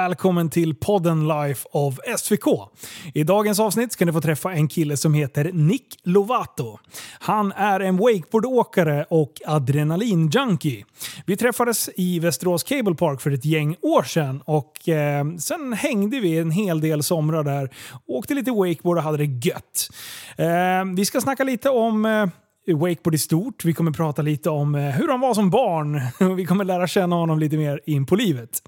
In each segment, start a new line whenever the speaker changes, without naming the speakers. Välkommen till podden Life of SVK. I dagens avsnitt ska ni få träffa en kille som heter Nick Lovato. Han är en wakeboardåkare och adrenalinjunkie. Vi träffades i Västerås Cable Park för ett gäng år sedan och eh, sen hängde vi en hel del somrar där. Åkte lite wakeboard och hade det gött. Eh, vi ska snacka lite om eh, wakeboard i stort. Vi kommer prata lite om eh, hur han var som barn. Vi kommer lära känna honom lite mer in på livet.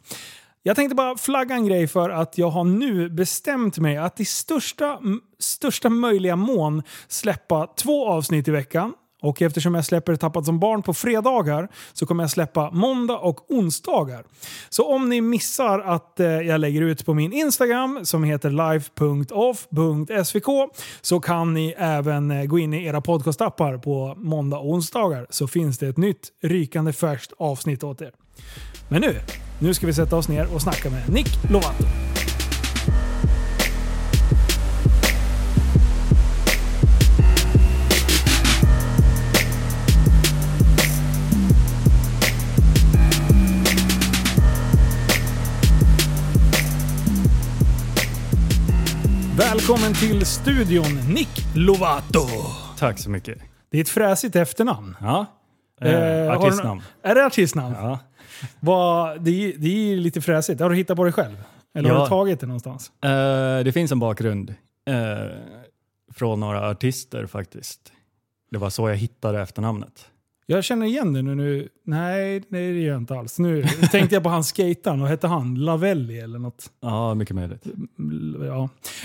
Jag tänkte bara flagga en grej för att jag har nu bestämt mig att i största, m- största möjliga mån släppa två avsnitt i veckan. Och eftersom jag släpper Tappat som barn på fredagar så kommer jag släppa måndag och onsdagar. Så om ni missar att eh, jag lägger ut på min Instagram som heter live.off.svk så kan ni även eh, gå in i era podcastappar på måndag och onsdagar så finns det ett nytt rykande färskt avsnitt åt er. Men nu, nu ska vi sätta oss ner och snacka med Nick Lovato. Välkommen till studion, Nick Lovato.
Tack så mycket.
Det är ett fräsigt efternamn.
Ja.
Eh,
Eh,
har du
artistnamn.
nå- Är det artistnamn?
Ja.
Vad- det, är- det är ju lite fräsigt. Har du hittat på det själv? Eller har
Ja.
du tagit det någonstans?
Eh, det finns en bakgrund eh, från några artister faktiskt. Det var så jag hittade efternamnet.
Jag känner igen det nu. nu. Nej, nej, det gör jag inte alls. Nu tänkte jag på han skejtaren. Vad hette han? Lavelli eller något?
Ja, mycket möjligt.
Alltså-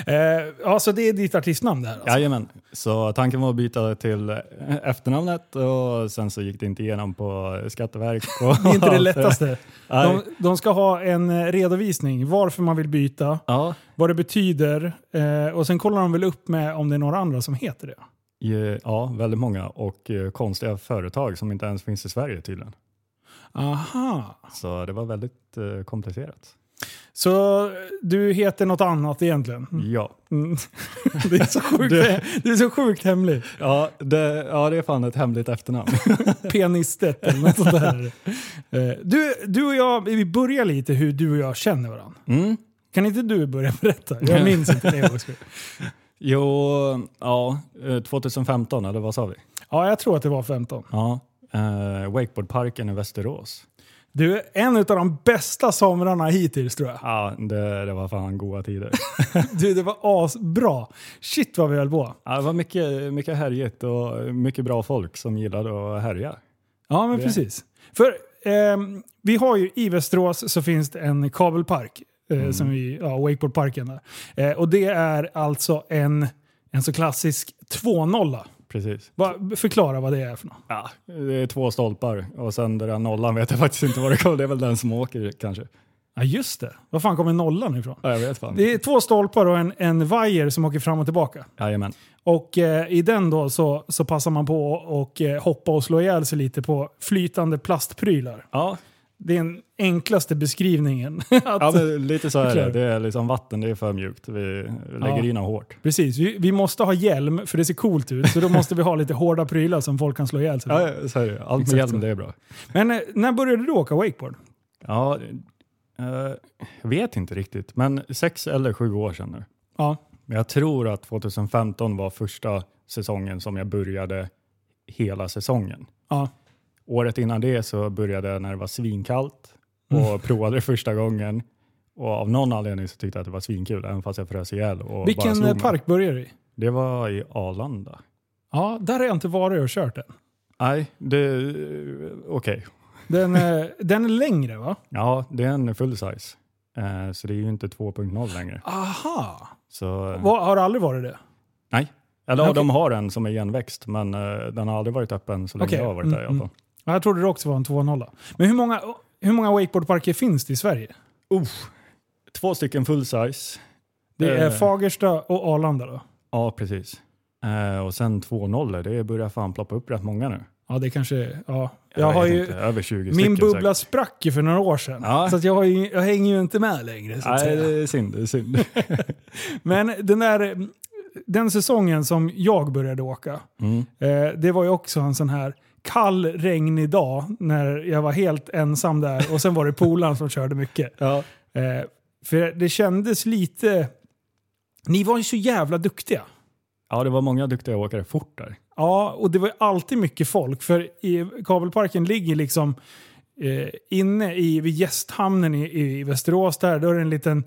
Ja. Eh, ja, så det är ditt artistnamn där? Alltså.
Jajamän. Så tanken var att byta till eh, efternamnet och sen så gick det inte igenom på Skatteverket.
Det är inte det lättaste.
Nej.
De, de ska ha en eh, redovisning varför man vill byta,
Ja,
vad det betyder eh, och sen kollar de väl upp med om det är några andra som heter det.
ju- ja, väldigt många och eh, konstiga företag som inte ens finns i Sverige tydligen.
Aha.
Så det var väldigt eh, komplicerat.
Så eh, du heter något annat egentligen?
Ja.
Mm. Det är så sjukt, du... är så sjukt hemligt.
Ja, det, ja, det är fan ett hemligt efternamn.
Penistet eller något sånt där. Eh, Du, du och jag, vi börjar lite hur du och jag känner varandra.
Mm.
Kan inte du börja berätta? Jag minns inte det också.
Jo, ja, eh, 2015 eller vad sa vi?
Ja, jag tror att det var 15.
Ja. Eh, wakeboardparken i Västerås.
Du är en av de bästa somrarna hittills tror jag.
Ja, det, det var fan goda tider.
Du, det var asbra. Shit vad vi höll på.
ja, det var mycket, mycket härjigt och mycket bra folk som gillade att härja.
Ja, men
Det-
precis. För ehm, vi har ju i Västerås så finns det en kabelpark, eh, som vi, ja, wakeboardparken. Där. Eh, och det är alltså en, en så klassisk 2-0.
Precis.
Va, förklara vad det är för något.
Ja, det är två stolpar och sen den där nollan vet jag faktiskt inte var det kommer. Det är väl den som åker kanske.
Ja, just det. Var fan kommer nollan ifrån?
Ja, jag vet fan.
Det är två stolpar och en, en vajer som åker fram och tillbaka.
Jajamän.
Och eh, i den då så, så passar man på och eh, hoppa och slå ihjäl sig lite på flytande plastprylar.
Ja,
Det är den enklaste beskrivningen. att,
ja men lite så är
Förklara.
det. Det är liksom vatten, det är för mjukt. Vi lägger
Ja.
in dem hårt.
Precis, vi, vi måste ha hjälm för det ser coolt ut. Så då måste vi ha lite hårda prylar som folk kan slå ihjäl sig med.
Ja, så är det. Allt
Exakt
med
så.
hjälm, det är bra.
Men eh, när började du åka wakeboard?
Ja, eh, jag vet inte riktigt, men sex eller sju år sedan nu.
Ja.
Men jag tror att 2015 var första säsongen som jag började hela säsongen.
Ja.
Året innan det så började jag när det var svinkallt och
Mm.
provade det första gången. Och av någon anledning så tyckte jag att det var svinkul, även fast jag frös ihjäl. Och bara
Vilken
slog
eh,
mig.
park började du i?
Det var i Arlanda.
Ja, där har jag inte varit och kört den.
Nej, det... Okej.
Den, eh, den är längre va?
Ja, det är en full size. Eh, så det är ju inte 2.0 längre.
Aha!
Så, eh,
Va, har det aldrig varit det?
Nej. Eller
Okej.
de har en som är igenväxt, men eh, den har aldrig varit öppen så länge
Okej.
jag har varit där i alla
Mm,
fall.
Ja, Jag trodde det också var en 2.0. Men hur många, hur många wakeboardparker finns det i Sverige?
Två stycken full size.
Det är
Eh.
Fagersta och Arlanda då?
Ja, precis. Eh, och sen två nollor, det börjar fan ploppa upp rätt många nu.
Ja, det kanske... Ja. Jag,
vet
har ju,
inte, över 20
min
stycken
bubbla
säkert.
sprack ju för några år sedan.
Ja.
Så att jag, har ju, jag hänger ju inte med längre. Så att
Nej,
säga.
det är synd. Det är synd.
Men den där den säsongen som jag började åka,
Mm.
eh, det var ju också en sån här kall, regnig dag när jag var helt ensam där och sen var det polaren som körde mycket.
Ja.
Eh, För det kändes lite... Ni var ju så jävla duktiga.
Ja, det var många duktiga åkare fort där.
Ja, och det var alltid mycket folk. För i kabelparken ligger liksom eh, inne i, vid gästhamnen i, i Västerås. Där, då är det en liten...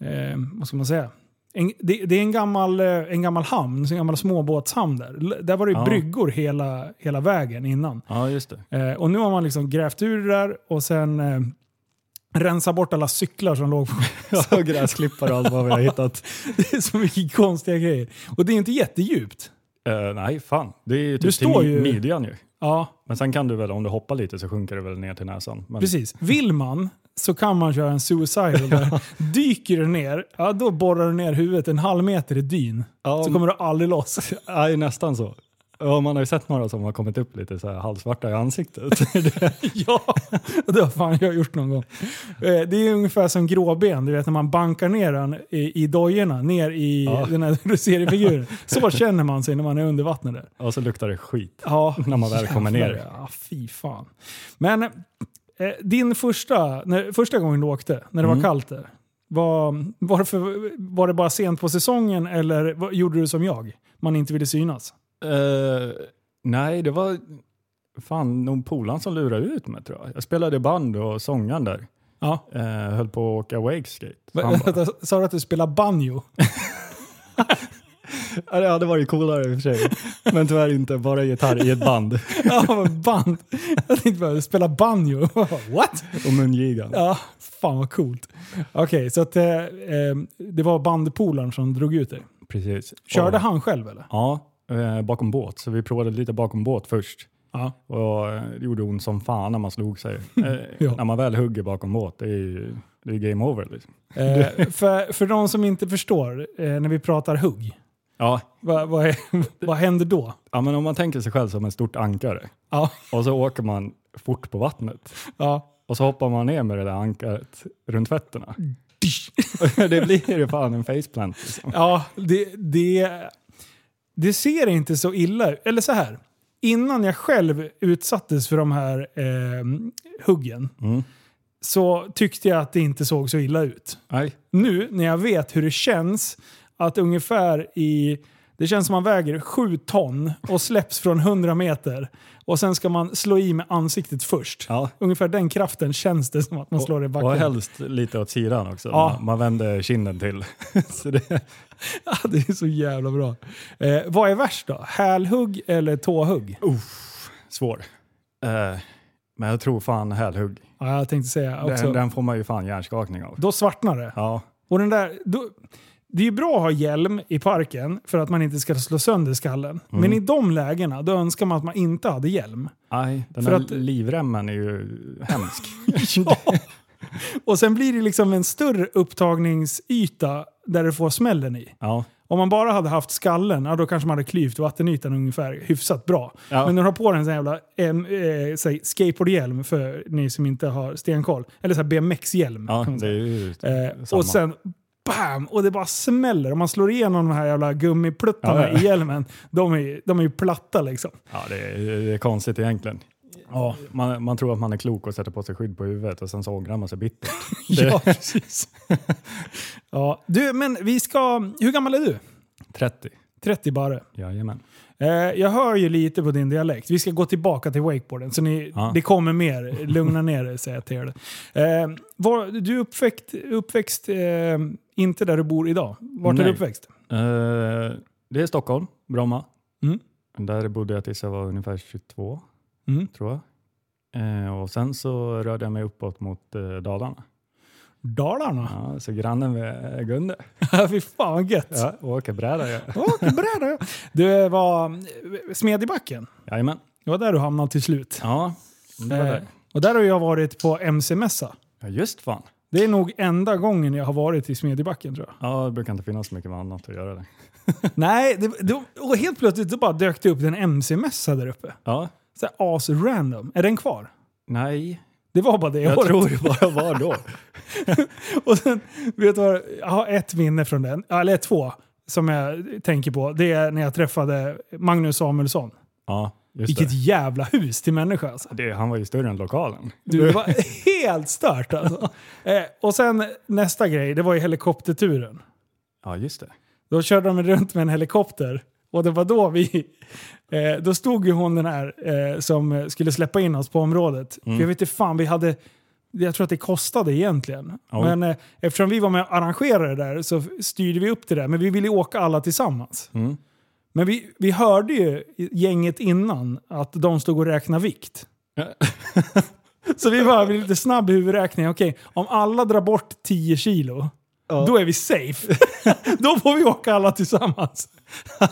Eh, vad ska man säga? En, det, det är en gammal, eh, en gammal hamn, en gammal småbåtshamn där. L- Där var det ju
Ja.
bryggor hela, hela vägen innan.
Ja, just det.
Eh, och nu har man liksom grävt ur det där och sen eh, rensat bort alla cyklar som låg på
Ja, gräsklippare och allt vad vi har hittat.
Det är så mycket konstiga grejer. Och det är inte jättedjupt.
Eh, nej, fan. Det är ju
Du
typ till
står
mi-
ju-
midjan ju.
Ja,
Men sen kan du väl, om du hoppar lite så sjunker du väl ner till näsan. Men,
precis. Vill man så kan man köra en suicidal där. Dyker du ner, ja då borrar du ner huvudet en halv meter i dyn.
Ja,
Så kommer du aldrig loss.
Nej, nästan så. Ja, man har ju sett några som har kommit upp lite så här halvsvarta i ansiktet.
ja, det har fan jag gjort någon gång. Eh, Det är ungefär som gråben, du vet när man bankar ner den i, i dojorna, ner i
Ja.
den här seriefiguren. Så känner man sig när man är under vattnet där.
och så luktar det skit.
Ja,
När man väl kommer
jävlar,
ner.
Ja, fy fan. Men eh, din första, när, första gången du åkte, när det var
Mm.
kallt där, var, varför, var det bara sent på säsongen eller vad, gjorde du som jag? Man inte ville synas?
Eh, nej, det var fan någon polan som lurade ut mig tror jag. Jag spelade band och sångaren där.
Ja.
Eh, höll på att åka wakeskate. Så han bara-
Vänta, Sa du att du spelar banjo?
Ja, det hade varit coolare i och för sig. Men tyvärr inte, bara gitarr i ett band.
Ja, men band. Jag tänkte bara, spela banjo. What?
Och mungigan.
Ja, fan vad coolt. Okej, så att, eh, eh, det var bandpolaren som drog ut dig.
Precis.
Körde
och,
han själv eller?
Ja, eh, bakom båt. Så vi provade lite bakom båt först.
Ja.
Och eh, det gjorde ont som fan när man slog sig. Eh,
Ja.
När man väl hugger bakom båt, det är ju det är game over. Liksom.
Eh, för, för de som inte förstår, eh, när vi pratar hugg,
Ja.
vad, vad, är, vad händer då?
ja, men om man tänker sig själv som en stort ankare
Ja,
och så åker man fort på vattnet
ja.
och så hoppar man ner med det där ankaret runt fötterna. det blir ju fan en faceplant. Liksom.
ja det, det, det ser inte så illa ut. Eller så här, innan jag själv utsattes för de här eh, huggen
Mm.
så tyckte jag att det inte såg så illa ut.
Nej.
Nu när jag vet hur det känns att ungefär i... Det känns som man väger 7 ton och släpps från 100 meter. Och sen ska man slå i med ansiktet först.
Ja.
Ungefär den kraften känns det som att man slår i
Och
backen.
helst lite åt sidan också.
Ja.
Man, man vänder kinden till. så det,
Ja, det är så jävla bra. Eh, vad är värst då? Hälhugg eller tåhugg?
svår. Eh, men jag tror fan hälhugg.
Ja, jag tänkte säga också.
Den, den får man ju fan hjärnskakning av.
Då svartnar det.
Ja,
Och den där, då, det är ju bra att ha hjälm i parken för att man inte ska slå sönder skallen. Men i de lägena då önskar man att man inte hade hjälm.
Nej, den
För
där
att-
livremmen är ju hemsk.
Ja. Och sen blir det liksom en större upptagningsyta där du får smällen i.
ja.
Om man bara hade haft skallen, ja, då kanske man hade klyvt vattenytan ungefär hyfsat bra.
Ja.
Men när du har på dig en sån här jävla em, eh, säg, skateboardhjälm för ni som inte har stenkoll. Eller så här BMX-hjälm.
ja,
kan man
det är
säga.
ju
eh,
samma.
och sen bam! Och det bara smäller. Om man slår igenom de här jävla gummipluttarna
Ja, ja.
i hjälmen. De är, de är ju platta liksom.
ja, det, är, det är konstigt egentligen.
Ja.
Man, man tror att man är klok och sätter på sig skydd på huvudet och sen så ångrar man sig bittert.
ja, precis. ja. Du, men vi ska... Hur gammal är du?
30.
30 bara.
Jajamän.
Eh, jag hör ju lite på din dialekt. Vi ska gå tillbaka till wakeboarden, så ni,
Ja.
det kommer mer. Lugna ner er, säger jag till er. Eh, var, du är uppväxt, uppväxt eh, inte där du bor idag. Vart är du
Nej.
uppväxt?
Eh, det är Stockholm, Bromma.
Mm.
Där bodde jag tills jag var ungefär 22,
Mm.
tror jag. Eh, och sen så rörde jag mig uppåt mot eh, Dalarna.
Dalarna?
Ja, så grannen med eh, Gunde.
Fy fan vad gött! Ja.
Ja, åker bräda jag.
bra då. Du var eh, Smedjebacken.
Jajamän.
Det var där du hamnade till slut.
Ja, det var
Eh,
det.
och där har jag varit på MC-mässa.
Ja, just fan.
Det är nog enda gången jag har varit i Smedjebacken tror jag.
Ja, det brukar inte finnas så mycket annat att göra där.
Nej, det, det, och helt plötsligt så bara dök det upp en MC-mässa där uppe.
Ja.
Så här as-random. Är den kvar?
Nej,
Det var bara det
jag
året.
tror det bara var då.
Och sen, vet du vad, jag har ett minne från den, eller två, som jag tänker på. Det är när jag träffade Magnus Samuelsson.
ja, Just
Vilket jävla hus till människa alltså.
det. Det, han var ju större än lokalen.
Du, det var helt stört alltså. Eh, och sen nästa grej, det var ju helikopterturen.
Ja, just det.
Då körde de runt med en helikopter. Och det var då vi... Eh, då stod ju hon den här eh, som skulle släppa in oss på området.
Mm.
För jag vet inte fan, vi hade... Jag tror att det kostade egentligen.
Oj.
Men eh, eftersom vi var med och arrangerade det där så styrde vi upp det där. Men vi ville ju åka alla tillsammans.
Mm.
Men vi, vi hörde ju gänget innan att de stod och räknade vikt. Så vi var lite snabb i huvudräkningen. Okej, om alla drar bort 10 kilo, då är vi safe. då får vi åka alla tillsammans.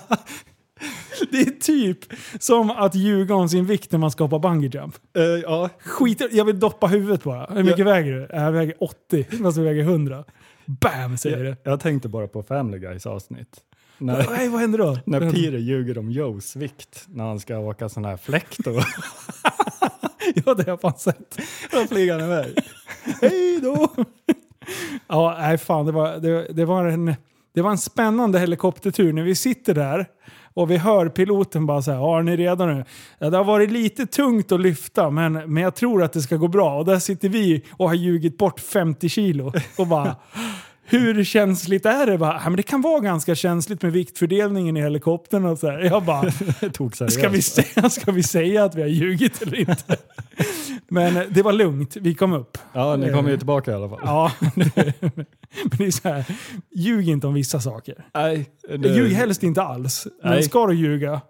Det är typ som att ljuga om sin vikt när man ska hoppa bungee jump.
Eh, ja.
Skit jag vill doppa huvudet bara. Hur mycket
Ja.
väger du? "Äh, Jag väger 80, fast jag väger 100. Bam, säger det.
Jag tänkte bara på Family Guys avsnitt. När,
Nej, vad händer då?
när Peter ljuger om Joes vikt när han ska åka sån här fläkt. Och
Ja, det har jag fan sett.
då flyger han iväg.
Hej då! ja, nej fan. Det var, det, det, var en, det var en spännande helikoptertur när vi sitter där och vi hör piloten bara så här, "Ja, är ni redo nu? Ja, det har varit lite tungt att lyfta, men, men jag tror att det ska gå bra. Och där sitter vi och har ljugit bort 50 kilo och bara, hur känsligt är det? Bara, "Ja, men det kan vara ganska känsligt med viktfördelningen i helikoptern och så här. Jag bara,
Tog
Ska vi, säga, ska vi säga att vi har ljugit eller inte? Men eh, det var lugnt, vi kom upp.
Ja, ni kommer ju tillbaka i alla fall.
Mm. Ja, men det är så här, ljug inte om vissa saker.
Nej, det,
Ljug helst inte alls. Men
Nej.
ska du ljuga,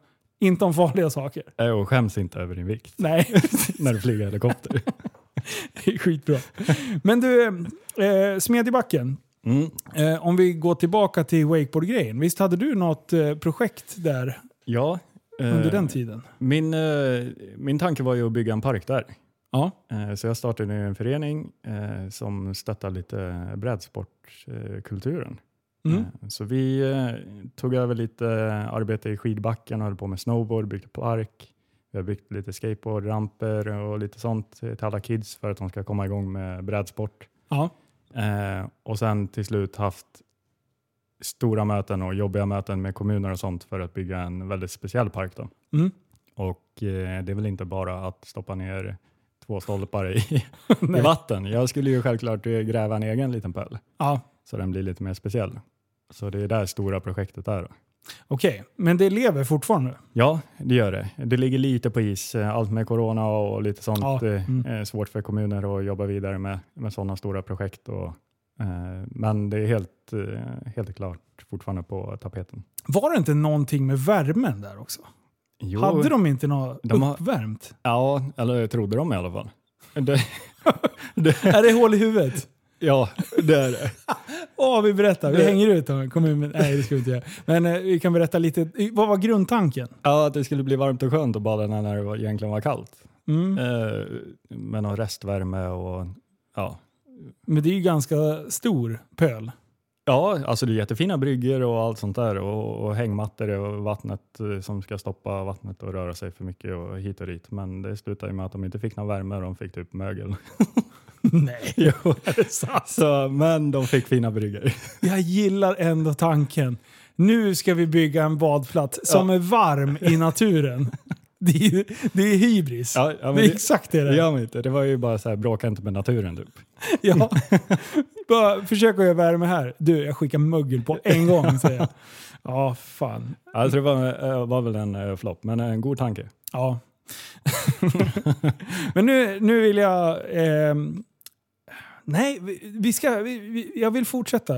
inte om farliga saker.
Nej, och skäms inte över din vikt
Nej,
när du flyger helikopter.
det är skitbra. Men du, eh, Smedjebacken.
Mm.
Eh, om vi går tillbaka till wakeboardgrejen. Visst hade du något eh, projekt där
Ja.
under
eh,
den tiden?
Min, eh, min tanke var ju att bygga en park där.
Ja.
Eh, Så jag startade en förening eh, som stöttar lite brädsportkulturen.
Mm.
Eh, Så vi eh, tog över lite arbete i skidbacken och höll på med snowboard, byggde park. Vi har byggt lite skateboard, ramper och lite sånt till alla kids för att de ska komma igång med brädsport.
Ja.
Eh, och sen till slut haft stora möten och jobbiga möten med kommuner och sånt för att bygga en väldigt speciell park. Då.
Mm.
Och eh, det är väl inte bara att stoppa ner två stolpar i, i
Nej.
vatten. Jag skulle ju självklart eh, gräva en egen liten pöl
ja.
så den blir lite mer speciell. Så det är där stora projektet är. Då.
Okej, men det lever fortfarande?
Ja, det gör det. Det ligger lite på is, eh, allt med corona och lite sånt.
Ja,
eh,
mm.
eh, Svårt för kommuner att jobba vidare med, med sådana stora projekt. Och, eh, men det är helt, eh, helt klart fortfarande på tapeten.
Var det inte någonting med värmen där också?
Jo,
Hade de inte något
De har-
uppvärmt?
Ja, eller trodde de i alla fall. Det,
Är det hål i huvudet?
ja, det är det.
Ja, vi berättar. Vi
Det-
hänger ut om kommunen. Nej, det ska vi inte göra. Men eh, vi kan berätta lite. Vad var grundtanken?
Ja, att det skulle bli varmt och skönt att bada när det var- egentligen var kallt.
Mm.
Eh, med någon restvärme och ja.
Men det är ju ganska stor pöl.
Ja, alltså det är jättefina bryggor och allt sånt där och, och hängmattor och vattnet eh, som ska stoppa vattnet och röra sig för mycket och hit och dit. Men det slutade ju med att de inte fick någon värme, de fick typ mögel.
Nej.
Jo, så, men de fick fina bryggor.
Jag gillar ändå tanken. Nu ska vi bygga en badplats som är varm i naturen. Det är, det är hybris.
Ja, ja, men
det är
det,
exakt det
det
där.
gör man inte. Det var ju bara så här, bråka inte med naturen typ.
Ja. Bara försök att göra värme här. Du, jag skickar mögel på en gång säger jag. Ja, fan.
Alltså det var, eh, var väl en eh, flopp, men en god tanke.
Ja. Men nu, nu vill jag... ehm, nej, vi, vi ska, vi, vi, jag vill fortsätta.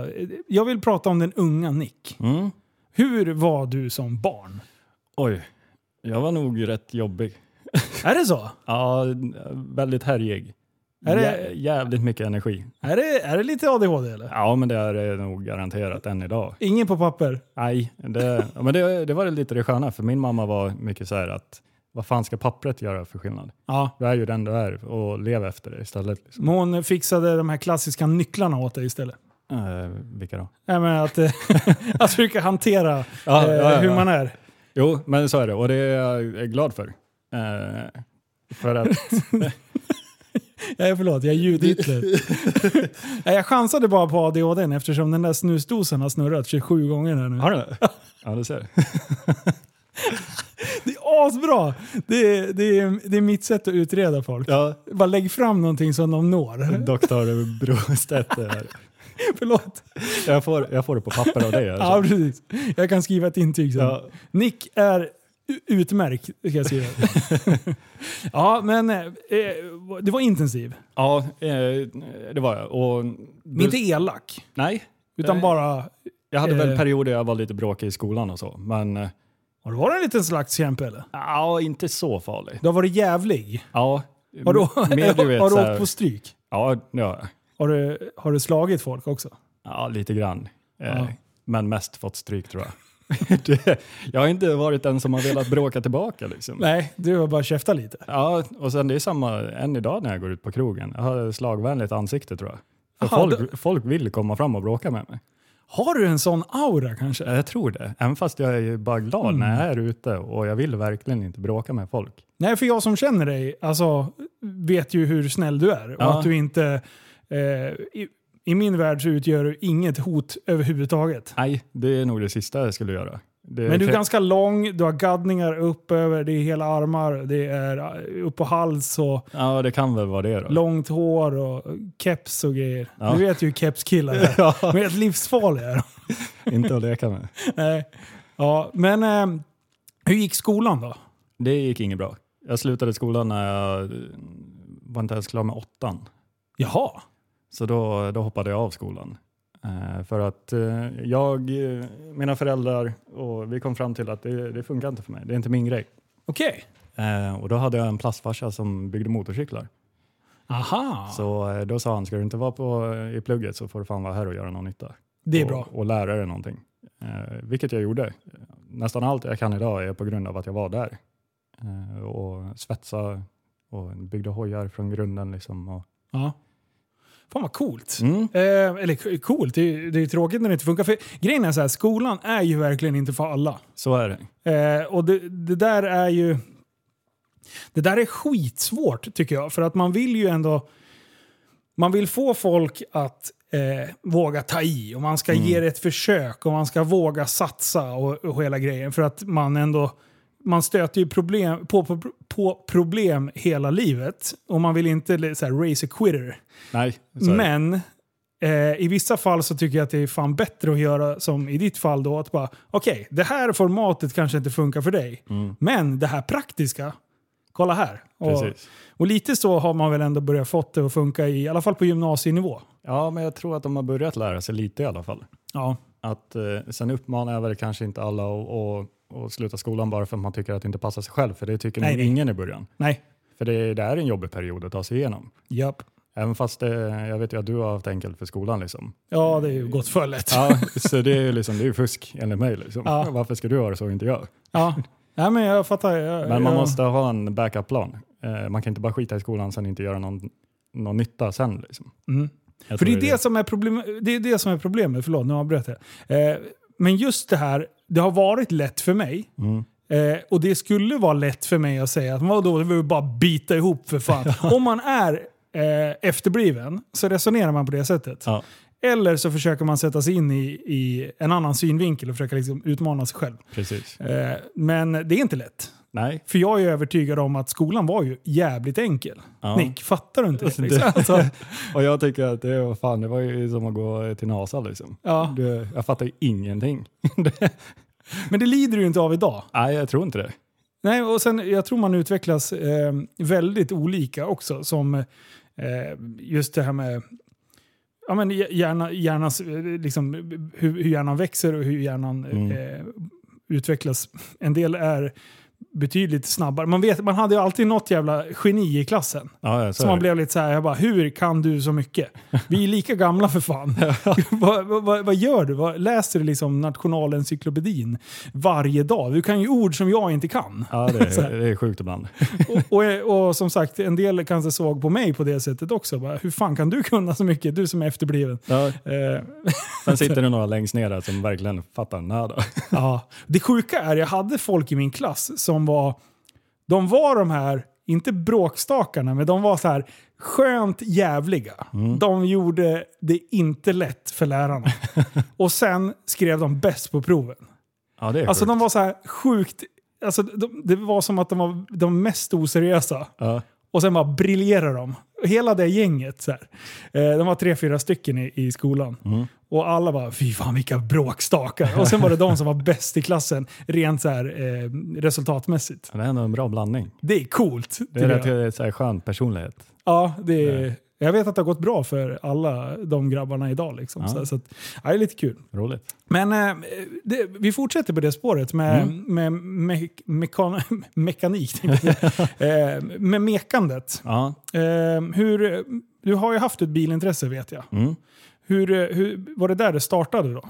Jag vill prata om den unga Nick.
Mm.
Hur var du som barn?
Oj, jag var nog rätt jobbig.
Är det så?
Ja, väldigt härjig.
Är det-
Jä- jävligt mycket energi.
Är det, är det lite ADHD eller?
Ja, men det är det nog garanterat än idag.
Ingen på papper?
Nej, det, ja, men det, det var lite det sköna för min mamma var mycket så här att vad fan ska pappret göra för skillnad?
Ja.
Du är ju den du är och lev efter det istället. Liksom.
Men hon fixade de här klassiska nycklarna åt dig istället.
Eh, vilka då?
Nej, men att, eh, att försöka hantera eh,
Ja, ja, ja,
hur
ja.
man är.
Jo, men så är det och det är jag glad för. Eh, för att,
Nej, förlåt, jag är ljudhitler. Nej, jag chansade bara på ADHD eftersom den där snusdosen har snurrat 27 gånger här nu.
har du det? Ja, du ser.
Det är asbra! Det är, det, är, det är mitt sätt att utreda folk.
Ja, Mm.
Bara lägg fram någonting som de når.
doktor Brostedt. är här.
Förlåt.
Jag får, jag får det på papper av dig.
Ja,
Alltså.
precis. Jag kan skriva ett intyg sen.
Ja,
Nick är u- utmärkt, ska jag skriva. ja, men eh, det var intensiv.
ja eh, det var jag. Och du,
Inte elak,
nej,
utan
Nej.
bara...
jag hade
eh,
väl perioder jag var lite bråkig i skolan och så. Men eh,
Har du varit en liten slagskämpe eller?
ja, inte så farlig.
Du har varit jävlig.
Ja,
Har du,
Mm. mer du vet,
har
så
du
här,
åkt på stryk?
Ja, det har jag.
Har du, har du slagit folk också?
Ja, lite grann. Eh,
Ja.
Men mest fått stryk tror jag. det, jag har inte varit den som har velat bråka tillbaka. Liksom.
Nej, du har bara käftat lite.
Ja, och sen det är samma än idag när jag går ut på krogen. Jag har ett slagvänligt ansikte tror jag. För
Aha,
folk, folk vill komma fram och bråka med mig.
Har du en sån aura kanske?
Jag tror det. Även fast jag är ju bara glad när
Mm.
jag är ute och jag vill verkligen inte bråka med folk.
Nej, för jag som känner dig alltså, vet ju hur snäll du är. Och
Ja.
att du inte... Eh, i, I min värld så utgör du inget hot överhuvudtaget.
Nej, det är nog det sista jag skulle göra. Det
Men du är
kan-
ganska lång, du har gaddningar upp över, det är hela armar, det är eh, upp på hals och
Ja, det kan väl vara det då.
långt hår och keps och grejer.
Ja.
Du vet ju hur kepskillar är.
Ja,
De är helt livsfarliga. är de.
inte att leka med.
Nej. Ja, men eh, hur gick skolan då?
Det gick inget bra. Jag slutade skolan när jag eh, var inte ens klar med åttan.
Jaha.
Så då, då hoppade jag av skolan. Eh, för att eh, jag, eh, mina föräldrar och vi kom fram till att det, det funkar inte för mig. Det är inte min grej.
Okej.
Eh, och då hade jag en plastfarsa som byggde motorcyklar.
Aha.
Så eh, då sa han, ska du inte vara på, i plugget så får du fan vara här och göra någon nytta.
det är
och,
bra.
Och lära dig någonting. Eh, vilket jag gjorde. Nästan allt jag kan idag är på grund av att jag var där. Eh, och svetsa och byggde hojar från grunden. Liksom, och,
Ja. Fan vad coolt.
mm.
Eh, eller k- coolt, det är, ju- det är ju tråkigt när det inte funkar. För grejen är så här, skolan är ju verkligen inte för alla.
Så är det.
Eh, och det, det där är ju... Det där är skitsvårt tycker jag. För att man vill ju ändå... Man vill få folk att eh, våga ta i och man ska ge det ett försök och man ska våga satsa och, och hela grejen. För att man ändå... Man stöter ju problem, på, på, på problem hela livet och man vill inte så här, raise a quitter.
Nej, så är det.
Men eh, i vissa fall så tycker jag att det är fan bättre att göra som i ditt fall då. Att bara, okej, det här formatet kanske inte funkar för dig.
Mm.
Men det här praktiska, kolla här. Och,
Precis.
och lite så har man väl ändå börjat fått det att funka i, i alla fall på gymnasienivå.
Ja, men jag tror att de har börjat lära sig lite i alla fall.
Ja.
Att, eh, sen uppmanar jag väl kanske inte alla att och, och sluta skolan bara för att man tycker att det inte passar sig själv, för det tycker
Nej,
nog
nej.
ingen i början.
Nej.
För det, det är en jobbig period att ta sig igenom.
Japp.
Även fast det, jag vet ju att du har haft enkelt för skolan. Liksom.
Ja, det är ju gott följt. Ja.
Ja, så det är ju liksom, det är ju fusk enligt mig. Liksom.
Ja.
Varför ska du ha det så och inte jag?
ja. Nej, men jag fattar. Jag,
Men man
jag,
måste ha en backup-plan. Eh, man kan inte bara skita i skolan sen inte göra någon, någon nytta sen. Liksom.
Mm.
Jag
För det
tror
är det, som är problem, det är det som är problemet. Förlåt, nu avbröt jag. Eh, men just det här, det har varit lätt för mig.
Mm.
Eh, och det skulle vara lätt för mig att säga att vadå, det vill bara bita ihop för fan. Om man är eh, efterbliven så resonerar man på det sättet.
Ja.
Eller så försöker man sätta sig in i, i en annan synvinkel och försöka liksom utmana sig själv.
Precis.
Eh, men det är inte lätt.
Nej.
För jag är övertygad om att skolan var ju jävligt enkel.
Ja.
Nick, fattar du inte det?
Det-
Liksom? Alltså,
Och jag tycker att det var, fan, det var ju som att gå till NASA. Liksom.
ja.
Det, jag fattar ju ingenting.
Men det lider du ju inte av idag.
Nej, jag tror inte det.
Nej, och sen jag tror man utvecklas eh, väldigt olika också. Som eh, just det här med ja, men hjärna, hjärnans, eh, liksom, hur, hur hjärnan växer och hur hjärnan
Mm.
eh, utvecklas. En del är betydligt snabbare. Man, vet, man hade ju alltid något jävla geni i klassen.
Ja, jag
Så man blev lite så här, jag bara, hur kan du så mycket? Vi är lika gamla för fan. vad, vad- vad, vad gör du? Vad, läser du liksom Nationalencyklopedin varje dag? Du kan ju ord som jag inte kan.
Ja, det,
Så
är-
här.
det är sjukt ibland.
Och, och, och som sagt, en del kanske såg på mig på det sättet också. Bara, hur fan kan du kunna så mycket? Du som är efterbliven.
Ja,
Eh,
sen sitter det några längst ner där som verkligen fattar nada.
ja. Det sjuka är, jag hade folk i min klass som var, de var de här, inte bråkstakarna, men de var så här skönt jävliga. De gjorde det inte lätt för lärarna. och sen skrev de bäst på proven.
Ja, det är
Alltså
sjukt.
de var så här sjukt alltså, de, det var som att de var de mest oseriösa.
Ja.
Och sen bara briljerar de. Hela det gänget. Så här. Eh, de var tre, fyra stycken i, i skolan.
Mm.
Och alla bara, fy fan vilka bråkstakar. Och sen var det de som var bäst i klassen, rent så här, eh, resultatmässigt.
Det är ändå en bra blandning.
Det är coolt.
Det är
tycker
rätt
jag.
eh, så här, skön personlighet.
Ja, det är, jag vet att det har gått bra för alla de grabbarna idag. Liksom.
Ja.
Så, så att, ja, det är lite kul.
Roligt.
Men eh, det, vi fortsätter på det spåret med,
Mm.
med me, mekan, mekanik. tänkte jag säga. eh, med mekandet.
Ja.
Eh, hur, du har ju haft ett bilintresse vet jag.
Mm.
Hur, eh, hur, var det där det startade då?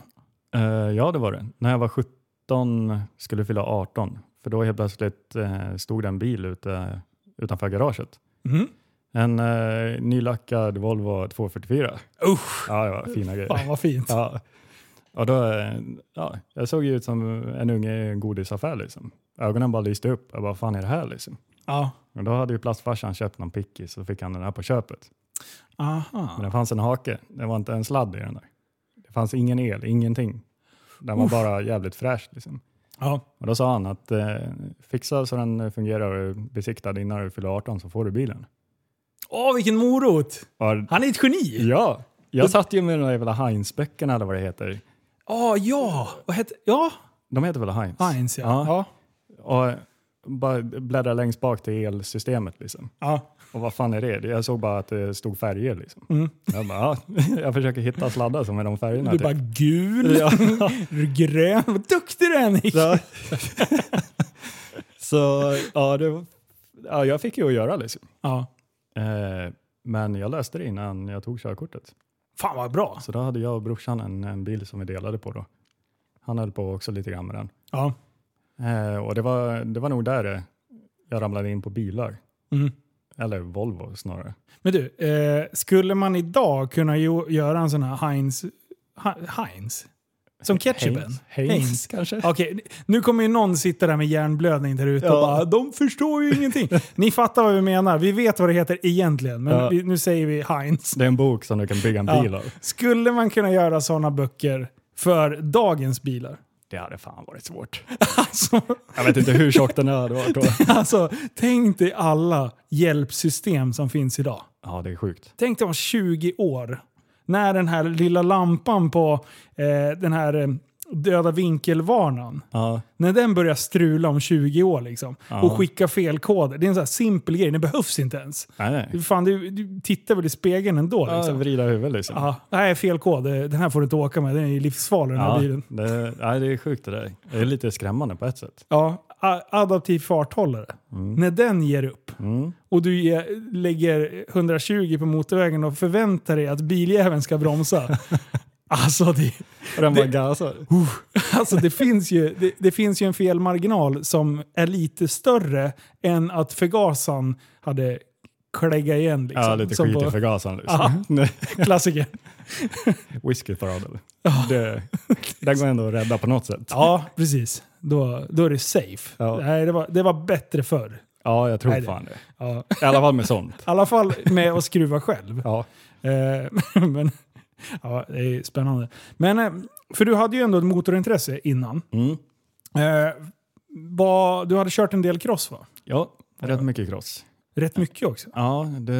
Eh, ja, det var det. När jag var 17 skulle fylla 18. För då helt plötsligt eh, stod det en bil ute, utanför garaget.
Mm.
En eh, nylackad Volvo 244.
Usch,
Ja, det var fina grejer.
fan vad fint.
Ja. Och då, eh, ja, jag såg ju ut som en unge i en godisaffär. Liksom. Ögonen bara lyste upp. Jag bara, vad fan är det här? Liksom.
Ja.
Men då hade ju plastfarsan köpt någon pickis så fick han den här på köpet. Men
Aha.
det fanns en hake. Det var inte en sladd i den där. Det fanns ingen el, ingenting. Den var bara jävligt fräsch. Liksom.
Ja.
Och då sa han att eh, fixa så den fungerar och är besiktad innan du fyller 18 så får du bilen.
Åh, vilken morot!
Och,
Han är ett geni!
ja, jag satt ju med de där jävla Heinz-böckerna eller vad det heter.
Ja, ja! Vad heter... Ja,
De heter väl Heinz?
Heinz ja.
Ja.
ja.
Och bara bläddra längst bak till elsystemet liksom.
ja.
Och vad fan är det? Jag såg bara att det stod färger liksom.
Mm.
Jag, bara, ja. jag försöker hitta sladdar som är de färgerna.
Du
typ.
bara gul,
Ja.
grön. Vad duktig du är Nick!
Så, så ja, det, ja, jag fick ju att göra liksom.
Ja.
Eh, men jag löste det innan jag tog körkortet.
Fan vad bra!
Så då hade jag och brorsan en, en bil som vi delade på då. Han höll på också lite grann med den.
Ja.
Eh, och det var, det var nog där eh, jag ramlade in på bilar.
Mm.
Eller Volvo snarare.
Men du, eh, skulle man idag kunna jo- göra en sån här Heinz... He- Heinz? Som ketchupen?
Heinz, Heinz,
Heinz.
kanske?
Okej, nu kommer ju någon sitta där med hjärnblödning där ute och
Ja.
bara “de förstår ju ingenting”. Ni fattar vad vi menar. Vi vet vad det heter egentligen, men
Ja.
vi, nu säger vi Heinz.
Det är en bok som du kan bygga en
Ja.
bil av.
Skulle man kunna göra sådana böcker för dagens bilar?
Det hade fan varit svårt.
Alltså,
Jag vet inte hur tjock den hade varit då.
alltså, tänk dig alla hjälpsystem som finns idag.
Ja, det är sjukt.
Tänk dig om 20 år. När den här lilla lampan på eh, den här eh, döda vinkelvarnaren,
Ja,
när den börjar strula om 20 år liksom,
Ja.
och skicka fel koder. Det är en sån här simpel grej, den behövs inte ens.
nej, nej.
Fan, du, du tittar väl i spegeln ändå?
Ja,
Liksom.
vrida huvudet liksom.
Ja, det här är fel kod, eh, den här får du inte åka med, den är ju livsfarlig den här
Ja,
bilen.
det, nej, det är sjukt det där. Det är lite skrämmande på ett sätt.
Ja, a- adaptiv farthållare. När den ger upp
Mm.
och du ge, lägger 120 på motorvägen och förväntar dig att biljäveln ska bromsa. alltså, det,
Och den bara
Det-
gasar.
alltså det, finns ju, det, det finns ju en felmarginal som är lite större än att förgasaren hade klägga igen. Liksom,
Ja, lite
som
skit i
på
förgasaren
Ja.
liksom. Nej.
klassiker.
Whiskyparad. Det, den går ändå att rädda på något sätt.
Ja, precis. Då, då är det safe.
Ja.
Nej, det, var, det var bättre förr.
Ja, jag tror
Nej, det-
fan det.
Ja.
I alla fall med sånt.
I alla fall med att skruva själv.
Ja.
Eh, men, ja, det är spännande. Men, eh, för du hade ju ändå ett motorintresse innan.
Mm.
Eh, vad- du hade kört en del cross va?
ja, rätt mycket cross.
Rätt mycket också.
Ja, det...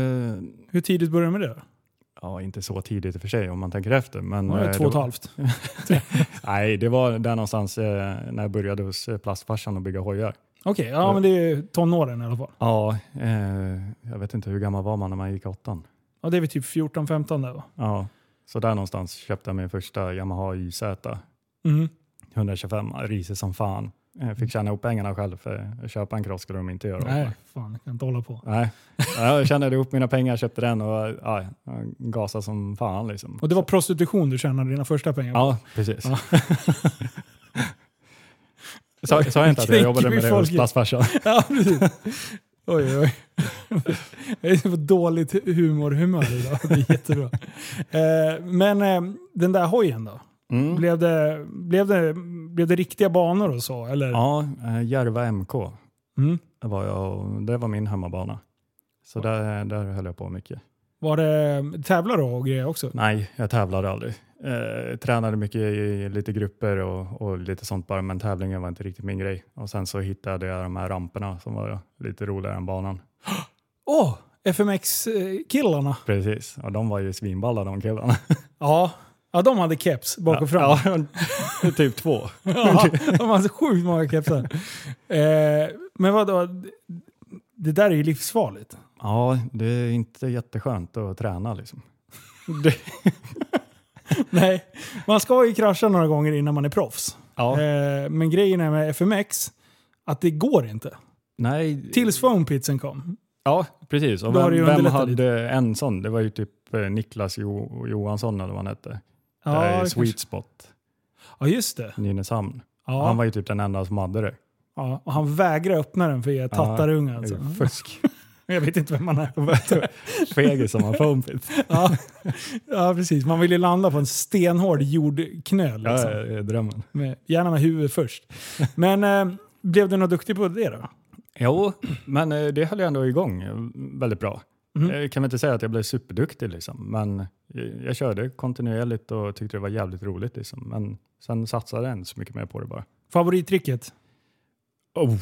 Hur tidigt började du med det?
Ja, inte så tidigt i och för sig om man tänker efter. Men,
Ja,
eh,
två och ett
det var-
halvt.
Nej, det var där någonstans eh, när jag började hos eh, plastfarsan och bygga hojar.
Okej, ja men det är ju tonåren i alla fall.
Ja, eh, jag vet inte hur gammal var man när man gick i åttan.
Ja, det är väl typ 14-15 där va?
Ja, så där någonstans köpte jag min första Yamaha YZ.
Mm.
125, risig som fan. Jag fick tjäna ihop pengarna själv för att köpa en cross skulle de inte göra. åt mig.
Nej, fan jag kan inte hålla på.
Nej, Ja, jag tjänade ihop mina pengar, köpte den och ja, gasade som fan. Liksom.
Och det var prostitution du tjänade dina första pengar på?
Ja, precis. Sa sa jag inte att jag
Kränker
jobbade
vi
med det
folk?
hos plastfarsan?
Ja, precis. Oj, oj, oj. Det är för dåligt humorhumör idag. Det är jättebra. Eh, men eh, den där hojen då?
Mm.
Blev det, blev, det, blev det riktiga banor och så? Eller?
Ja, eh, Järva MK
Mm.
var jag och det var min hemmabana. Så där, där höll jag på mycket.
Var det tävlar då och grejer också?
Nej, jag tävlade aldrig. Eh, Eh, tränade mycket i lite grupper och, och lite sånt bara, men tävlingen var inte riktigt min grej. Och sen så hittade jag de här ramperna som var lite roligare än banan.
Åh! eh, FMX-killarna.
Precis, och de var ju svinballa de killarna.
Ja. ja, de hade keps bak och fram. Ja.
Ja, typ två.
de hade så sjukt många kepsar. eh, men vadå? Det där är ju livsfarligt.
Ja, det är inte jätteskönt att träna liksom. Det,
Nej, man ska ju krascha några gånger innan man är proffs.
ja,
Eh, men grejen är med FMX, att det går inte.
nej.
Tills foampitsen kom.
Ja, precis. Och
Då har det ju
vem, vem
underlättat
hade en sån? Det var ju typ eh, Niklas jo, Johansson eller vad han hette.
det
Ja,
kanske-
Sweet Spot,
ja just det.
Nynäshamn.
Ja.
Han var ju typ den enda som hade det.
Ja, och han vägrar öppna den för er tattarungar.
Det är
Alltså.
ju Fusk.
Jag vet inte vem man är.
Fegis som har foampit.
Ja. ja, precis. Man vill ju landa på en stenhård jordknöl. Liksom.
Ja, det är drömmen.
Med, gärna med huvudet först. Men eh, blev du något duktig på det då?
Jo, men eh, det höll jag ändå igång eh, väldigt bra.
Mhm.
Jag kan väl inte säga att jag blev superduktig, liksom, men eh, jag körde kontinuerligt och tyckte det var jävligt roligt. Liksom. Men sen satsade jag inte så mycket mer på det bara.
Favorittricket?
Oh,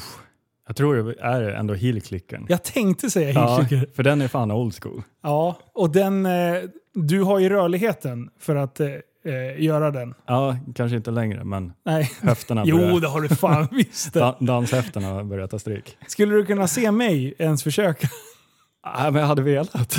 jag tror det är ändå heelklicken.
Jag tänkte säga
Ja,
hillkicker.
för den är fan old school.
Ja, och den... Eh, du har ju rörligheten för att eh, eh, göra den.
Ja, kanske inte längre, men
Nej.
höfterna
Jo,
börjar,
det har du fan visst.
da, danshöfterna börjar ta stryk.
Skulle du kunna se mig ens försöka?
Nej, men jag hade velat.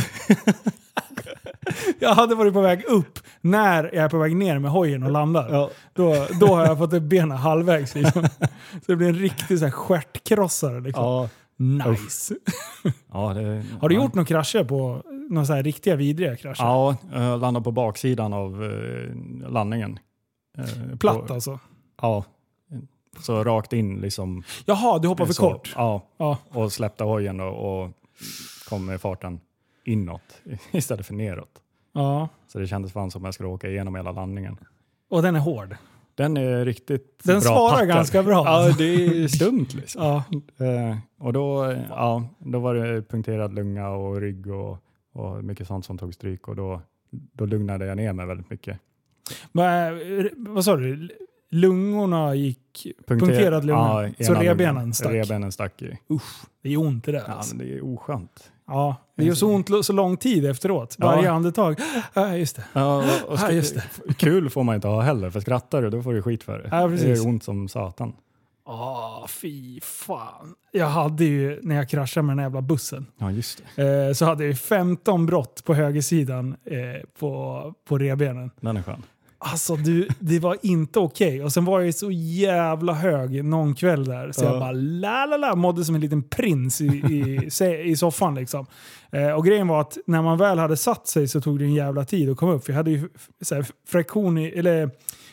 Jag hade varit på väg upp när jag är på väg ner med hojen och landar.
Ja.
Då, då har jag fått upp benen halvvägs. Liksom. Så det blir en riktig så här, stjärtkrossare. Liksom.
Ja,
Nice.
ja, det,
Har du
ja.
gjort några krascher på några så här riktiga vidriga krascher?
Ja, eh, landade på baksidan av eh, landningen. Eh,
Platt
på-
alltså?
Ja. Så rakt in liksom.
Jaha, du hoppar för
så,
kort?
Ja,
Ja.
och släppte hojen och, och kom med farten inåt istället för neråt.
ja.
Så det kändes fan som att jag skulle åka igenom hela landningen.
Och den är hård?
Den är riktigt
Den
bra
svarar
packad.
ganska bra.
Ja, det är stumt liksom.
Ja.
Eh, och då, eh, ja, då var det punkterad lunga och rygg och, och mycket sånt som tog stryk och då, då lugnade jag ner mig väldigt mycket.
Men, eh, vad sa du? Lungorna gick...
Punkter-
Punkterad lunga.
ena
Så
lungan.
revbenen stack?
Revbenen stack ju.
Det gör ont det där.
Ja,
Alltså.
men det är oskönt.
Ja. Det gör så ont lo- så lång tid efteråt.
Ja.
Varje andetag. Ja, just det.
Ja, och, och
Ja, just
Kul får man inte ha heller, för skrattar du då får du skit för det.
Ja,
det
precis.
är ont som satan.
Ah, fy fan. Jag hade ju, när jag kraschade med den här jävla bussen,
Ja, just det.
eh, så hade jag ju 15 brott på högersidan eh, på, på revbenen.
Den är skön.
Alltså du, det var inte okej. Och sen var jag ju så jävla hög någon kväll där. Så jag
Ja.
bara la la la, mådde som en liten prins i, i, se- i soffan liksom. Eh, och grejen var att när man väl hade satt sig så tog det en jävla tid att komma upp. För jag hade ju f- så här, fraktion i, eller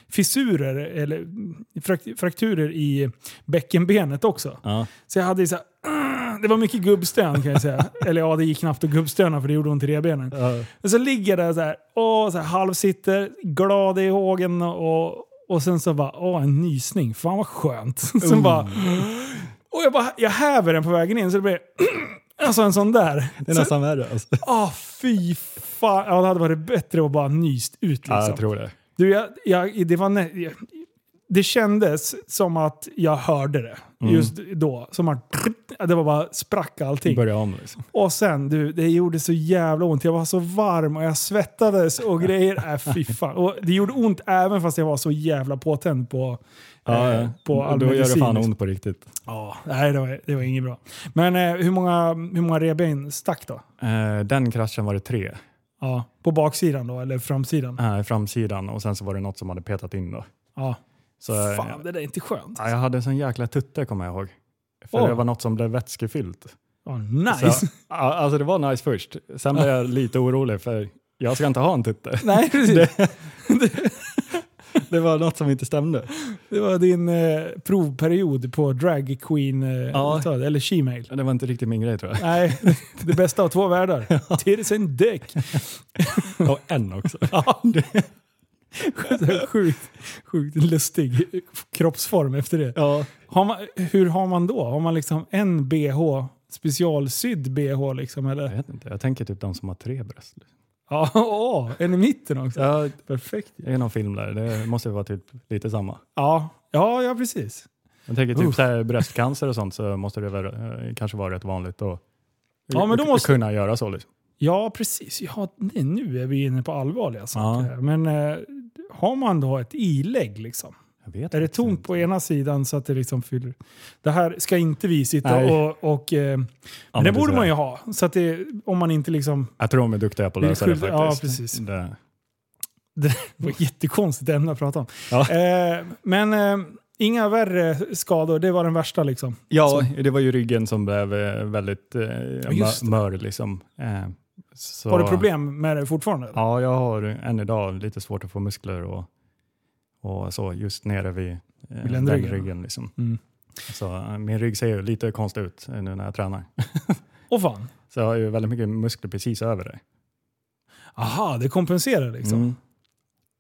fissurer, eller mm, frakt- frakturer i bäckenbenet också.
Ja.
Så jag hade ju så här, "Ugh!" det var mycket gubbstön kan jag säga. eller ja, det gick knappt att gubbstöna för det gjorde ont i revbenen. Och så ligger jag där så här, åh, så här halvsitter, glad i hågen och, och sen så bara, åh en nysning, fan vad skönt. Sen bara,
Uh.
och jag bara, jag häver den på vägen in så det blir, alltså en sån där.
Det är
Så-
nästan värre alltså.
Åh fy fan, ja, det hade varit bättre att bara nyst ut
Ja,
liksom.
jag tror det.
Du, jag, jag, det, var nä- jag, det kändes som att jag hörde det
Mm.
just då. Som att det var bara sprack allting.
Börja om liksom.
Och sen, du, det gjorde så jävla ont. Jag var så varm och jag svettades och grejer. Äh, fy fan. Och det gjorde ont även fast jag var så jävla påtänd på,
Ja,
eh,
ja.
på all
då gör det
medicin. liksom.
fan ont på riktigt.
Ja, nej, det var, det var inget bra. Men eh, hur många, hur många revben stack då?
Eh, den kraschen var det tre.
Ja, på baksidan då, eller framsidan?
Här, framsidan och sen så var det något som hade petat in då.
Ja.
Så, eh,
Fan, det där är inte skönt.
ja, jag hade en sån jäkla tutte kommer jag ihåg. För
Åh.
det var något som blev vätskefyllt.
Ja,
Så,
nice!
ja, alltså det var nice först. Sen blev jag lite orolig för jag ska inte ha en tutte.
Nej, precis. Det,
Det var något som inte stämde.
var din eh, provperiod på drag queen eh,
Ja.
eller shemale.
Det var inte riktigt min grej tror jag.
Nej, det bästa av två världar. Tears and dick.
Och en också.
Ja, det- sjukt, sjukt lustig kroppsform efter det.
Ja,
Har man, hur har man då? Har man liksom en bh, specialsydd bh liksom?
jag
Eller?
vet inte. Jag tänker typ de som har tre bröst.
Ja, åh, en i mitten också.
Ja, perfekt. Det är någon film där. Det måste vara typ lite samma.
Ja, ja, ja precis.
Jag tänker typ
Uff.
så här, bröstcancer och sånt så måste det väl, eh, kanske vara rätt vanligt att
Ja, men då måste-
kunna göra så. Liksom.
Ja, precis. Ja, nej, nu är vi inne på allvarliga
Ja.
saker. här. Men eh, har man då ett ilägg liksom?
Jag vet
Är det
faktiskt
tomt
inte.
på ena sidan så att det liksom fyller... Det här ska inte vi sitta
Nej.
och... och eh, men det
men
borde
precis.
man ju ha. Så att det, om man inte liksom...
Jag tror de är duktiga på att
Vi
lösa det
skyldig-
faktiskt.
ja, precis.
Det.
Det var ett jättekonstigt ämne att prata om.
Ja.
Eh, men eh, inga värre skador. Det var den värsta liksom.
Ja, det var ju ryggen som blev eh, väldigt eh, mö-
just det.
mör. Liksom. Eh, så,
Har du problem med det fortfarande? eller?
Ja, jag har än idag lite svårt att få muskler och, och så just nere vid, eh, den
ländryggen,
ryggen.
va?
liksom.
Mm.
så, eh, min rygg ser ju lite konstig ut eh, nu när jag tränar.
Och fan.
Så jag har ju väldigt mycket muskler precis över det.
Aha, det kompenserar liksom.
Mm.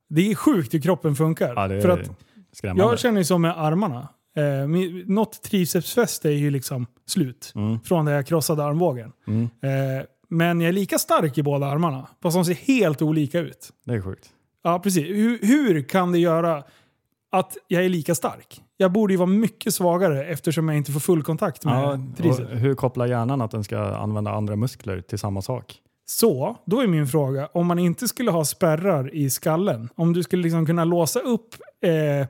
Det är sjukt hur kroppen funkar.
Ja, det är
För att
skrämmande.
jag känner ju som med armarna. Eh, min- något tricepsfäste är ju liksom slut.
Mm.
Från där jag krossade armbågen.
Mm.
Eh, men jag är lika stark i båda armarna. Fast de ser helt olika ut.
Det är sjukt.
Ja, precis. Hur, hur kan det göra att jag är lika stark? Jag borde ju vara mycket svagare eftersom jag inte får full kontakt med
Ja,
triceps.
och hur kopplar hjärnan att den ska använda andra muskler till samma sak?
Så, då är min fråga, om man inte skulle ha spärrar i skallen, om du skulle liksom kunna låsa upp... Eh,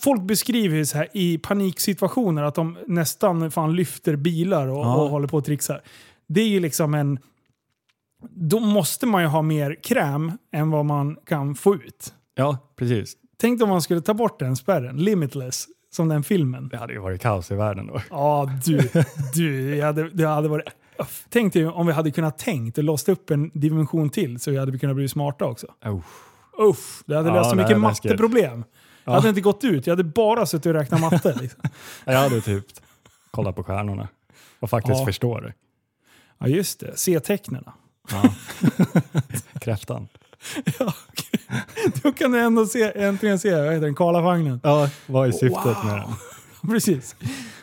folk beskriver ju så här i paniksituationer att de nästan fan lyfter bilar och,
Ja.
och håller på och trixar. Det är ju liksom en... Då måste man ju ha mer kräm än vad man kan få ut.
Ja, precis.
Tänk om man skulle ta bort den spärren, Limitless, som den filmen.
Det hade ju varit kaos i världen då.
Ja, du. du jag hade, det hade varit... Uff. Tänk dig om vi hade kunnat tänkt och låst upp en dimension till så vi hade kunnat bli smarta också.
Oh.
Uff, det hade
Ja,
löst så
det
mycket
är läskigt.
matteproblem. Jag hade inte gått ut, jag hade bara suttit och räknat matte. Liksom.
Jag hade typ kollat på stjärnorna och faktiskt
Ja.
förstår det.
Ja, just det. C-tecknena.
Kräftan.
Då kan du ändå se, äntligen se, vad heter den, Karlavagnen.
Ja, vad är syftet
Wow.
med den?
Precis.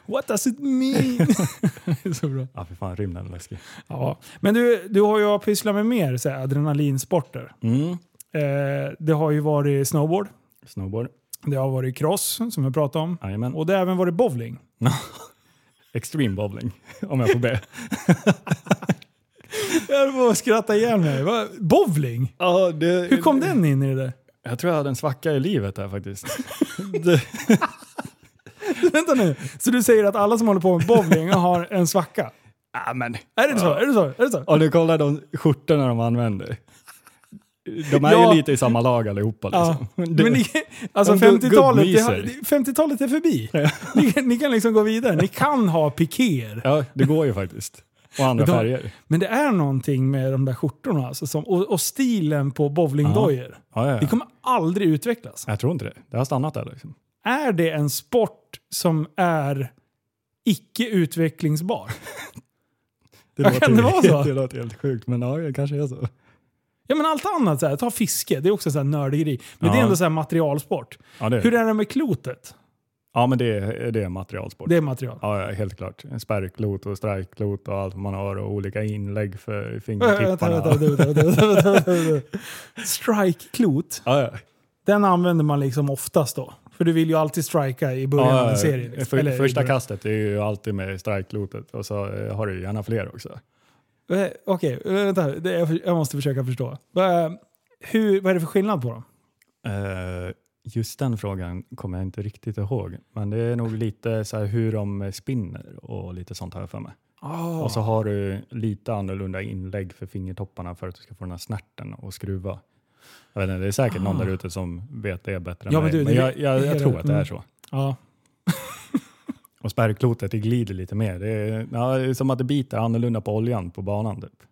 What does it mean? Det är så bra.
Ja, fy fan, rymden är läskig.
Ja. Men du, du har ju pysslat med mer så här, adrenalinsporter.
Mm.
Eh, det har ju varit snowboard,
Snowboard.
det har varit cross som jag pratade om.
Jajamän.
Och det har även varit bowling.
Extreme bowling, om jag får be.
Jag höll på att skratta ihjäl mig. Va? Bowling?
Ja, det,
Hur kom den in i det där?
Jag tror jag hade en svacka i livet där faktiskt. det,
Vänta nu. Så du säger att alla som håller på med bowling har en svacka?
ja, men.
Är det så? Är det så? Är det så?
Om du kollar de skjortorna de använder. De är
Ja.
ju lite i samma lag allihopa.
Ja.
Liksom.
Men
Det-
ni, alltså
De gu-
50-talet det har-
gubbmyser.
50-talet är förbi. Ni, kan- ni kan liksom gå vidare. Ni kan ha pikéer.
Ja, det går ju faktiskt. Och andra
De-
färger.
Men det är någonting med de där skjortorna alltså, som, och, och stilen på bowlingdojor.
Ja, ja,
Det
ja.
kommer aldrig utvecklas.
Jag tror inte det. Det har stannat där. Liksom.
Är det en sport som är icke utvecklingsbar? Ja,
låter
kan
ju-
det vara så?
Det låter helt sjukt, men ja, det kanske är så.
Ja men allt annat, så här, ta fiske, det är också så här nördgrej. Men det är
Ja.
ändå så här materialsport.
Ja, det är,
Hur är det med klotet?
ja men det är, det är materialsport.
Det är material.
Ja, ja, helt klart. En Spärrklot och strajkklot och allt man har och olika inlägg för
Äh, Vänta,
fingertipparna.
vänta, vänta, vänta, vänta, vänta, vänta. äh, Strike-klot,
Ja, ja.
den använder man liksom oftast då. För du vill ju alltid strika i början av en serie. Liksom.
För,
Eller i
första
början.
kastet är ju alltid med strajkklotet och så eh, har du ju gärna fler också.
Eh, Okej, vänta. Det- jag- Jag måste försöka förstå. Eh, Hur, vad är det för skillnad på dem?
Eh, just den frågan kommer jag inte riktigt ihåg, men det är nog lite så här hur de spinner och lite sånt har jag för mig.
Oh.
Och så har du lite annorlunda inlägg för fingertopparna för att du ska få den här snärten och skruva. Jag vet inte, det är säkert någon
Ah.
där ute som vet det bättre
Ja, men
än mig,
du,
men
det-
jag, jag, jag tror att det är
Mm.
så.
ja.
Och spärrklotet, det glider lite mer. Det är, ja, det är som att det biter annorlunda på oljan på banan. Typ.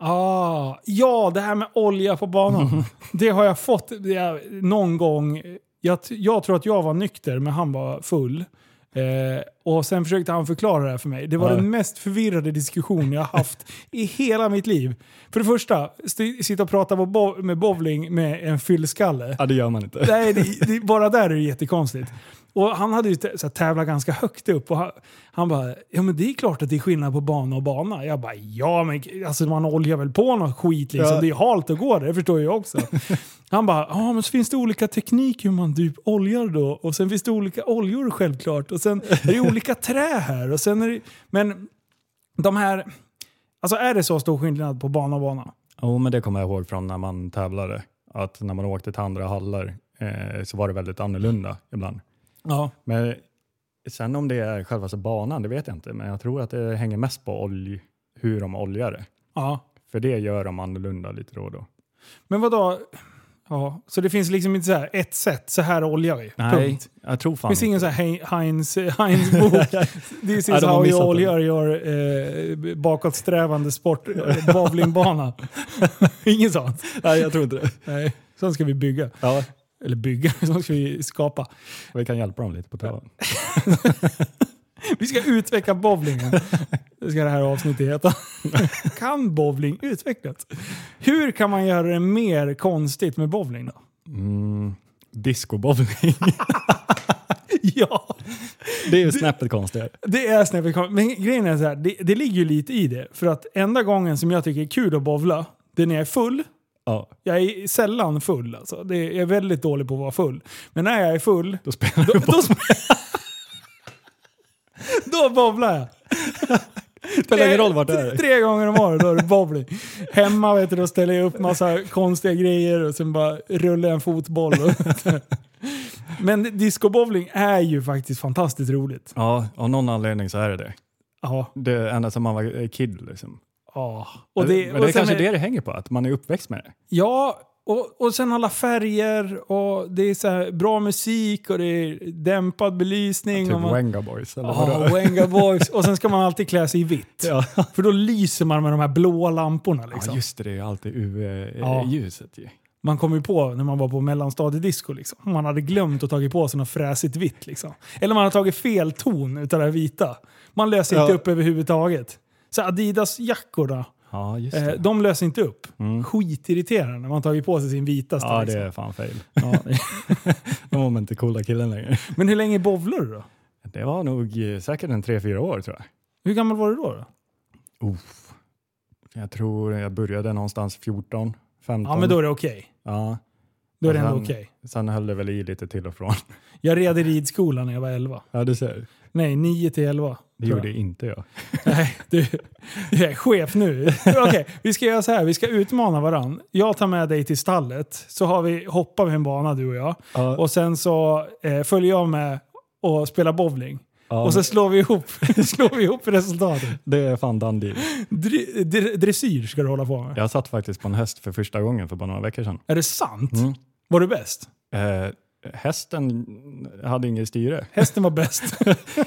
Ah, ja, det här med olja på banan. Det har jag fått det är, någon gång. Jag, t- jag tror att jag var nykter, men han var full. Eh, och sen försökte han förklara det här för mig. Det var
Ja.
den mest förvirrade diskussion jag haft i hela mitt liv. För det första, st- sitta och prata på bo- med bowling med en fyllskalle.
Ja, det gör man inte.
Nej, det, det, bara där är det jättekonstigt. Och han hade ju t- så här, tävlat ganska högt upp och han, han bara “Ja men det är klart att det är skillnad på bana och bana”. Jag bara “Ja men alltså, man oljar väl på något skit liksom,
Ja.
det är halt att gå där, det förstår jag också”. han bara “Ja men så finns det olika teknik hur man typ oljar då och sen finns det olika oljor självklart och sen är det olika trä här och sen är det...” Men de här... Alltså är det så stor skillnad på bana och bana?
Jo, men det kommer jag ihåg från när man tävlade. Att när man åkte till andra hallar eh, så var det väldigt annorlunda ibland.
Ja.
Men sen om det är själva alltså banan, det vet jag inte. Men jag tror att det hänger mest på olj, hur de oljar det.
ja.
För det gör de annorlunda lite då och då.
Men vadå? Ja, så det finns liksom inte så här ett sätt, så här oljar vi. Punkt.
jag tror
Det
fan
finns ingen så här Hein- Heinz, Heinz bok. This
Ja,
is
de har
how
missat
you
den.
oljar your eh, bakåtsträvande sport, bowlingbana. Inget sånt.
Nej, jag tror inte det.
Nej, sånt ska vi bygga.
Ja,
Eller bygga, sånt ska vi skapa.
vi kan hjälpa dem lite på traven.
Vi ska utveckla bowlingen. Det ska det här avsnittet heta. Kan bowling utvecklas? Hur kan man göra det mer konstigt med bowling då?
Mm, Discobowling.
Ja!
det är ju snäppet konstigare.
Det är snäppet konstigt. Men grejen är så här, det, det ligger ju lite i det. För att enda gången som jag tycker är kul att bowla, det är när jag är full.
Ja,
Jag är sällan full alltså. Det, jag är väldigt dålig på att vara full. Men när jag är full,
då spelar du
då, då bowlar jag.
spelar ingen roll vart det är.
Tre gånger om året, då är det bowling. Hemma vet du, då ställer jag upp massa konstiga grejer och sen bara rullar jag en fotboll. Men discobowling är ju faktiskt fantastiskt roligt.
Ja, av någon anledning så är det det.
Ja.
Det ända sedan man var eh, kid liksom.
Ja. Och det,
men
och
det
sen
är kanske
är-
det det hänger på, att man är uppväxt med det.
Ja, och, och sen alla färger och det är så här bra musik och det är dämpad belysning.
Typ
och man,
Wenga Boys eller
Ja,
vadå?
Wenga Boys. Och sen ska man alltid klä sig i vitt.
Ja.
För då lyser man med de här blåa lamporna. Liksom.
ja, just det. Det är ju alltid
Ja.
UV-ljuset ju.
Man kom ju på när man var på mellanstadiedisco. Liksom. Man hade glömt att tagit på sig något fräsigt vitt. Liksom. Eller man hade tagit fel ton utav det här vita. Man löser inte
Ja.
upp överhuvudtaget. Så Adidas-jackorna,
Ja, just
eh,
det.
de löser inte upp.
Mm.
Skitirriterande när man tagit på sig sin vitaste.
Ja,
liksom.
det är fan fail.
Ja.
Då var man inte coola killen längre.
Men hur länge bowlade du då?
Det var nog eh, säkert en tre fyra år tror jag.
Hur gammal var du då? då?
Uff. Jag tror jag började någonstans 14, 15.
Ja, men då är det okej.
Ja.
Då är det
Och
ändå
sen-
okej.
Sen höll det väl i lite till och från.
Jag red i ridskolan när jag var 11.
Ja, du ser.
Nej, 9 till 11.
Det
tror
gjorde
jag.
inte jag.
Nej, du, jag är chef nu. Okej, vi ska göra så här. Vi ska utmana varann. Jag tar med dig till stallet, så har vi, hoppar vi en bana du och jag.
Ja,
Och sen så eh, följer jag med och spelar bowling.
ja,
Och så slår vi ihop, slår vi ihop resultatet.
det är fan done deal.
Dre- dre- Dressyr ska du hålla på med.
Jag satt faktiskt på en häst för första gången för bara några veckor sedan.
Är det sant?
Mm.
Var du bäst?
Eh, hästen hade inget styre.
Hästen var bäst.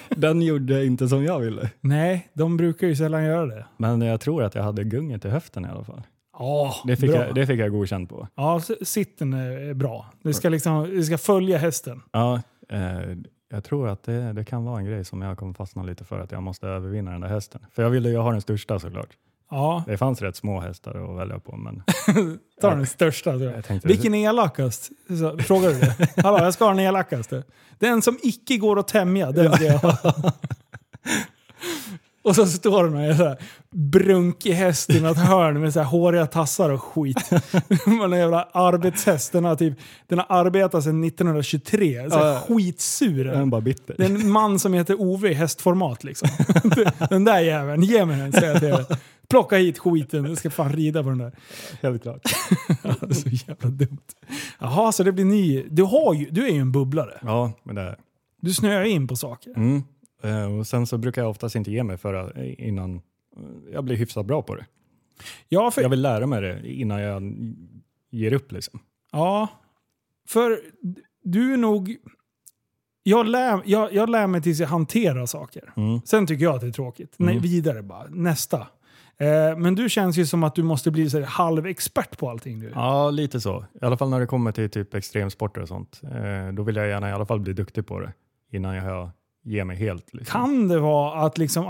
Den gjorde inte som jag ville.
Nej, de brukar ju sällan göra det.
Men jag tror att jag hade gunget i höften i alla fall.
Ja,
Det fick,
bra.
jag, det fick jag godkänt på.
Ja, s- sitten är bra. Det ska, liksom, det ska följa hästen.
Ja, eh, jag tror att det, det kan vara en grej som jag kommer fastna lite för, att jag måste övervinna den där hästen. För jag ville ju ha den största såklart.
Ja,
Det fanns rätt små hästar att välja på, men
ta den största. Tror jag.
jag tänkte...
Vilken är elakast? Så, frågar du det? Hallå, jag ska ha den elakaste. Den som icke går att tämja, den ska jag ha. Och så står den med en sån här brunkig häst i något hörn med så här håriga tassar och skit. Man är jävla arbetshäst. Den har, typ, den har arbetat sedan 1923. Så här
Ja.
skitsur.
Den bara bitter.
Det är en man som heter Ove i hästformat liksom. Den där jäveln, ge mig den säger jag till er. Plocka hit skiten, jag ska fan rida på den där.
Helt klart.
Det är så jävla dumt. Jaha, så det blir ny... Du, har ju, du är ju en bubblare.
Ja, men det...
Du snöar in på saker.
Mm. Eh, Och sen så brukar jag oftast inte ge mig för innan eh, jag blir hyfsat bra på det.
Ja, för,
Jag vill lära mig det innan jag ger upp liksom.
ja, för du är nog... Jag lär, jag, jag lär mig tills jag hanterar saker.
Mm.
Sen tycker jag att det är tråkigt. Nej,
Mm.
vidare bara. Nästa. Eh, men du känns ju som att du måste bli så här halvexpert på allting nu.
Ja, lite så. I alla fall när det kommer till typ extremsporter och sånt. Eh, Då vill jag gärna i alla fall bli duktig på det innan jag ger mig helt. Liksom.
Kan det vara att liksom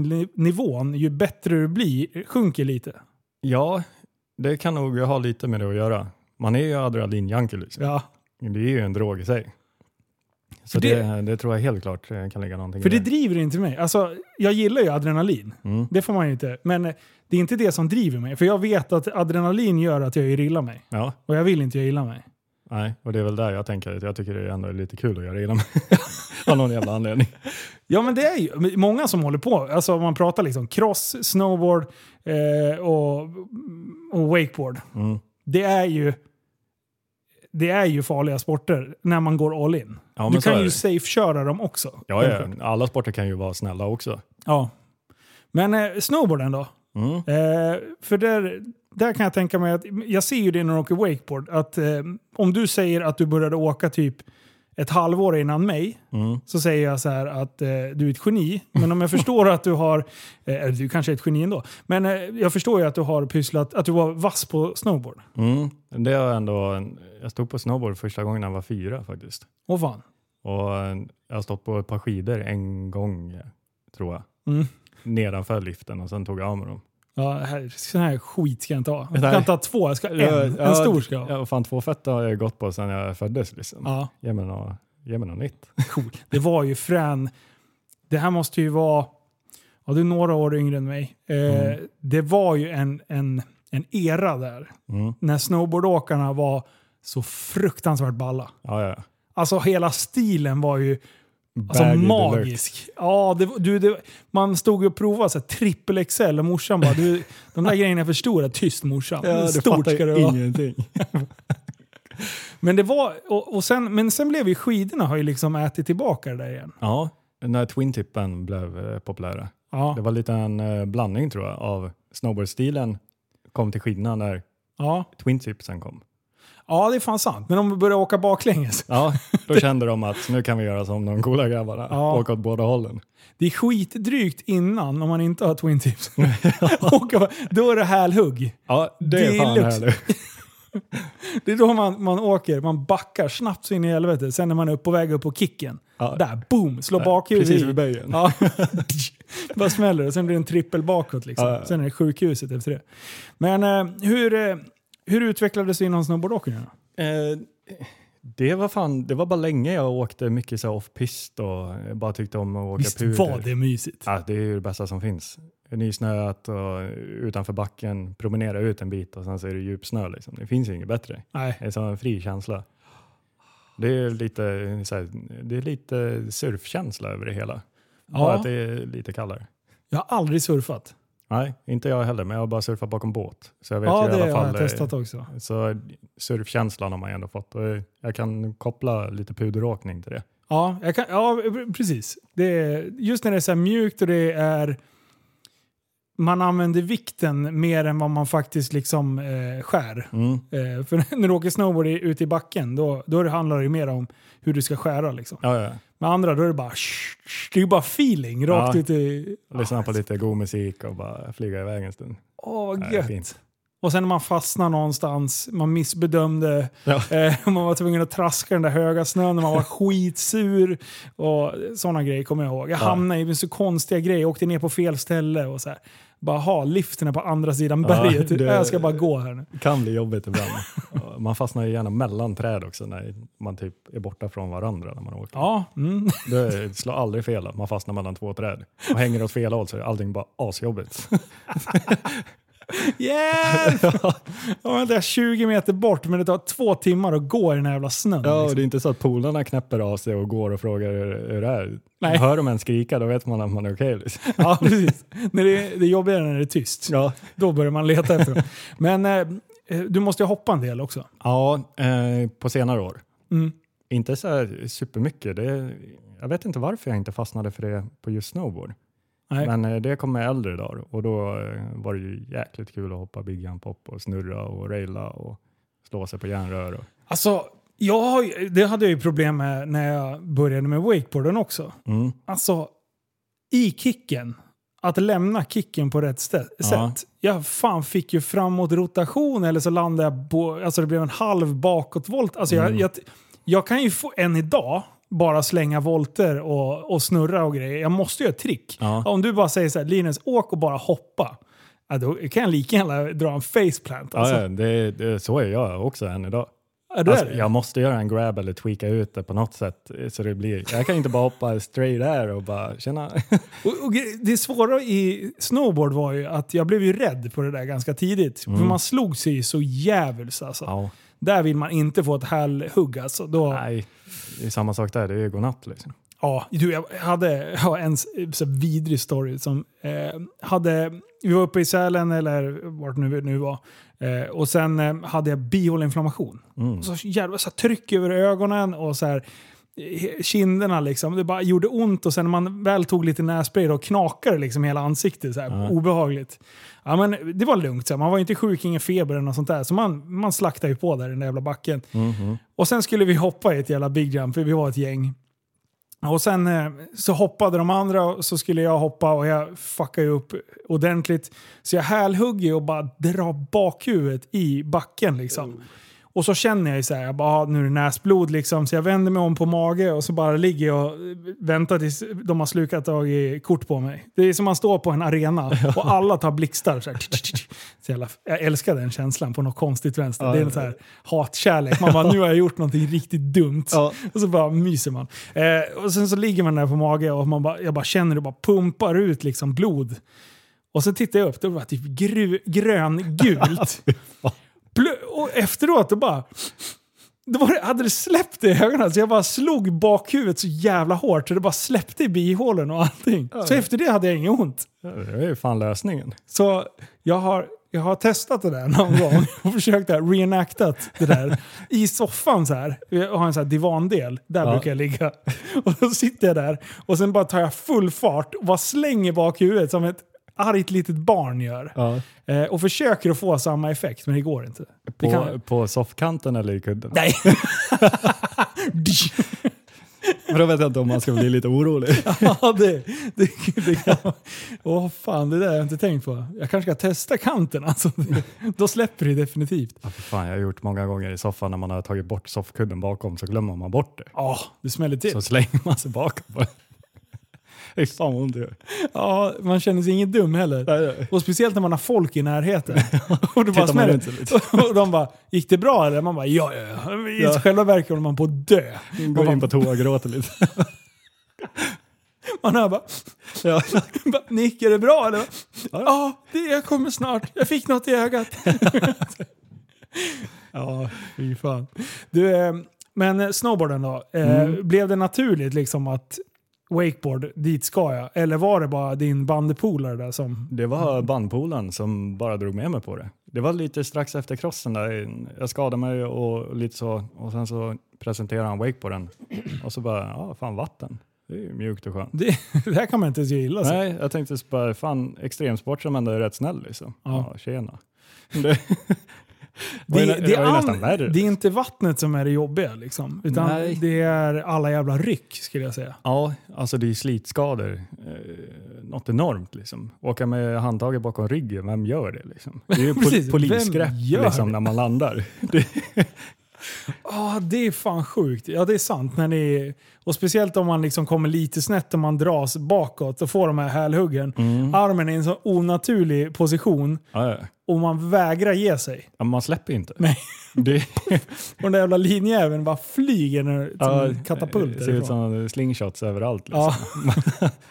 adrenalinnivån, ju bättre du blir, sjunker lite?
Ja, det kan nog ha lite med det att göra. Man är ju adrenalinjunkie liksom.
Ja.
Det är ju en drog i sig. Så
det-
det, det, tror jag helt klart eh, kan ligga någonting
För
i
det driver inte mig. Alltså, jag gillar ju adrenalin.
Mm.
Det får man ju inte. Men eh, det är inte det som driver mig. För jag vet att adrenalin gör att jag gör illa mig.
Ja,
Och jag vill inte göra illa mig.
nej, och det är väl där jag tänker att jag tycker det ändå är lite kul att göra illa mig. Av någon jävla anledning.
Ja men det är ju men många som håller på. Alltså om man pratar liksom cross, snowboard eh, och, och wakeboard.
Mm.
Det är ju det är ju farliga sporter när man går all in.
Ja, men
du
så är
kan ju
det.
safe-köra dem också.
Ja, ja, alla sporter kan ju vara snälla också.
ja. Men eh, snowboarden då?
Mm.
Eh, för där, där kan jag tänka mig att, jag ser ju det när du åker wakeboard, att eh, om du säger att du började åka typ ett halvår innan mig,
Mm.
så säger jag så här att eh, du är ett geni, men om jag förstår att du har, eh, eller du kanske är ett geni ändå, men eh, jag förstår ju att du har pysslat, att du var vass på snowboard.
Mm. Det har jag ändå, jag stod på snowboard första gången när jag var fyra faktiskt.
Åh fan.
Och eh, jag har stått på ett par skidor en gång, tror jag.
Mm.
Nedanför liften och sen tog jag av mig dem.
Ja, här, sån här skit ska jag inte ha. Jag
Nej.
kan inte ha två, jag ska ha en.
Ja,
En stor ska jag ha.
Ja, vad fan, två fötter har jag gått på sedan jag föddes. Liksom.
Ja,
Ge, mig något, ge mig något nytt.
coolt. Det var ju frän... Det här måste ju vara... Ja, du är några år yngre än mig. Eh,
Mm.
Det var ju en, en, en era där.
Mm.
När snowboardåkarna var så fruktansvärt balla.
Ja, ja.
Alltså hela stilen var ju alltså,
Baggy deluxe.
magisk. Ja, det, var- du, det, man stod ju och provade så här, trippel XL och morsan bara du, de där grejerna är för stora. Tyst morsan.
Ja, du
Stort
fattar ju
ska det vara.
ingenting.
Men det var, och, och sen, men sen blev ju skidorna har ju liksom ätit tillbaka det där igen.
Ja, när twin-tippen blev eh, populära.
Ja,
Det var lite en eh, blandning tror jag av snowboardstilen kom till skidorna när
ja.
twin-tipsen kom.
ja det är fan sant. Men om vi börjar åka baklänges.
Ja, då kände de att nu kan vi göra som de coola grabbarna,
Ja.
åka åt båda hållen.
Det är skitdrygt innan om man inte har twin tips. Åka bara- då är det hälhugg.
Ja, det,
Det är
är fan
lux.
härligt.
Det är då man, man åker, man backar snabbt så in i helvete. Sen är man upp på väg upp på kicken.
Ja.
Där, boom, slår bakhuvudet
Precis
i.
vid böjen.
Ja. Bara smäller och sen blir det en trippel bakåt. Liksom.
Ja, ja.
Sen är det sjukhuset efter det. Men eh, hur, eh, hur utvecklades det inom snowboardåkningen? då?
Eh, det var fan, det var bara länge jag åkte mycket så här off-pist och eh, bara tyckte om att åka
Visst
puder.
var det mysigt?
Ja, det är ju det bästa som finns. Nysnöat och eh, utanför backen, promenera ut en bit och sen så är det djupsnö. Liksom. Det finns ju inget bättre.
Nej.
Det är som en fri känsla. Det är lite, så här, det är lite surfkänsla över det hela. Bara att
Ja,
det är lite kallare.
jag har aldrig surfat.
Nej, inte jag heller, men jag har bara surfat bakom båt. Så jag vet
Ja,
ju i alla
det
fall.
har jag
eh,
testat också.
Så surfkänslan har man ju ändå fått. Och Jag kan koppla lite puderåkning till det.
Ja, jag kan, ja precis. Det är, just när det är så här mjukt och det är... Man använder vikten mer än vad man faktiskt liksom eh, skär.
Mm.
Eh, för när du åker snowboard i- ute i backen, då, då är det- handlar det ju mer om hur du ska skära. Liksom.
Ja, ja.
Med andra, då är det bara... sh- sh- Det är ju bara feeling rakt
Ja.
ut i...
Lyssna på lite god musik och bara flyga iväg en stund.
Åh,
Ja,
vad
det är
gött.
fint.
Och sen när man fastnar någonstans, man missbedömde,
Ja.
eh, och man var tvungen att traska den där höga snön och man var skitsur. Och sådana grejer kommer jag ihåg. Jag
Ja.
hamnade i så konstiga grejer, jag åkte ner på fel ställe och så här. Bara ha liften är på andra sidan
Ja,
berget.
det-
Jag ska bara gå här nu.
kan bli jobbigt ibland. Och Man fastnar ju gärna mellan träd också när man typ är borta från varandra när man åker.
Ja, mm.
Det slår aldrig fel att man fastnar mellan två träd. Och hänger åt fel håll så är allting bara asjobbigt.
Hjälp! Jag var där 20 meter bort men det tar två timmar att gå i den här jävla snön.
Ja, och
liksom.
det är inte så att polarna knäpper av sig och går och frågar hur, hur det är.
Nej.
Hör de en skrika då vet man att man är okej. liksom.
ja, precis. När det, det är jobbigare när det är tyst.
Ja,
Då börjar man leta efter dem. Men eh, eh, du måste ju hoppa en del också.
ja eh, på senare år.
Mm.
Inte så här supermycket. Det, jag vet inte varför jag inte fastnade för det på just snowboard.
Nej.
Men eh, det kom med äldre dagar och då eh, var det ju jäkligt kul att hoppa big jump hop och snurra och raila och slå sig på järnrör. Och,
Alltså, jag har, ju- det hade jag ju problem med när jag började med wakeboarden också.
mm.
Alltså, i kicken, att lämna kicken på rätt stä-
Ja.
sätt. Jag fan fick ju framåt rotation eller så landade jag på, alltså det blev en halv bakåtvolt. Alltså jag,
Mm.
jag, jag kan ju få, än idag, bara slänga volter och, och snurra och grejer. Jag måste ju göra ett trick.
Ja.
Om du bara säger så här, Linus, åk och bara hoppa. Ja, då kan jag lika gärna dra en faceplant. Alltså.
ja, ja, det, det, så är jag också än idag.
Är du
Alltså,
det?
jag måste göra en grab eller tweaka ut det på något sätt. eh, Så det blir. Jag kan inte bara hoppa straight där och bara känna.
Och, och gre- det svåra i snowboard var ju att jag blev ju rädd på det där ganska tidigt. För
Mm.
man slog sig ju så djävulskt alltså.
Ja,
Där vill man inte få ett hälhugg alltså. Då,
nej, det är samma sak där. Det är ju godnatt liksom.
Ja, du, jag hade ja, en s- så här vidrig story som eh, hade... Vi var uppe i Sälen eller vart nu nu var. Eh, och sen eh, hade jag bihåleinflammation.
Mm.
Och så jävla så här, tryck över ögonen och så här eh, kinderna liksom. Det bara gjorde ont och sen när man väl tog lite nässpray då knakade det liksom hela ansiktet. Så här,
Ja.
Obehagligt. Ja, men det var lugnt. Så här. Man var inte sjuk, ingen feber eller något sånt där. Så man, man slaktade ju på där i den där jävla backen.
Mhm.
Och sen skulle vi hoppa i ett jävla big jump, för vi var ett gäng. Och sen eh, så hoppade de andra och så skulle jag hoppa och jag fuckade ju upp ordentligt. Så jag hälhugger ju och bara drar bakhuvudet i backen liksom. Och så känner jag ju så här, jag bara, ah, nu är det näsblod liksom. Så jag vänder mig om på mage och så bara ligger jag och väntar tills de har slukat tag i kort på mig. Det är som man står på en arena och alla tar blixtar. Så här, tch, tch, tch. så jävla, jag älskar den känslan på något konstigt vänster. Det är en så här hatkärlek. Man bara, nu har jag gjort någonting riktigt dumt.
Ja.
Och så bara myser man. Eh, och sen så ligger man där på mage och man bara, jag bara känner det bara pumpar ut liksom blod. Och sen tittar jag upp, det var typ gru, gröngult. Plö- och efteråt då bara... Då var det, hade det släppt det i ögonen. Så jag bara slog bakhuvudet så jävla hårt så det bara släppte i bihålen och allting. Så efter det hade jag inget ont.
Ja, Det är ju fan lösningen.
Så jag har, jag har testat det där någon gång och försökt att reenactat det där. I soffan så här, jag har en så här divandel, där
Ja.
brukar jag ligga. Och då sitter jag där och sen bara tar jag full fart och bara slänger bakhuvudet som ett argt litet barn gör. Eh, och försöker att få samma effekt, men det går inte.
På,
Det kan-
på soffkanten eller i kudden?
Nej!
För då vet jag inte om man ska bli lite orolig.
ja, det, det, det kan Åh fan, det där har jag inte tänkt på. Jag kanske ska testa kanten alltså. Då släpper det definitivt.
Ja, för fan, jag har gjort många gånger i soffan när man har tagit bort soffkudden bakom så glömmer man bort det.
Ja, det smäller till.
Så slänger man sig bakom. bara. Fy fan vad ont det gör.
Ja, man känner sig ingen dum heller. Och speciellt när man har folk i närheten. Och det bara
Tittar man
smäller.
runt sig lite.
Och de bara, gick det bra eller? Man bara, ja, ja, ja. I
Ja.
själva verket håller man på att dö. Man,
Går
bara,
in på toa och gråter lite.
man hör bara,
Ja.
Bara, Nick, är det bra eller? Ja, det, jag kommer snart. Jag fick något i ögat. ja, fy fan. Du, eh, men eh, snowboarden då? Eh,
Mm.
Blev det naturligt liksom att wakeboard, dit ska jag? Eller var det bara din bandpolare där som...
Det var bandpolen som bara drog med mig på det. Det var lite strax efter crossen där. Jag skadade mig och lite så. Och sen så presenterade han wakeboarden. Och så bara, ja fan vatten. Det är ju mjukt och skönt.
Det, det här kan man inte så gilla. Så.
Nej, jag tänkte så bara, fan extremsport som ändå är rätt snäll liksom.
Ja.
Ja, tjena. Det, var
Det,
ju
det,
nä- det var ju
an-
nästan värre.
det är inte vattnet som är det jobbiga liksom. Utan
Nej.
det är alla jävla ryck skulle jag säga.
Ja, alltså det är slitskador. Eh, något enormt liksom. Åka med handtaget bakom ryggen, vem gör det liksom? Det är ju
Precis,
pol-
vem
polisgrepp
gör
liksom,
det?
när man landar.
Ja, Ah, det är fan sjukt. Ja, det är sant. När ni, och speciellt om man liksom kommer lite snett och man dras bakåt och får de här hälhuggen.
Mm.
Armen är i en så onaturlig position
Ja, ja.
och man vägrar ge sig.
Ja, man släpper ju inte.
Nej.
Det,
Och den där jävla linjäveln bara flyger nu, som
ja,
en katapult.
Det ser ut
därifrån.
som slingshots överallt. Liksom.
Ja.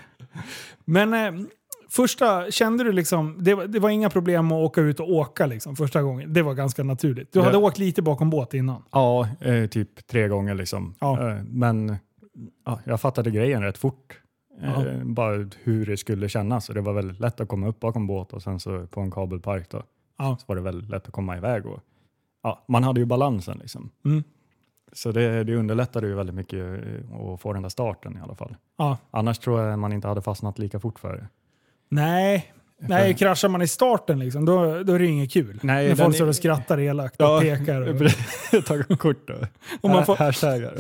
Men eh, första, kände du liksom, det, var- det var inga problem att åka ut och åka liksom första gången. Det var ganska naturligt. Du hade
Ja.
åkt lite bakom båt innan.
Ja, eh, typ tre gånger liksom.
Ja.
Eh, men ja, jag fattade grejen rätt fort.
Ja.
Eh, bara hur det skulle kännas. Och det var väldigt lätt att komma upp bakom båt och sen så på en kabelpark då.
Ja.
Så var det väldigt lätt att komma iväg. Och, ja, man hade ju balansen liksom.
Mm.
Så det, det underlättade ju väldigt mycket eh, att få den där starten i alla fall.
Ja.
Annars tror jag man inte hade fastnat lika fort för det.
Nej. Nej, kraschar man i starten liksom, då, då är det inget kul.
Nej,
När
den
folk
är-
står och skrattar elakt och
Ja,
pekar. Och,
Ta kort då.
och man får,
Hashtaggar.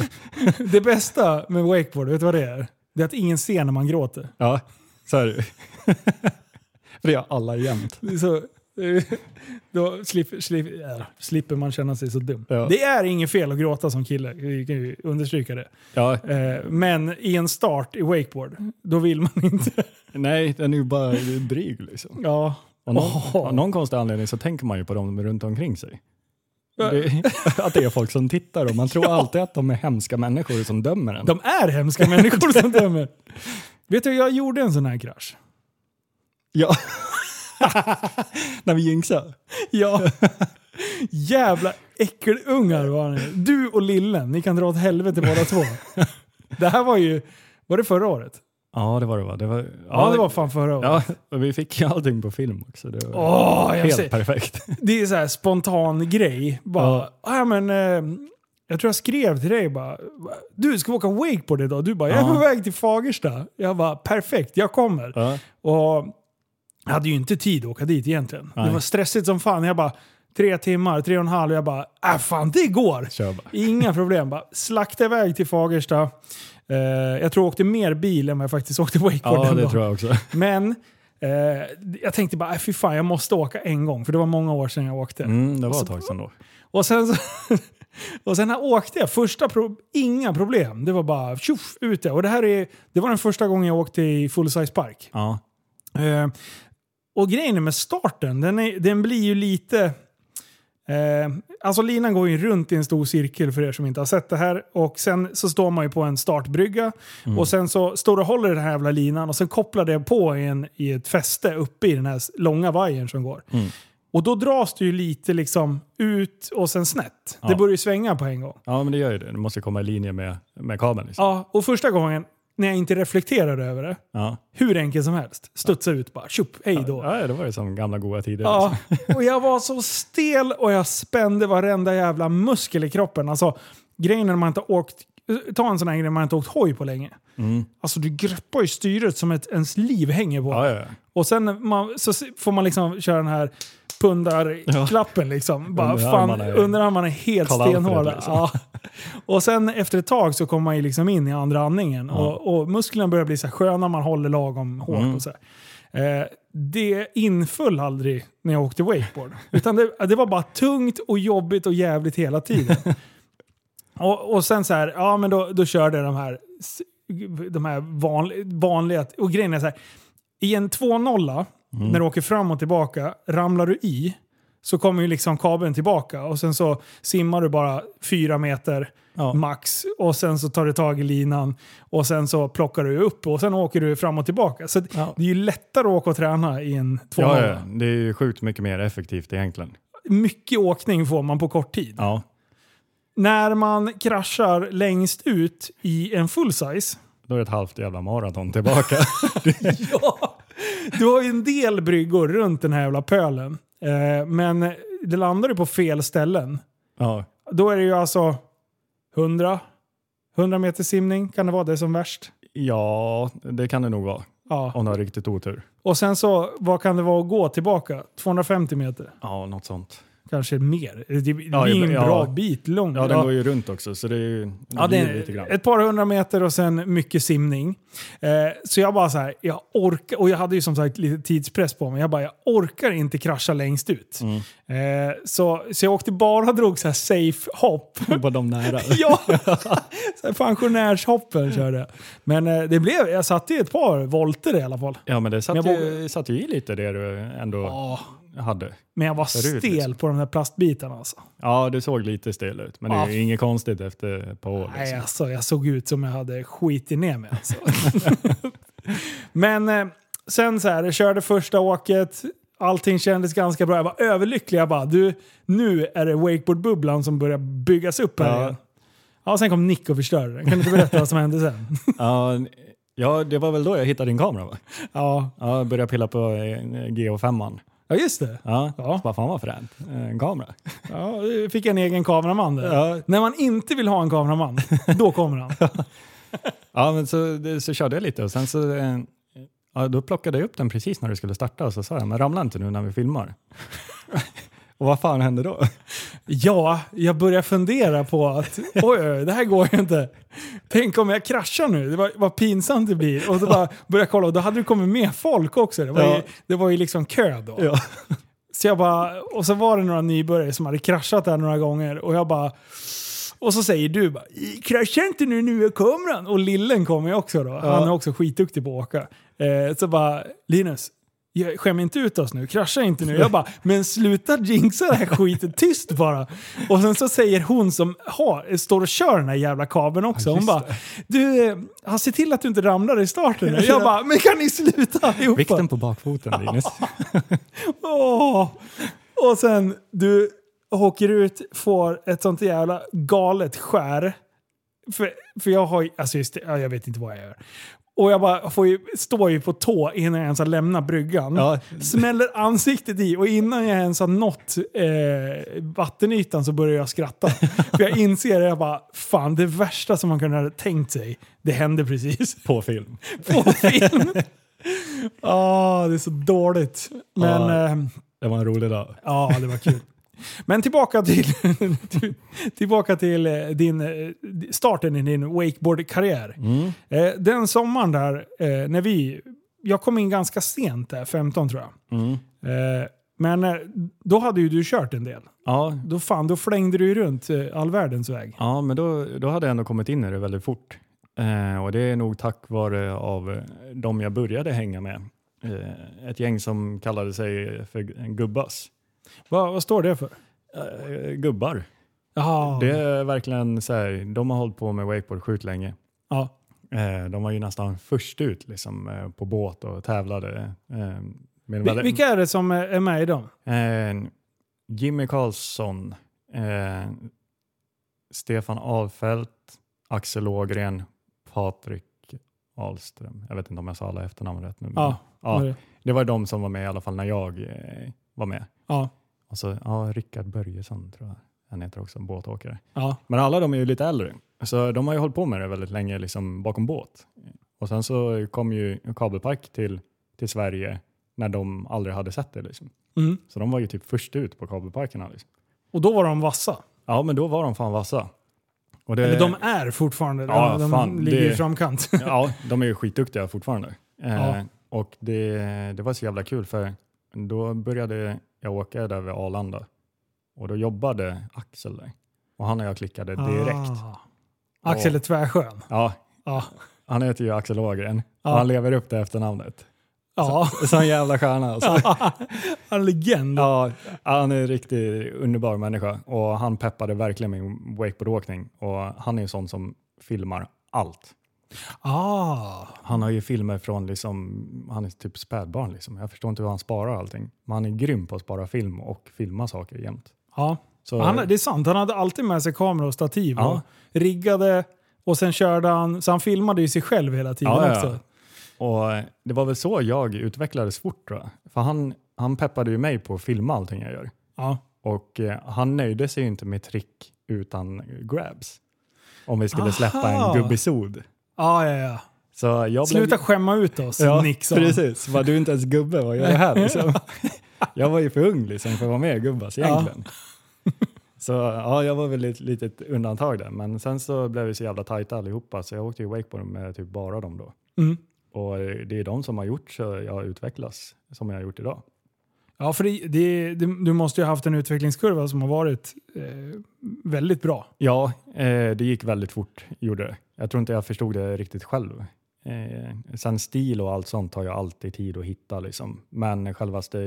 det bästa med wakeboard, vet du vad det är? Det är att ingen ser när man gråter.
Ja, så är det ju. För det gör alla jämt.
Det är Så, då slipper, slipper, äh, slipper man känna sig så dum.
Ja.
Det är inget fel att gråta som kille, vi kan ju understryka det.
Ja,
Eh, Men i en start i wakeboard, då vill man inte.
nej, den är ju bara dryg liksom.
Ja,
Av någon,
Åh.
av någon konstig anledning så tänker man ju på dem runt omkring sig. Det, att det är folk som tittar och man tror alltid att de är hemska människor som dömer en.
De är hemska människor som dömer. Vet du, jag gjorde en sån här krasch.
Ja. När vi jinxade.
Ja. Jävla äckelungar var ni. Du och lillen, ni kan dra åt helvete båda två. Det här var ju, var det förra året?
Ja, det var det va? Det var, ja,
Ja, det var fan förra året.
Ja, och vi fick ju allting på film också. Det var
Åh, jag
helt
ser,
perfekt.
det är så här spontan grej. Bara,
Ja.
ah, men, eh, jag tror jag skrev till dig bara, du ska vi åka wakeboard idag? Du bara, jag är
Ja.
på väg till Fagersta. Jag bara, perfekt, jag kommer.
Ja.
Och jag hade ju inte tid att åka dit egentligen. Det
Nej.
var stressigt som fan. Jag bara, tre timmar, tre och en halv. Jag bara, äh fan det går!
Kör bara.
Inga problem. Bara slakta iväg till Fagersta. Eh, jag tror jag åkte mer bil än vad jag faktiskt åkte wakeboard
Ja,
den
det
dagen.
tror jag också.
Men eh, jag tänkte bara, äh, fy fan jag måste åka en gång. För det var många år sedan jag åkte.
Mm, det var ett tag sedan då.
Och sen så... Och sen här åkte jag, första pro inga problem. Det var bara tjoff ute. Och det, här är, det var den första gången jag åkte i full size park.
Ja.
Eh, och grejen är med starten, den, är, den blir ju lite... Eh, alltså linan går ju runt i en stor cirkel för er som inte har sett det här. Och sen så står man ju på en startbrygga.
Mm.
Och sen så står du och håller i den här jävla linan och sen kopplar det på i, en, i ett fäste uppe i den här s- långa vajern som går.
Mm.
Och då dras du ju lite liksom ut och sen snett. Det
Ja.
börjar ju svänga på en gång.
ja, men det gör ju det. Du måste komma i linje med, med kabeln. Liksom.
Ja, och första gången när jag inte reflekterade över det,
Ja.
hur enkelt som helst, studsa ut bara, tjopp, hej då.
Ja, det var ju som gamla goda tider. liksom.
Ja,
Alltså.
och jag var så stel och jag spände varenda jävla muskel i kroppen. Alltså, grejen är när man inte har åkt, ta en sån här grej när man inte har åkt hoj på länge.
Mm.
Alltså du greppar ju styret som ett, ens liv hänger på.
Ja, ja, ja.
Och sen man, så se- får man liksom köra den här pundarklappen liksom. Bara,
Underarmarna
fan,
är-
underarmarna är helt
Karl Alfred,
stenhårda.
liksom.
Ja. Och sen efter ett tag så kommer man ju liksom in i andra andningen.
Ja.
Och, och musklerna börjar bli så här sköna, man håller lagom hårt.
Mm.
Och så här. Eh, det inföll aldrig när jag åkte wakeboard. Utan det, det var bara tungt och jobbigt och jävligt hela tiden. Och, och sen så här, ja men då, då körde jag de här, s- de här vanliga, vanliga... Och grejen är så här, i en 2-0,
Mm.
när du åker fram och tillbaka, ramlar du i så kommer ju liksom kabeln tillbaka och sen så simmar du bara fyra meter
Ja.
max och sen så tar du tag i linan och sen så plockar du upp och sen åker du fram och tillbaka. Så det-
Ja.
det är ju lättare att åka och träna i en 2-0.
Ja, ja, det är ju sjukt mycket mer effektivt egentligen.
Mycket åkning får man på kort tid.
Ja.
När man kraschar längst ut i en full size.
Då är det ett halvt jävla maraton tillbaka.
ja, du har ju en del bryggor runt den här jävla pölen. Eh, men det landar du på fel ställen.
ja.
Då är det ju alltså 100, 100 meter simning kan det vara det som värst.
ja, det kan det nog vara.
Ja.
Om du har riktigt otur.
Och sen så, vad kan det vara att gå tillbaka? 250 meter?
Ja, något sånt.
Kanske mer. Det, det
Ja,
är ju en
ja.
bra bit långt.
Ja, den går ju runt också, så det är ju det
Ja, det
blir
är
lite grann.
ett par hundra meter och sen mycket simning. Eh, så jag bara så här, jag orkar, och jag hade ju som sagt lite tidspress på mig. Jag bara, jag orkar inte krascha längst ut.
Mm.
Eh, så, så jag åkte bara och drog så här safe hopp.
På de nära.
ja, så här pensionärshoppen körde jag. Men eh, det blev, jag satte ju ett par volter i alla fall.
Ja, men det satt,
Men jag
ju, satt ju i lite det du ändå
Ja,
hade.
men jag var
Förut, liksom.
stel på de där plastbitarna alltså.
Ja, du såg lite stel ut, men det är
Ja.
ju inget konstigt efter ett par år.
Nej,
Liksom.
alltså, jag såg ut som jag hade skitit ner mig. Alltså. Men eh, sen så här, jag körde första åket. Allting kändes ganska bra. Jag var överlycklig. Jag bara, du, nu är det wakeboardbubblan som börjar byggas upp här
Ja.
igen. Ja, sen kom Nick och förstörde den. Kan du inte berätta vad som hände sen?
Ja, n- ja, det var väl då jag hittade din kamera va?
Ja,
Ja, jag började pilla på eh, GH5.
ja just det.
Ja,
Ja.
vad fan vad fränt. Eh, En kamera.
Ja, jag fick en egen kameraman där.
Ja,
När man inte vill ha en kameraman, då kommer han.
ja men så, det, så körde jag lite och sen så eh, ja, då plockade jag upp den precis när du skulle starta och så sa jag, men ramla inte nu när vi filmar. och vad fan hände då?
Ja, jag börjar fundera på att oj, oj, det här går ju inte. Tänk om jag kraschar nu, det var, vad pinsamt det blir. Och då bara började jag kolla och då hade det kommit med folk också. Det var, ju,
Ja.
det var ju liksom kö då.
Ja.
Så jag bara, och så var det några nybörjare som hade kraschat där några gånger och jag bara och så säger du bara “krascha inte nu, nu är kameran” och lillen kommer ju också då. Han är också skitduktig på att åka. Eh, så bara “Linus, jag skäm inte ut oss nu, krascha inte nu. Jag bara, men sluta jinxa det här skiten tyst bara. Och sen så säger hon som har, står och kör den här jävla kabeln också,
Ja,
hon
just
bara, du, eh, ja, se till att du inte ramlar i starten. nu." Jag bara, men kan ni sluta allihopa?
Vikten på bakfoten Linus.
Åh! Och sen, du åker ut, får ett sånt jävla galet skär. För, för jag har ju, alltså just, det, ja, jag vet inte vad jag gör. Och jag bara får ju, står ju på tå innan jag ens har lämnat bryggan.
Ja.
Smäller ansiktet i och innan jag ens har nått eh, vattenytan så börjar jag skratta. för jag inser, jag bara, fan det värsta som man kunde ha tänkt sig, det hände precis
På film.
på film. Ja, det är så dåligt. Men
Ja.
ehm,
Det var en rolig dag.
ja, det var kul. Men tillbaka till, till- tillbaka till eh, din, eh, starten i din wakeboardkarriär. Eh, Den sommaren där, eh, när vi... Jag kom in ganska sent där, 15 tror jag.
Mm.
Eh, Men eh, då hade ju du kört en del.
Ja,
Då fan, då flängde du ju runt eh, all världens väg.
ja, men då, då hade jag ändå kommit in i det väldigt fort. Eh, och det är nog tack vare av eh, de jag började hänga med. Eh, ett gäng som kallade sig för gubbas.
Vad, vad står det för?
Eh, gubbar.
Jaha,
Det är verkligen så här, de har hållit på med wakeboard sjukt länge.
ja.
Eh, de var ju nästan först ut liksom, eh, på båt och tävlade. Eh, med
Vi- Vilka är det som är är med i dem?
Eh, Jimmy Karlsson, eh, Stefan Ahlfeldt, Axel Ågren, Patrik Ahlström. Jag vet inte om jag sa alla efternamn rätt nu. men-
Ja, vad är
ja,
det?
det var de som var med i alla fall när jag eh, var med.
ja,
Och så, ja, Rickard Börjesson tror jag han heter också, båtåkare.
ja.
Men alla de är ju lite äldre, så de har ju hållit på med det väldigt länge liksom bakom båt. Och sen så kom ju Kabelpark till, till Sverige när de aldrig hade sett det. Liksom.
Mm.
Så de var ju typ först ut på kabelparkerna. Liksom.
Och då var de vassa.
Ja, men då var de fan vassa. Och det,
Eller de är fortfarande,
Ja,
de, de
fan,
ligger
det-
i framkant.
ja, de är ju skitduktiga fortfarande.
Ja.
Eh, och det, det var så jävla kul för då började jag åka där vid Arlanda och då jobbade Axel där. Och han och jag klickade direkt.
Ah. Axel är tvärskön.
Ja,
Ja.
han heter ju Axel Ågren
Ja.
och han lever upp det efternamnet.
Ja,
Sån jävla stjärna alltså.
en legend.
Ja, han är en riktigt underbar människa och han peppade verkligen min wakeboardåkning och han är ju sån som filmar allt.
Ah.
Han har ju filmer från, liksom, han är typ spädbarn liksom. Jag förstår inte hur han sparar allting. Men han är grym på att spara film och filma saker jämt.
Ja.
Så,
Han, det är sant, han hade alltid med sig kamera och stativ.
Ja.
Och riggade och sen körde han, så han filmade ju sig själv hela tiden
Ja, ja, ja.
också.
och eh, det var väl så jag utvecklades fort tror jag. För han, han peppade ju mig på att filma allting jag gör.
Ja.
Och eh, han nöjde sig ju inte med trick utan grabs. Om vi skulle släppa
Aha.
en gubbisod.
Ah, ja, ja.
Så jag blev...
Sluta skämma ut oss,
Ja,
Nick. sa han.
precis. Var du är inte ens gubbe, vad gör jag här? Liksom. Jag var ju för ung liksom, för att vara med i Gubbas egentligen. Så ja, jag var väl ett litet undantag där. Men sen så blev vi så jävla tajta allihopa så jag åkte ju wakeboard med typ bara dem då.
Mm.
Och eh, det är de som har gjort så jag utvecklas som jag har gjort idag.
Ja, för det, det, det, du måste ju ha haft en utvecklingskurva som har varit eh, väldigt bra.
Ja, eh, det gick väldigt fort, gjorde det. Jag tror inte jag förstod det riktigt själv. Eh, sen stil och allt sånt tar ju alltid tid att hitta, liksom. men självaste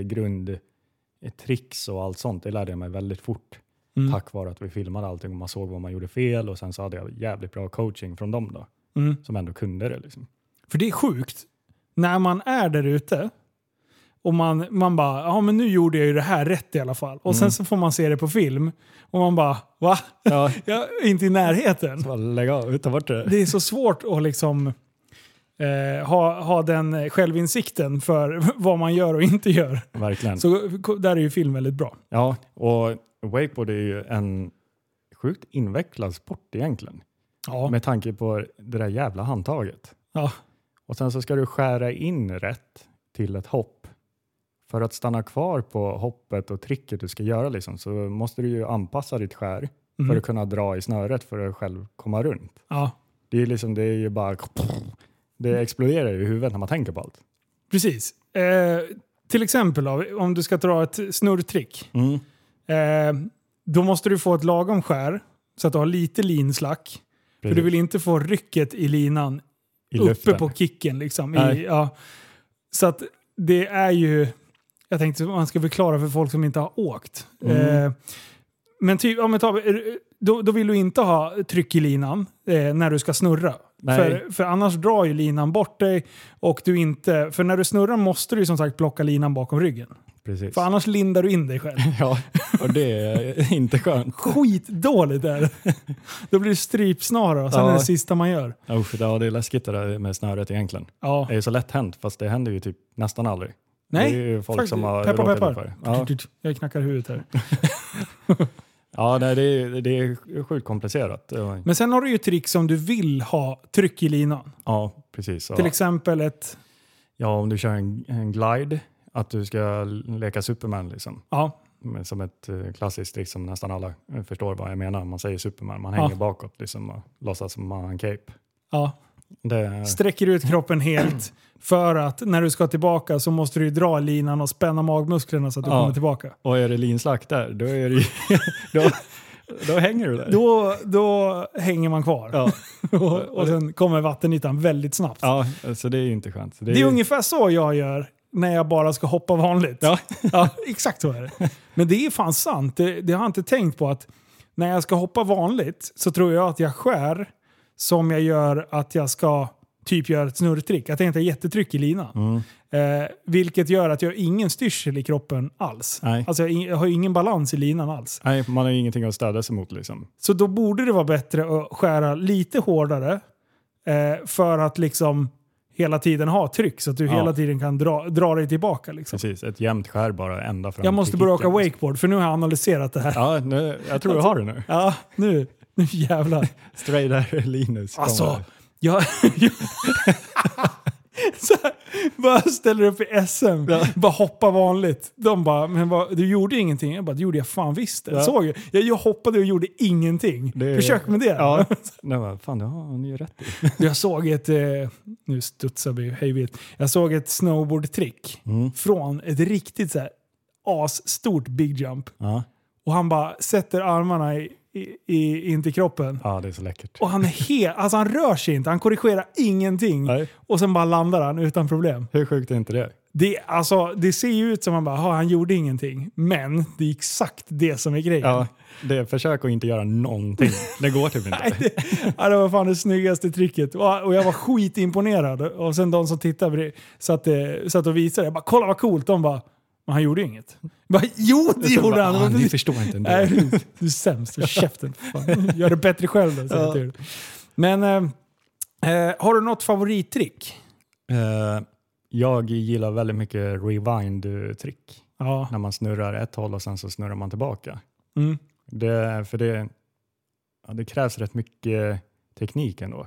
grundtricks och allt sånt, det lärde jag mig väldigt fort.
Mm.
Tack vare att vi filmade allting och man såg vad man gjorde fel och sen så hade jag jävligt bra coaching från dem då,
Mm.
som ändå kunde det. Liksom.
För det är sjukt. När man är där ute och man, man bara, ja men nu gjorde jag ju det här rätt i alla fall. Och sen så får man se det på film och man bara, va?
Ja,
Jag är inte i närheten.
bara lägg av, ta bort det.
Det är så svårt att liksom eh, ha, ha den självinsikten för vad man gör och inte gör.
Verkligen.
Så där är ju film väldigt bra.
Ja, och wakeboard är ju en sjukt invecklad sport egentligen.
Ja.
Med tanke på det där jävla handtaget.
Ja.
Och sen så ska du skära in rätt till ett hopp. För att stanna kvar på hoppet och tricket du ska göra liksom, så måste du ju anpassa ditt skär för
Mm.
att kunna dra i snöret för att själv komma runt.
ja.
Det är, liksom, det är ju bara... Det exploderar ju i huvudet när man tänker på allt.
Precis. Eh, till exempel då, om du ska dra ett snurrtrick. Eh, då måste du få ett lagom skär så att du har lite linslack. För du vill inte få rycket i linan
I
uppe
luften.
på kicken. Liksom, i,
Nej.
ja. Så att det är ju... Jag tänkte att man ska förklara för folk som inte har åkt.
Mm.
Eh, men typ, om jag tar, då, då vill du inte ha tryck i linan eh, när du ska snurra.
Nej.
För, för annars drar ju linan bort dig och du inte... För när du snurrar måste du ju som sagt plocka linan bakom ryggen.
Precis.
För annars lindar du in dig själv.
Ja, och det är inte skönt.
Skitdåligt är det. Då blir det strypsnara och sen
Ja.
är det sista man gör.
Usch, ja, det är läskigt det där med snöret egentligen.
Ja.
Det är så lätt hänt, fast det händer ju typ nästan aldrig. det är
Nej,
ju folk
faktiskt.
som har
Peppar,
råkat ut
peppar.
för det. Ja,
Jag knackar huvudet här.
ja nej, det, är, det är sjukt komplicerat. Ja,
Men sen har du ju trick som du vill ha tryck i linan.
Ja, precis. Ja.
Till exempel ett...
Ja, om du kör en, en glide, att du ska leka Superman liksom.
Ja,
Men Som ett eh, klassiskt trick som nästan alla eh, förstår vad jag menar. Man säger Superman, man
Ja.
hänger bakåt liksom och låtsas som man har en cape.
ja.
Det,
Sträcker ut kroppen helt för att när du ska tillbaka så måste du ju dra linan och spänna magmusklerna så att du
Ja.
kommer tillbaka.
och är det linslakt där, då, är det, ju- då, då hänger du där.
Då, då hänger man kvar.
Ja.
Och, och sen kommer vattenytan väldigt snabbt.
ja, så det är ju inte skönt. Så
Det är ungefär så jag gör när jag bara ska hoppa vanligt.
Ja.
Ja, exakt så är det. Men det är fan sant. Det, det har jag inte tänkt på att när jag ska hoppa vanligt så tror jag att jag skär som jag gör att jag ska typ göra ett snurrtrick. Att jag inte har jättetryck i linan.
Mm.
Eh, vilket gör att jag har ingen styrsel i kroppen alls.
Nej.
Alltså jag, har ing- jag har ju ingen balans i linan alls.
Nej, man har ju ingenting att stödja sig mot liksom.
Så då borde det vara bättre att skära lite hårdare eh, för att liksom hela tiden ha tryck så att du
Ja.
hela tiden kan dra, dra dig tillbaka. Liksom.
Precis, ett jämnt skär bara ända fram
Jag
till
måste börja åka
kicken.
wakeboard för nu har jag analyserat det här.
Ja, nu, jag tror jag har det nu.
Ja, nu, nu jävlar.
Straight där Linus. kommer.
Alltså, jag... jag så här, bara ställer upp i SM, bara hoppa vanligt. De bara, men vad, du gjorde ingenting. Jag bara, det gjorde jag fan visst.
Ja.
Jag såg ju. jag, jag hoppade och gjorde ingenting.
Det-
Försök med det.
Ja, nej, men fan det har han ju rätt i.
Jag såg ett, eh, nu studsar vi hej vilt. Jag såg ett snowboardtrick
Mm.
från ett riktigt så här asstort big jump.
Ja.
Och han bara sätter armarna i, i, i, in till kroppen.
ja, det är så läckert.
Och han är helt, alltså han rör sig inte, han korrigerar ingenting.
Nej,
Och sen bara landar han utan problem.
hur sjukt är inte det?
Det, alltså, det ser ju ut som han bara, "Ha, han gjorde ingenting. Men det är exakt det som är grejen.
Ja, det är försök att inte göra någonting. Det går typ inte.
Nej, det, ja, det var fan det snyggaste tricket. Och, och jag var skitimponerad. Och sen de som tittade på det satt, eh, satt och visade. Jag bara, kolla vad coolt. De bara, men han gjorde inget. Jag bara, jo det
Så
gjorde
bara,
han!
"Ah, ni förstår inte ändå.
Nej, du- du är sämst. Håll käften. Fan. Gör det bättre själv då, säger jag till. Men eh, eh, har du något favorittrick?
Eh, jag gillar väldigt mycket rewind-trick.
Ja.
När man snurrar ett håll och sen så snurrar man tillbaka.
Mm.
Det, för det, ja, det krävs rätt mycket teknik ändå.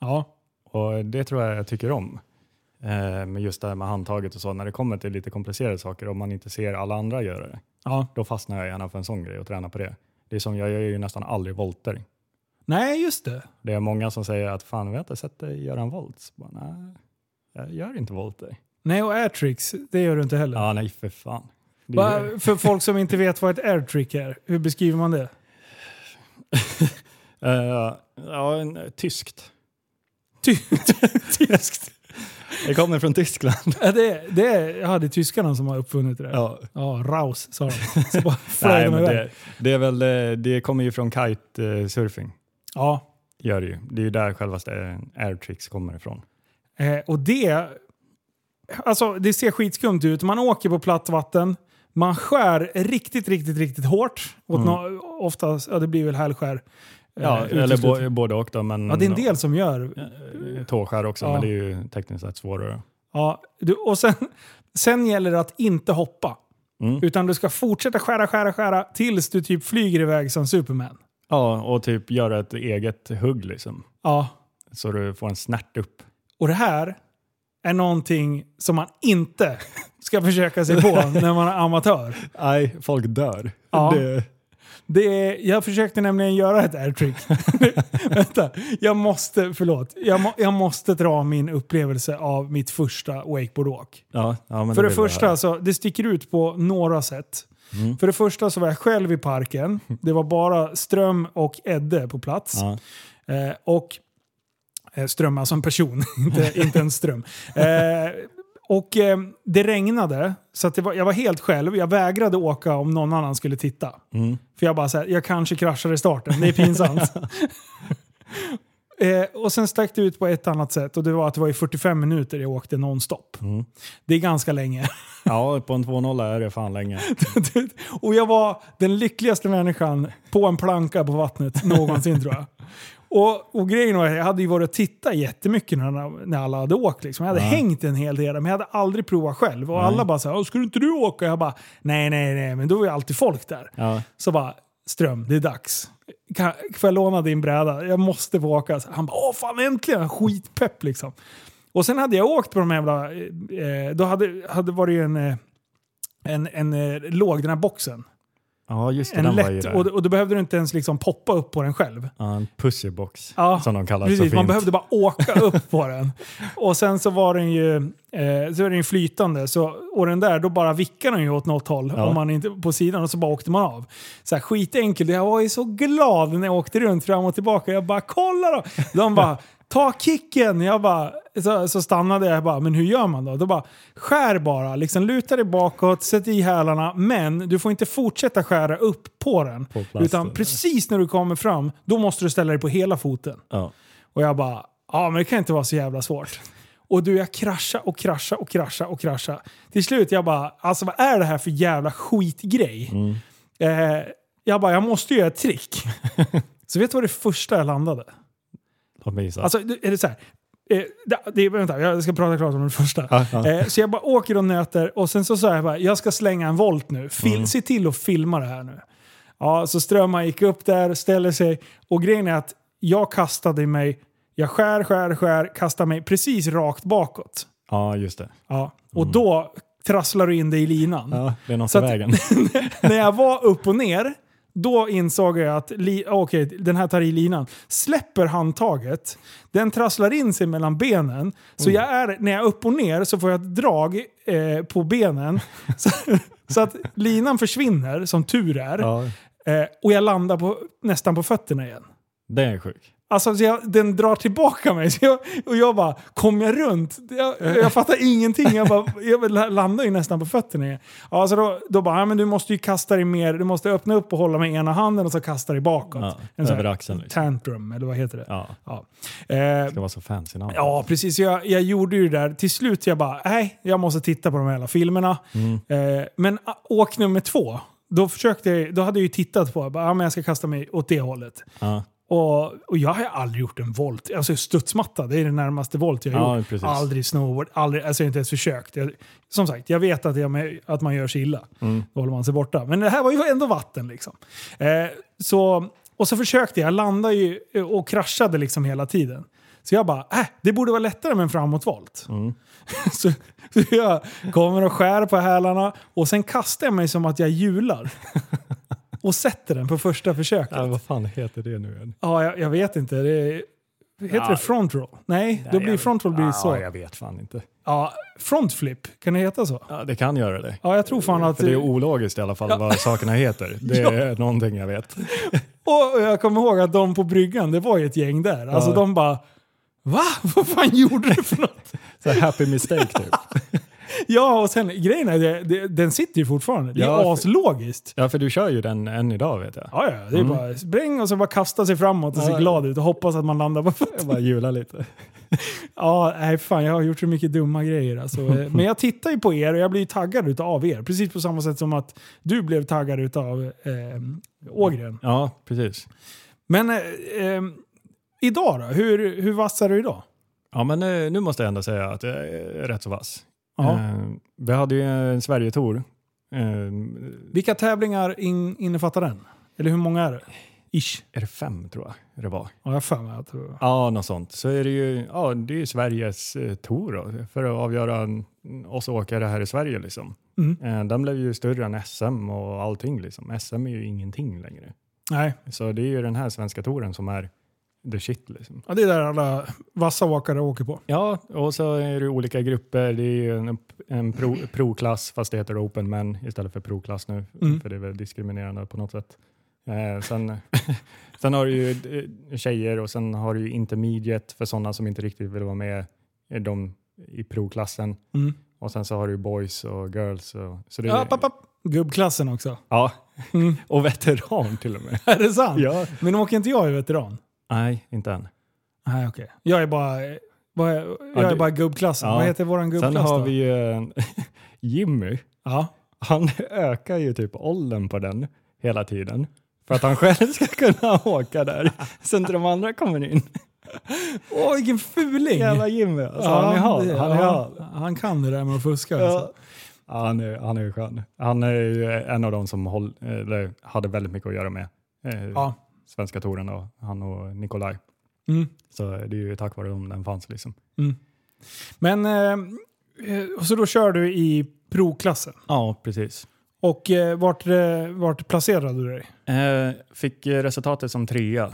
ja.
Och det tror jag jag tycker om. Eh, men just det här med handtaget och så, när det kommer till lite komplicerade saker, om man inte ser alla andra göra det,
Ja.
då fastnar jag gärna för en sån grej och tränar på det. Det är som, jag gör ju nästan aldrig volter.
Nej, just det.
Det är många som säger att fan, vi har inte sett dig göra en volt. Så Bara, nej, jag gör inte volter.
Nej, och airtricks, det gör du inte heller.
Ja, nej för fan. Det är,
Bara för folk som inte vet vad ett airtrick är, hur beskriver man det?
Eh, ja, en, tyskt.
Ty- Tyskt.
Det kommer från Tyskland.
Ja, det, det, är- ja, det är tyskarna som har uppfunnit det där.
ja.
Ja, Raus sa de. Så bara flög
nej,
de
men
iväg.
det, det, är väl, eh, det kommer ju från eh, kitesurfing.
Ja,
Gör det ju. Det är ju där självaste airtricks kommer ifrån.
eh, och det... Alltså, det ser skitskumt ut. Man åker på platt vatten. Man skär riktigt, riktigt, riktigt hårt. Åt
Mm.
nå- oftast, ja det blir väl hälskär. eh,
Ja, eller
uteslutande.
bo, både och då, men
Ja, det är en del som gör
eh, tåskär också,
Ja.
men det är ju tekniskt sett svårare.
Ja, du, och sen, sen gäller det att inte hoppa.
Mm.
Utan du ska fortsätta skära, skära, skära tills du typ flyger iväg som Superman.
Ja, och typ göra ett eget hugg liksom.
Ja.
Så du får en snärt upp.
Och det här är någonting som man inte ska försöka sig på när man är amatör.
Nej, folk dör.
Ja.
Det,
Det är, jag försökte nämligen göra ett airtrick. Vänta, jag måste, förlåt. Jag, må, jag måste dra min upplevelse av mitt första wakeboardåk.
ja, ja, men
För
det
det
blir
första, så, det sticker ut på några sätt.
Mm.
För det första så var jag själv i parken. Det var bara Ström och Edde på plats.
Ja.
Eh, och eh, Ström alltså en person, inte, inte en ström. Eh, Och eh, det regnade, så att det var, jag var helt själv. Jag vägrade åka om någon annan skulle titta.
Mm.
För jag bara såhär, jag kanske kraschar i starten, det är pinsamt. eh, och sen stack det ut på ett annat sätt och det var att det var i 45 minuter jag åkte nonstop.
Mm.
Det är ganska länge.
Ja, på en 2-0 är det fan länge.
och jag var den lyckligaste människan på en planka på vattnet någonsin tror jag. Och, och grejen var att jag hade ju varit och tittat jättemycket när, när alla hade åkt. Liksom. Jag hade
Ja.
hängt en hel del men jag hade aldrig provat själv. Och alla bara såhär, skulle inte du åka? Jag bara, nej nej nej, men då var ju alltid folk där.
Ja.
Så bara, Ström, det är dags. Kan, får jag låna din bräda? Jag måste få åka. Så han bara, åh fan äntligen! Skitpepp liksom. Och sen hade jag åkt på de här jävla... eh, Eh, då hade, hade varit en, eh, en, en eh, låg, den här boxen.
ja, just det.
En
den var ju
lätt.
där.
Och, och då behövde du inte ens liksom poppa upp på den själv.
Ja, en pussybox,
Ja,
som de kallar det så
Precis,
fint.
man behövde bara åka upp på den. Och sen så var den ju, eh, så var den ju flytande. Så, och den där, då bara vickade den ju åt något håll
Ja.
om man inte, på sidan och så bara åkte man av. Så här, skitenkelt. Jag var ju så glad när jag åkte runt fram och tillbaka. Jag bara kolla då! De bara ta kicken! Jag bara, så, så stannade jag bara, men hur gör man då? Då bara skär bara, liksom luta dig bakåt, sätt i hälarna, men du får inte fortsätta skära upp på den.
På plasten.
utan precis när du kommer fram, då måste du ställa dig på hela foten.
Ja.
Och jag bara, ja men det kan inte vara så jävla svårt. Och du, jag krascha och krascha och krascha och krascha. Till slut, jag bara, alltså vad är det här för jävla skitgrej? Eh, jag bara, jag måste ju göra ett trick. så vet du vad det första jag landade?
Låt mig gissa.
Alltså, det- är det så här? Eh, det, det, vänta, jag ska prata klart om det första.
Ja, ja.
Eh, så jag bara åker och nöter och sen så sa jag bara, jag ska slänga en volt nu. Fil,
Mm.
Se till att filma det här nu. Ja, så Strömman gick upp där, ställer sig och grejen är att jag kastade mig, jag skär, skär, skär, kastar mig precis rakt bakåt.
ja, just det.
Ja. Och då trasslar du in dig i linan.
Mm. Ja, det är något
Så
i
att-
vägen.
När jag var upp och ner, då insåg jag att li- okej, den här tar i linan. Släpper handtaget, den trasslar in sig mellan benen. Så jag är, när jag är upp och ner så får jag ett drag eh, på benen. så, så att linan försvinner, som tur är.
Ja,
Eh, och jag landar på, nästan på fötterna igen.
det är sjukt.
Alltså, så jag, den drar tillbaka mig. Så jag, och jag bara, kom jag runt? Jag, jag fattar ingenting. Jag, bara, jag landar ju nästan på fötterna. igen. Ja, så då, då bara, ja, men du måste ju kasta dig mer. Du måste öppna upp och hålla med ena handen och så kasta dig bakåt.
Ja,
en sån
över
här
axeln liksom.
tantrum, eller vad heter det?
Ja,
Ja. Eh,
det var så fancy namn.
Ja, precis. Jag, jag gjorde ju det där. Till slut jag bara, nej, jag måste titta på de här jävla filmerna.
Mm.
Eh, men a- åk nummer två, då, försökte jag, då hade jag ju tittat på, jag bara, ja, men jag ska kasta mig åt det hållet.
Ja.
Och, och jag har ju aldrig gjort en volt. Alltså studsmatta, det är det närmaste volt jag har
Ja,
gjort.
precis.
Aldrig snowboard, aldrig, alltså jag har inte ens försökt. Jag, som sagt, jag vet att, jag, att man gör sig illa.
Mm.
Då håller man sig borta. Men det här var ju ändå vatten liksom. Eh, så, och så försökte jag, jag landade ju eh, och kraschade liksom hela tiden. Så jag bara, äh, det borde vara lättare med en framåtvolt.
Mm.
så, så jag kommer och skär på hälarna och sen kastar jag mig som att jag hjular. och sätter den på första försöket.
Ja, vad fan heter det nu igen?
Ja, jag, jag vet inte. Det, heter
Ja.
det front roll? Nej, då blir front roll blir så.
jag
Ja,
vet fan inte.
front flip, kan det heta så?
Ja, det kan göra det.
Ja, jag tror fan att...
För det är ologiskt i alla fall vad sakerna heter. Det
Ja.
är någonting jag vet.
och jag kommer ihåg att de på bryggan, det var ju ett gäng där. Alltså de bara... Va? Vad fan gjorde du för något?
Så här happy mistake typ.
Ja, och sen grejen är det, det, den sitter ju fortfarande. Det är
Ja, för-
aslogiskt.
Ja, för du kör ju den än idag vet jag.
Ja, ja, det är bara spräng och så bara kasta sig framåt och se
Mm. Ja.
glad ut och hoppas att man landar på fötterna.
Jag bara hjular lite.
Ja, nej fan jag har gjort så mycket dumma grejer. Alltså. Eh, Men jag tittar ju på er och jag blir ju taggad utav er. Precis på samma sätt som att du blev taggad utav eh, Ågren.
Ja, precis.
Men eh, eh, idag då? Hur, hur vass är du idag?
Ja, men eh, nu måste jag ändå säga att jag är rätt så vass.
Ja.
Eh, Vi hade ju en Sverigetour. Eh,
Vilka tävlingar in, innefattar den? Eller hur många är det? Ish.
Är det fem tror jag det var?
Ja, jag har för mig att det var-
Ja, något sånt. Så är det ju ja, det är ju Sveriges eh, tour då, för att avgöra en- oss åkare här i Sverige. Liksom.
Mm.
Eh, Den blev ju större än SM och allting. Liksom. SM är ju ingenting längre.
Nej,
Så det är ju den här svenska touren som är the shit. Liksom.
ja, det är där alla vassa åkare åker på.
Ja, och så är det olika grupper. Det är ju en, upp- en pro, proklass, fast det heter open men istället för proklass nu,
Mm.
för det är väl diskriminerande på något sätt. Eh, sen, sen har du ju eh, tjejer och sen har du ju intermediate för sådana som inte riktigt vill vara med eh, de i proklassen.
Mm.
Och sen så har du boys och girls. Och, så det,
App, app, app. Gubbklassen också.
Ja,
Mm.
och veteran till och med.
Är det sant?
ja.
Men åker inte jag i veteran?
Nej, inte än.
Nej, okej. Jag är bara, eh, vad är- jag
Ja,
är
du-
bara gubbklassen.
Ja.
Vad heter våran gubbklass
Sen har
då?
vi ju en- Jimmy.
Ja.
Han ökar ju typ åldern på den hela tiden. För att han själv ska kunna åka där. Sen när de andra kommer in.
Åh, vilken fuling!
Jävla Jimmy. Alltså,
Ja,
han är hal.
det-
Han är
ja,
hal.
han kan det där med att fuska. Alltså.
Ja. Ja, han, är, han är ju skön. Han är ju en av de som håll, eller, hade väldigt mycket att göra med eh,
Ja.
svenska touren. Då, han och Nikolaj.
Mm.
Så det är ju tack vare dem den fanns. Liksom.
Men, eh, eh, och så då kör du i provklassen.
Ja, precis.
Och eh, vart, eh, vart placerade du dig?
Eh, fick eh, resultatet som trea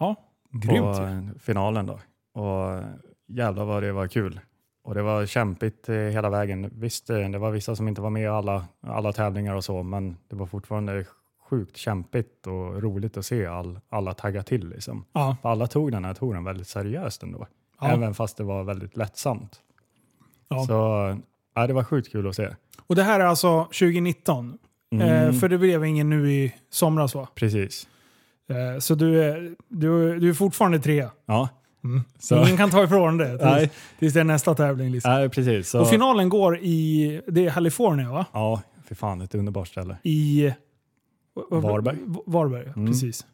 Ja,
på
grymt. ju.
eh, finalen. Då. Och eh, jävlar vad det var kul. Och det var kämpigt eh, hela vägen. Visst, eh, det var vissa som inte var med i alla, alla tävlingar och så, men det var fortfarande sjukt kämpigt och roligt att se all, alla tagga till. Liksom.
Ja,
Alla tog den här touren väldigt seriöst ändå,
ja.
även fast det var väldigt lättsamt.
Ja.
Så eh, det var sjukt kul att se. Mm.
Och det här är alltså 2019? Eh, för det blev ingen nu i somras va?
Precis.
Eh, så du är, du, du är fortfarande trea?
Ja,
Mm.
så,
Ingen kan ta ifrån det
nej,
tills, tills det är nästa tävling. Liksom.
nej, eh, precis. Så,
Och finalen går i, det är Kalifornien va?
Ja, för fan ett underbart ställe.
I vad- vad-
Varberg.
Va- Varberg, ja,
Mm.
precis.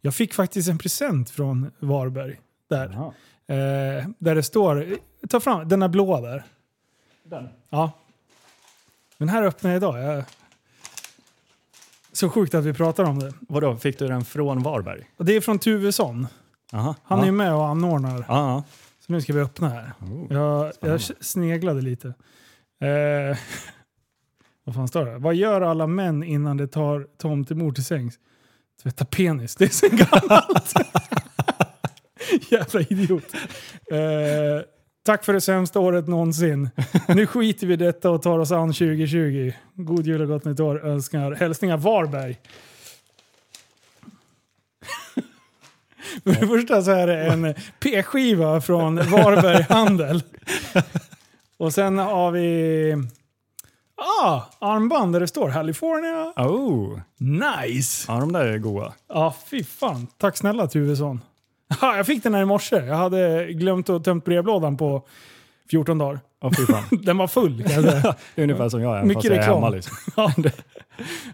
Jag fick faktiskt en present från Varberg. Där,
Jaha.
eh, där det står, ta fram den där blåa där.
Den?
Ja. Den här öppnade jag idag. Jag, så sjukt att vi pratar om det.
Vadå, fick du den från Varberg?
Och det är från Tuvesson.
Aha.
Han
ja.
är ju med och anordnar.
Ja,
Så nu ska vi öppna här.
ja. Oh.
Jag, jag
Spännande.
sneglade lite. Eh, vad fan står det? Vad gör alla män innan de tar tomtemor till sängs? Tvätta penis. Det är så gammalt. Jävla idiot. Eh, tack för det sämsta året någonsin. Nu skiter vi i detta och tar oss an 2020. God jul och gott nytt år önskar hälsningar Varberg. För det första så är det en p-skiva från Varberg Handel. Och sen har vi ah, armband där det står California.
Oh,
Nice!
ja, de där är goa.
Ja, ah, fy fan. Tack snälla Tuvesson. Ha, jag fick den här i morse. Jag hade glömt att tömt brevlådan på 14 dagar.
Ja, fy fan.
Den var full kan jag säga.
Det är Ungefär som jag är,
Mycket
fast jag är
reklam.
hemma. Liksom.
Ja.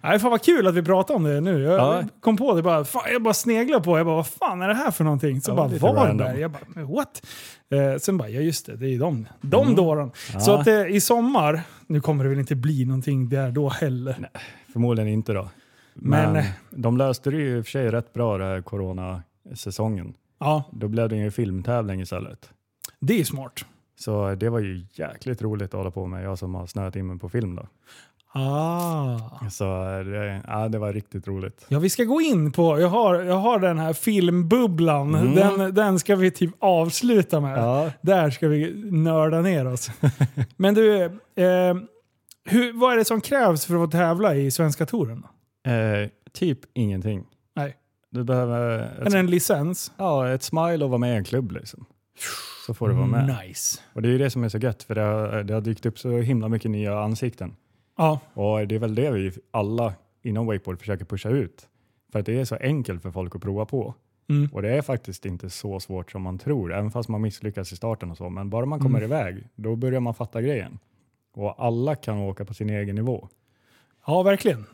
Nej, fan vad kul att vi pratar om det nu. Jag
Ja.
kom på det bara, fan, jag bara sneglade på Jag bara, vad fan är det här för någonting? Så
Ja,
bara,
lite
Varberg.
random.
Jag bara, men what? Eh, sen bara, ja just det, det är ju de. De
Mm.
dåren.
Ja,
Så att eh, i sommar, nu kommer det väl inte bli någonting där då heller.
Förmodligen inte då.
Men-
Men, eh, de löste det ju i och för sig rätt bra den här coronasäsongen.
Ja,
Då blev det ju en filmtävling istället.
det är smart.
Så eh, det var ju jäkligt roligt att hålla på med, jag som har snöat in mig på film då.
Ah.
Så eh, det, ja, det var riktigt roligt.
Ja, vi ska gå in på, jag har, jag har den här filmbubblan.
Mm.
Den, den ska vi typ avsluta med.
Ja,
Där ska vi nörda ner oss. Men du, eh, hur, vad är det som krävs för att få tävla i Svenska touren? då?
eh, typ ingenting.
Nej.
Du behöver eh, ett,
Är det en licens?
ja, ett smile och vara med i en klubb liksom. Så får du vara
Mm.
med.
Nice.
Och det är ju det som är så gött, för det har, det har dykt upp så himla mycket nya ansikten.
Ja,
Och det är väl det vi alla inom wakeboard försöker pusha ut. För att det är så enkelt för folk att prova på.
mm.
Och det är faktiskt inte så svårt som man tror, även fast man misslyckas i starten och så. Men bara man kommer
Mm.
iväg, då börjar man fatta grejen. Och alla kan åka på sin egen nivå.
ja verkligen.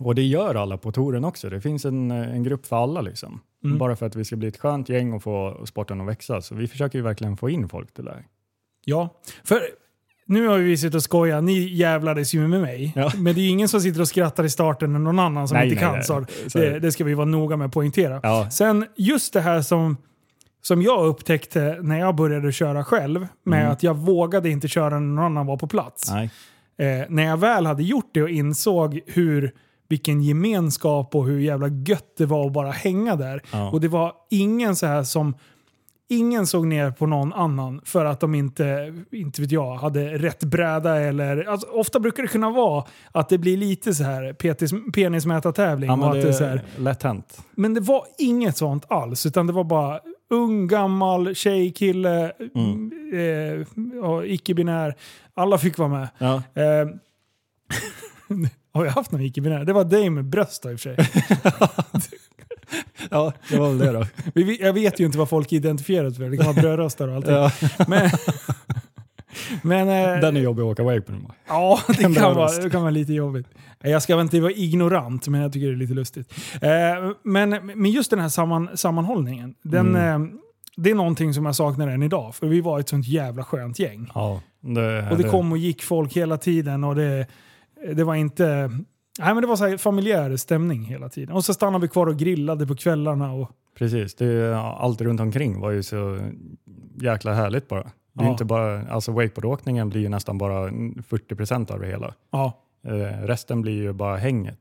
Och det gör alla på touren också. Det finns en, en grupp för alla liksom.
Mm.
Bara för att vi ska bli ett skönt gäng och få sporten att växa. Så vi försöker ju verkligen få in folk till det här.
Ja, för nu har ju vi suttit och skojat. Ni jävlades ju med mig.
Ja.
Men det är ju ingen som sitter och skrattar i starten än någon annan som
Nej,
inte
nej,
kan.
nej.
Så
Så-
det, det ska vi vara noga med att poängtera.
Ja,
Sen just det här som, som jag upptäckte när jag började köra själv, med
Mm.
att jag vågade inte köra när någon annan var på plats.
nej.
Eh, när jag väl hade gjort det och insåg hur, vilken gemenskap och hur jävla gött det var att bara hänga där.
Ja.
Och det var ingen så här som Ingen såg ner på någon annan för att de inte, inte vet jag, hade rätt bräda eller... Alltså, ofta brukar det kunna vara att det blir lite så här petis, penismätartävling.
Ja,
och
men
att det är så
det
här,
är lätt hänt.
men det var inget sånt alls, utan det var bara ung, gammal, tjej, kille,
Mm.
eh, ja, icke-binär. Alla fick vara med.
Ja.
Eh, har jag haft någon icke-binär? Det var dig med bröst då, i och för sig.
ja, det var väl det då.
Vi vet- Jag vet ju inte vad folk identifierar sig för. Det kan vara brödröstar och allting.
Ja.
Men, men eh,
Den är jobbig att åka wakeboard med.
ja, det
den
kan, vara,
brödrost.
det kan vara lite jobbigt. Jag ska väl inte vara ignorant, men jag tycker det är lite lustigt. Eh, men, men just den här samman, sammanhållningen, den,
Mm.
eh, det är någonting som jag saknar än idag. För vi var ett sånt jävla skönt gäng.
Ja. Det,
Och det kom och gick folk hela tiden och det, det var inte... Nej, men det var så här familjär stämning hela tiden. Och så stannade vi kvar och grillade på kvällarna. Och,
Precis, det, är- allt runt omkring var ju så jäkla härligt bara. Det är
Ja.
inte bara, alltså wakeboardåkningen blir ju nästan bara 40 av det hela.
ja,
Eh, resten blir ju bara hänget.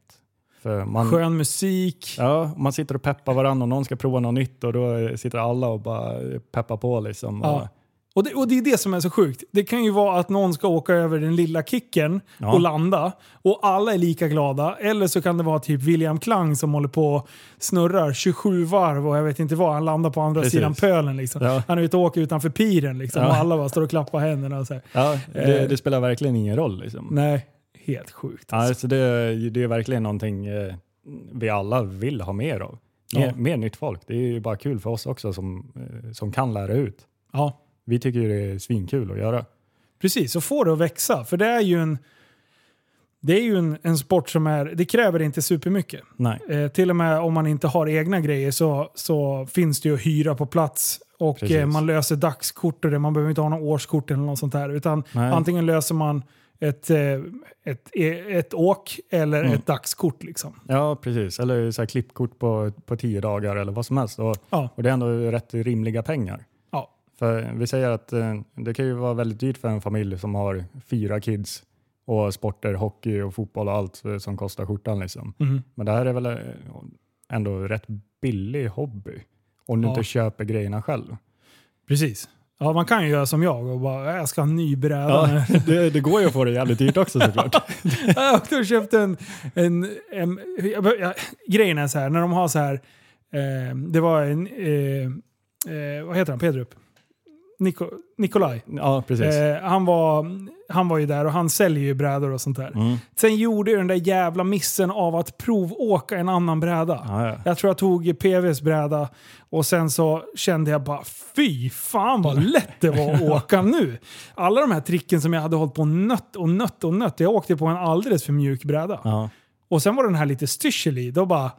För man,
skön musik.
Ja, man sitter och peppar varandra och någon ska prova något nytt och då eh, sitter alla och bara peppar på liksom. Och,
Ja. Och det, och det är det som är så sjukt. Det kan ju vara att någon ska åka över den lilla kicken
Ja.
och landa och alla är lika glada. Eller så kan det vara typ William Klang som håller på och snurrar 27 varv och jag vet inte vad. Han landar på andra
Precis.
sidan pölen liksom.
Ja.
Han är ute och åker utanför piren liksom
Ja.
och alla bara står och klappar händerna och så här.
ja, det,
Eh.
det spelar verkligen ingen roll. Liksom.
Nej, helt sjukt.
Ja, så det, är ju- det är verkligen någonting eh, vi alla vill ha mer av. Mer,
Ja.
mer nytt folk. Det är ju bara kul för oss också som, eh, som kan lära ut.
Ja.
Vi tycker ju det är svinkul att göra.
Precis, och få det att växa. För det är ju en, det är ju en, en sport som är, det kräver inte supermycket.
Nej,
Eh, till och med om man inte har egna grejer så, så finns det ju att hyra på plats. Och
Precis.
eh, man löser dagskort och det. Man behöver inte ha något årskort eller något sånt där. Utan
Nej.
antingen löser man ett, eh, ett, eh, ett åk eller
Mm.
ett dagskort. Liksom.
ja precis. Eller så här klippkort på, på tio dagar eller vad som helst. Och,
Ja,
och det är ändå rätt rimliga pengar.
ja,
För vi säger att eh, det kan ju vara väldigt dyrt för en familj som har fyra kids och sporter, hockey och fotboll och allt eh, som kostar skjortan. Liksom.
mhm.
Men det här är väl eh, ändå rätt billig hobby om du
Ja.
inte köper grejerna själv.
precis. Ja, man kan ju göra som jag och bara, "Äh, jag ska ha en ny bräda.
Ja, det, det går ju att få det jävligt dyrt också såklart.
Jag åkte och köpte en... en, en jag, bör- jag, grejen är så här, när de har så här... Eh, det var en... Eh, eh, vad heter han? Pedrup? Niko, Nikolaj.
Ja, precis.
Eh, han, var, han var ju där och han säljer ju brädor och sånt där.
Mm.
Sen gjorde jag den där jävla missen av att provåka en annan bräda.
Ja, ja.
Jag tror jag tog PVs bräda och sen så kände jag bara fy fan vad lätt det var att åka nu. Alla de här tricken som jag hade hållit på och nött och nött och nött. Jag åkte på en alldeles för mjuk bräda.
Ja,
Och sen var den här lite styrsel i. Då bara, ah,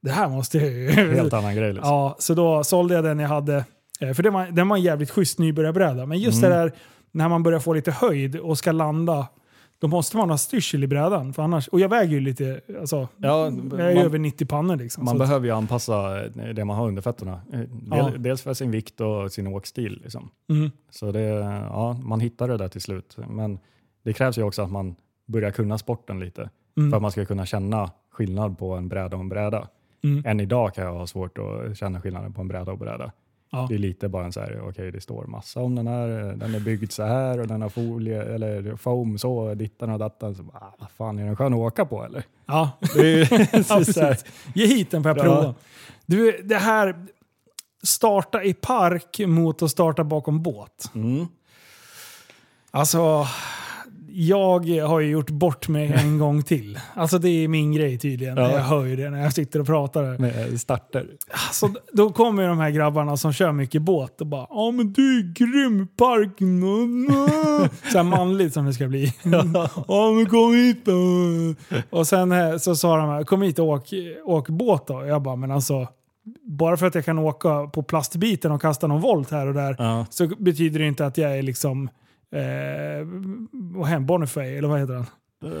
det här måste jag
helt annan grej. Liksom.
Ja, så då sålde jag den jag hade. Eh, För den var, den var en jävligt schysst nybörjarbräda. Men just
Mm.
det där när man börjar få lite höjd och ska landa. Då måste man ha styrsel i brädan. För annars, och jag väger ju lite, alltså,
Ja,
jag är ju
man-
över 90 pannor liksom.
Man
så att-
behöver ju anpassa det man har under fötterna. Eh, Del,
Ja.
Dels för sin vikt och sin åkstil. Liksom.
Mm.
Så det, ja, man hittar det där till slut. Men det krävs ju också att man börjar kunna sporten lite
Mm.
för att man ska kunna känna skillnad på en bräda och en bräda.
Mm.
Än idag kan jag ha svårt att känna skillnaden på en bräda och bräda.
Ja.
Det är lite bara en så här, okej det står massa om den här, eh, den är byggd så här och den har folie eller foam så, dittan och dattan. Så, bara, ah, vad fan, är den skön att åka på eller?
Ja,
Det är ju
ja,
så här,
precis. Ge hit den får jag
Ja.
prova. Du, det här starta i park mot att starta bakom båt.
mm.
Alltså, jag har ju gjort bort mig en gång till. Alltså det är min grej tydligen.
Ja.
Jag hör ju det när jag sitter och pratar. här.
med starter.
Alltså, då kommer ju de här grabbarna som kör mycket båt och bara “Ja men du är grym park!” Såhär manligt som det ska bli. “Ja men kom hit då!” Och sen eh, så sa de här “Kom hit och åk, åk båt då”. Jag bara “Men alltså, bara för att jag kan åka på plastbiten och kasta någon volt här och där
Ja.
så betyder det inte att jag är liksom Eh, vad heter Bonifay, eller vad heter han?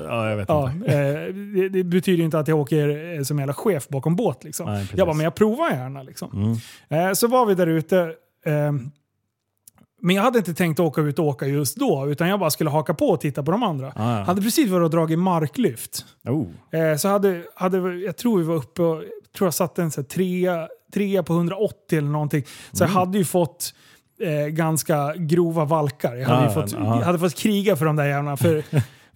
ja, jag vet
Ja,
inte.
eh, det, det betyder inte att jag åker eh, som jävla chef bakom båt liksom.
Nej, precis.
jag bara, men jag provar gärna liksom.
Mm.
Eh, Så var vi där ute. eh, Men jag hade inte tänkt åka ut och åka just då, utan jag bara skulle haka på och titta på de andra.
Ah, ja.
Hade precis varit och dragit marklyft.
Oh.
Eh, Så hade, hade jag tror vi var uppe och, jag tror jag satte en så här trea, trea på 180 eller någonting. Så
Mm.
jag hade ju fått eh, ganska grova valkar. Jag hade,
Ah,
ju fått,
ja. Ah.
jag hade fått kriga för de där jävlarna. För,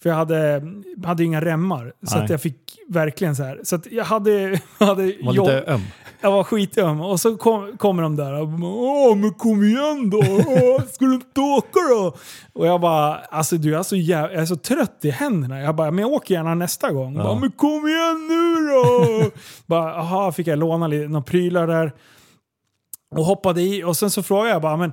För jag hade, hade ju inga remmar. Så
Nej.
att jag fick verkligen så här. Så att jag hade... hade
Var
jobb-
lite öm.
jag var skitöm och så kom, kommer de där och bara, Åh, men kom igen då! Åh, Ska du inte åka då? Och jag bara, alltså du jag är så, jäv- jag är så trött i händerna. Jag bara, men jag åker gärna nästa gång. Bara, men kom igen nu då! bara, aha, fick jag låna lite, några prylar där. Och hoppade i och sen så frågade jag bara, men,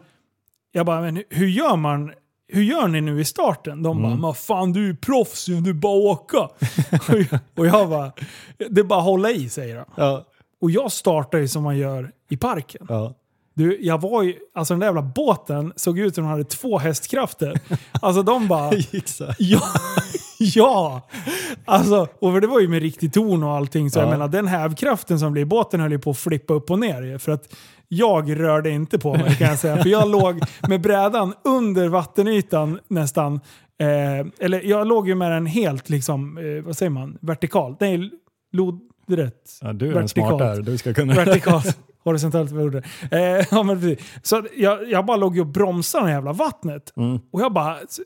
jag bara, men hur gör man? Hur gör ni nu i starten? De bara, men fan du är ju proffs ju, du är bara att åka. och, jag, och jag bara, det är bara att hålla i säger de.
Ja,
Och jag startar ju som man gör i parken.
ja.
Du, jag var ju, alltså den där jävla båten såg ut som den hade två hästkrafter. Alltså de bara,
gick så här.
ja, ja. Alltså, och för det var ju med riktig ton och allting. Så jag
Ja.
menar den hävkraften som blev i båten höll ju på att flippa upp och ner. ju, För att jag rörde inte på mig kan jag säga. För jag låg med brädan under vattenytan nästan. Eh, eller jag låg ju med den helt liksom, eh, vad säger man, vertikalt. Nej, lodrätt.
Ja, du är den
Vertikalt.
smarta här. Du ska kunna...
Vertikalt. Horisontellt vad jag gjorde. Eh, ja, men precis. Så att jag, jag bara låg ju och bromsade det jävla vattnet.
Mm.
Och jag bara... Så,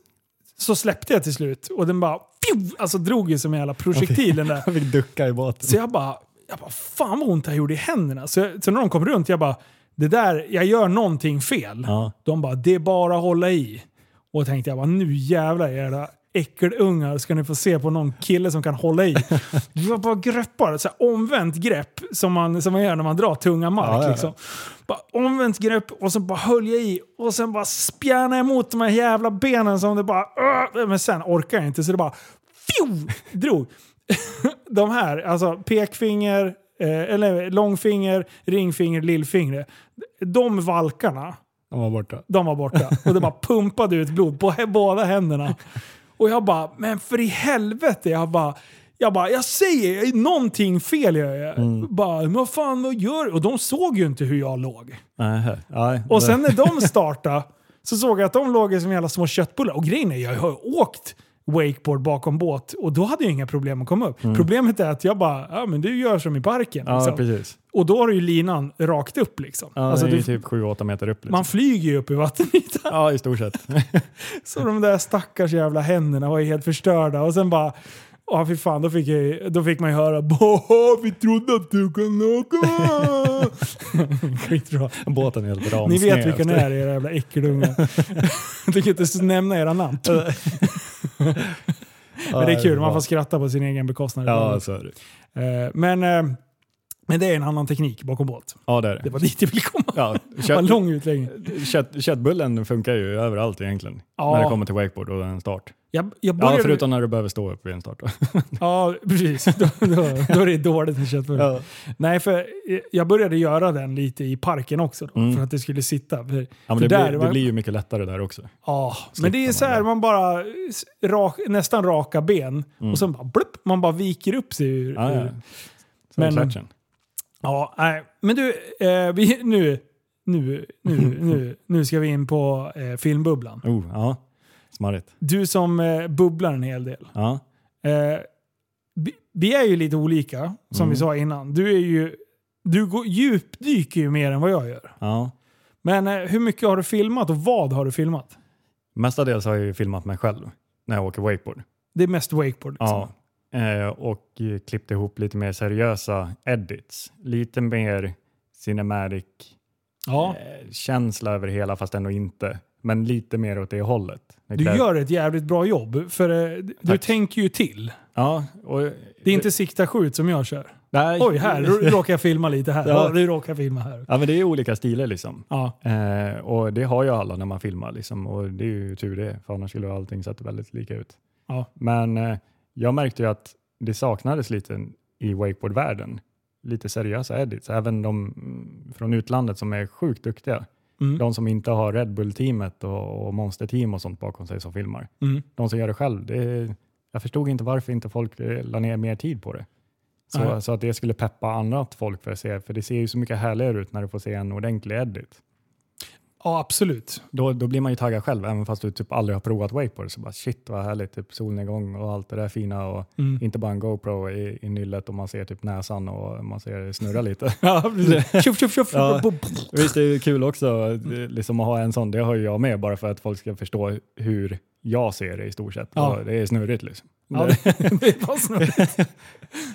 så släppte jag till slut och den bara... Pju, alltså drog ju som en jävla projektil den där.
Jag fick ducka i båten.
Så jag bara... Jag bara fan vad ont det här gjorde i händerna. Så, jag, så när de kom runt jag bara... Det där, jag gör någonting fel.
Ja.
De bara, det är bara att hålla i. Och tänkte jag bara, nu jävlar era äckelungar ska ni få se på någon kille som kan hålla i. Jag bara greppar, så här, omvänt grepp som man, som man gör när man drar tunga mark.
Ja, ja, ja.
Liksom. Bara, omvänt grepp och så bara höll jag i och sen bara spjärnade jag emot de här jävla benen som det bara... "Åh!" Men sen orkar jag inte så det bara... Fju, drog. de här, alltså pekfinger, eh, eller långfinger, ringfinger, lillfinger. De valkarna
De var borta.
de var borta. Och det bara pumpade ut blod på he- båda händerna. Och jag bara, men för i helvete. Jag bara, jag, bara, jag säger någonting fel gör jag.
Mm.
Bara, men vad fan vad gör du? Och de såg ju inte hur jag låg.
Nej, nej.
Och sen när de startade så såg jag att de låg som jävla små köttbullar. Och grejen är, jag har ju åkt wakeboard bakom båt och då hade jag inga problem att komma upp. Problemet är att jag bara, ja men du gör som i parken.
Mm. Ja,
liksom.
precis.
Och då har du ju linan rakt upp liksom.
Ja,
alltså,
det är ju
du,
typ 7-8 meter upp. Liksom.
man flyger ju upp i vattenytan.
Ja, i stort sett.
Så de där stackars jävla händerna var ju helt förstörda och sen bara Ja fy fan, då fick, jag, ju- då fick man ju höra Boha, vi trodde att du kunde åka! Skitbra.
Båten är helt ramsned.
Ah! Ni vet vilka ni
efter.
är era jävla äckelungar. Jag tänker inte ens nämna era namn. Men det är kul, man får skratta på sin egen bekostnad.
Ja, alltså. så är det.
Eh, Men, eh, men det är en annan teknik bakom båt.
Ja, det är
Det
det.
var dit jag ville komma.
Ja,
Det var en
kött,
lång utläggning.
kött, köttbullen funkar ju överallt egentligen.
Ja.
När det kommer till wakeboard och en start.
Jag, jag
Ja,
började...
förutom när du behöver stå upp vid en start. då.
Ja, precis. Då, då, då är det dåligt med köttbullar. Nej, för eh, jag började göra den lite i parken också då,
Mm.
för att det skulle sitta. För,
Ja, men
för
det,
där
blir,
var-
det blir ju mycket lättare där också.
ja, men det är
man
så här,
där.
man bara s- rak, nästan raka ben och sen bara blupp, man bara viker upp sig ur.
Mm. Ah, Ja, ja.
ur.
Så är det
Men-
klart sen.
ja nej. Men du, eh, vi, nu, nu, nu, nu, nu ska vi in på eh, filmbubblan.
Oh, ja. Smarrigt.
Du som eh, bubblar en hel del.
Ja.
Eh, vi- vi är ju lite olika, som
Mm.
vi sa innan. Du är ju... Du går, djupdyker ju mer än vad jag gör.
ja.
Men eh, hur mycket har du filmat och vad har du filmat?
Mestadels har jag ju filmat mig själv när jag åker wakeboard.
Det är mest wakeboard. Liksom.
Ja. Eh, och eh, klippt ihop lite mer seriösa edits. Lite mer cinematic
Ja.
eh, känsla över det hela fast ändå inte. Men lite mer åt det hållet. Det
Du
klär-
gör ett jävligt bra jobb, för eh, d- du
Tack.
tänker ju till.
Ja, och,
Det är inte sikta skjut som jag kör.
Nej.
Oj, här rå- råkar jag filma lite här.
Ja.
Ja. Du råkar jag filma här.
Ja, men det är olika stilar liksom.
Ja.
Eh, och det har ju alla när man filmar liksom. Och det är ju tur det, för annars skulle allting sett väldigt lika ut.
Ja.
Men eh, jag märkte ju att det saknades lite i wakeboardvärlden. Lite seriösa edits, även de mm, från utlandet som är sjukt duktiga.
Mm.
De som inte har Red Bull-teamet och, och Monster-team och sånt bakom sig som filmar.
Mm.
De som gör det själv, det, jag förstod inte varför inte folk eh, la ner mer tid på det. Så,
Nej.
så att det skulle peppa annat folk för att se, för det ser ju så mycket härligare ut när du får se en ordentlig edit.
ja, absolut.
Då, då blir man ju taggad själv, även fast du typ aldrig har provat wakeboard. Så bara shit vad härligt, typ solnedgång och allt det där fina och
Mm.
inte bara en GoPro i, i nyllet och man ser typ näsan och man ser det snurra lite.
Ja, precis. tjuff, tjuff, tjuff.
Ja.
Bo- bo-
Visst, det är ju kul också eh, liksom att ha en sån. Det har ju jag med bara för att folk ska förstå hur jag ser det i stort sett.
Ja.
Och Det är snurrigt liksom.
Ja, det, det var snurrigt.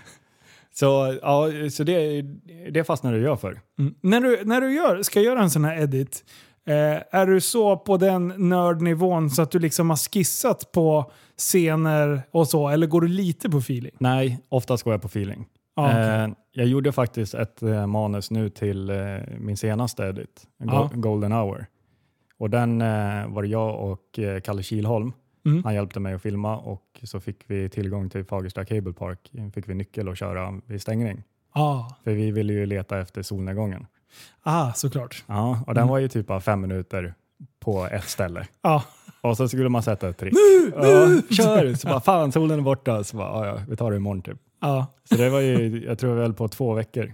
Så, ja, så det, det fastnade jag för.
Mm. När du, när du gör, ska göra en sån här edit, eh, är du så på den nördnivån så att du liksom har skissat på scener och så, eller går du lite på feeling?
Nej, oftast går jag på feeling.
Ja, okej.
Eh, jag gjorde faktiskt ett eh, manus nu till eh, min senaste edit, Go-
Ja.
Golden Hour. Och den eh, var det jag och eh, Kalle Kilholm.
Mm.
Han hjälpte mig att filma och så fick vi tillgång till Fagersta Cable Park. Fick vi nyckel att köra vid stängning.
Ah.
För vi ville ju leta efter solnedgången.
ah, såklart.
Ja, och den var ju typ av fem minuter på ett ställe.
Ja.
Och så skulle man sätta ett trick. Nu! Ja, kör! Så bara, fan solen är borta. Så bara, ja, ja, vi tar det imorgon typ.
Ja.
Så det var ju, jag tror väl på två veckor.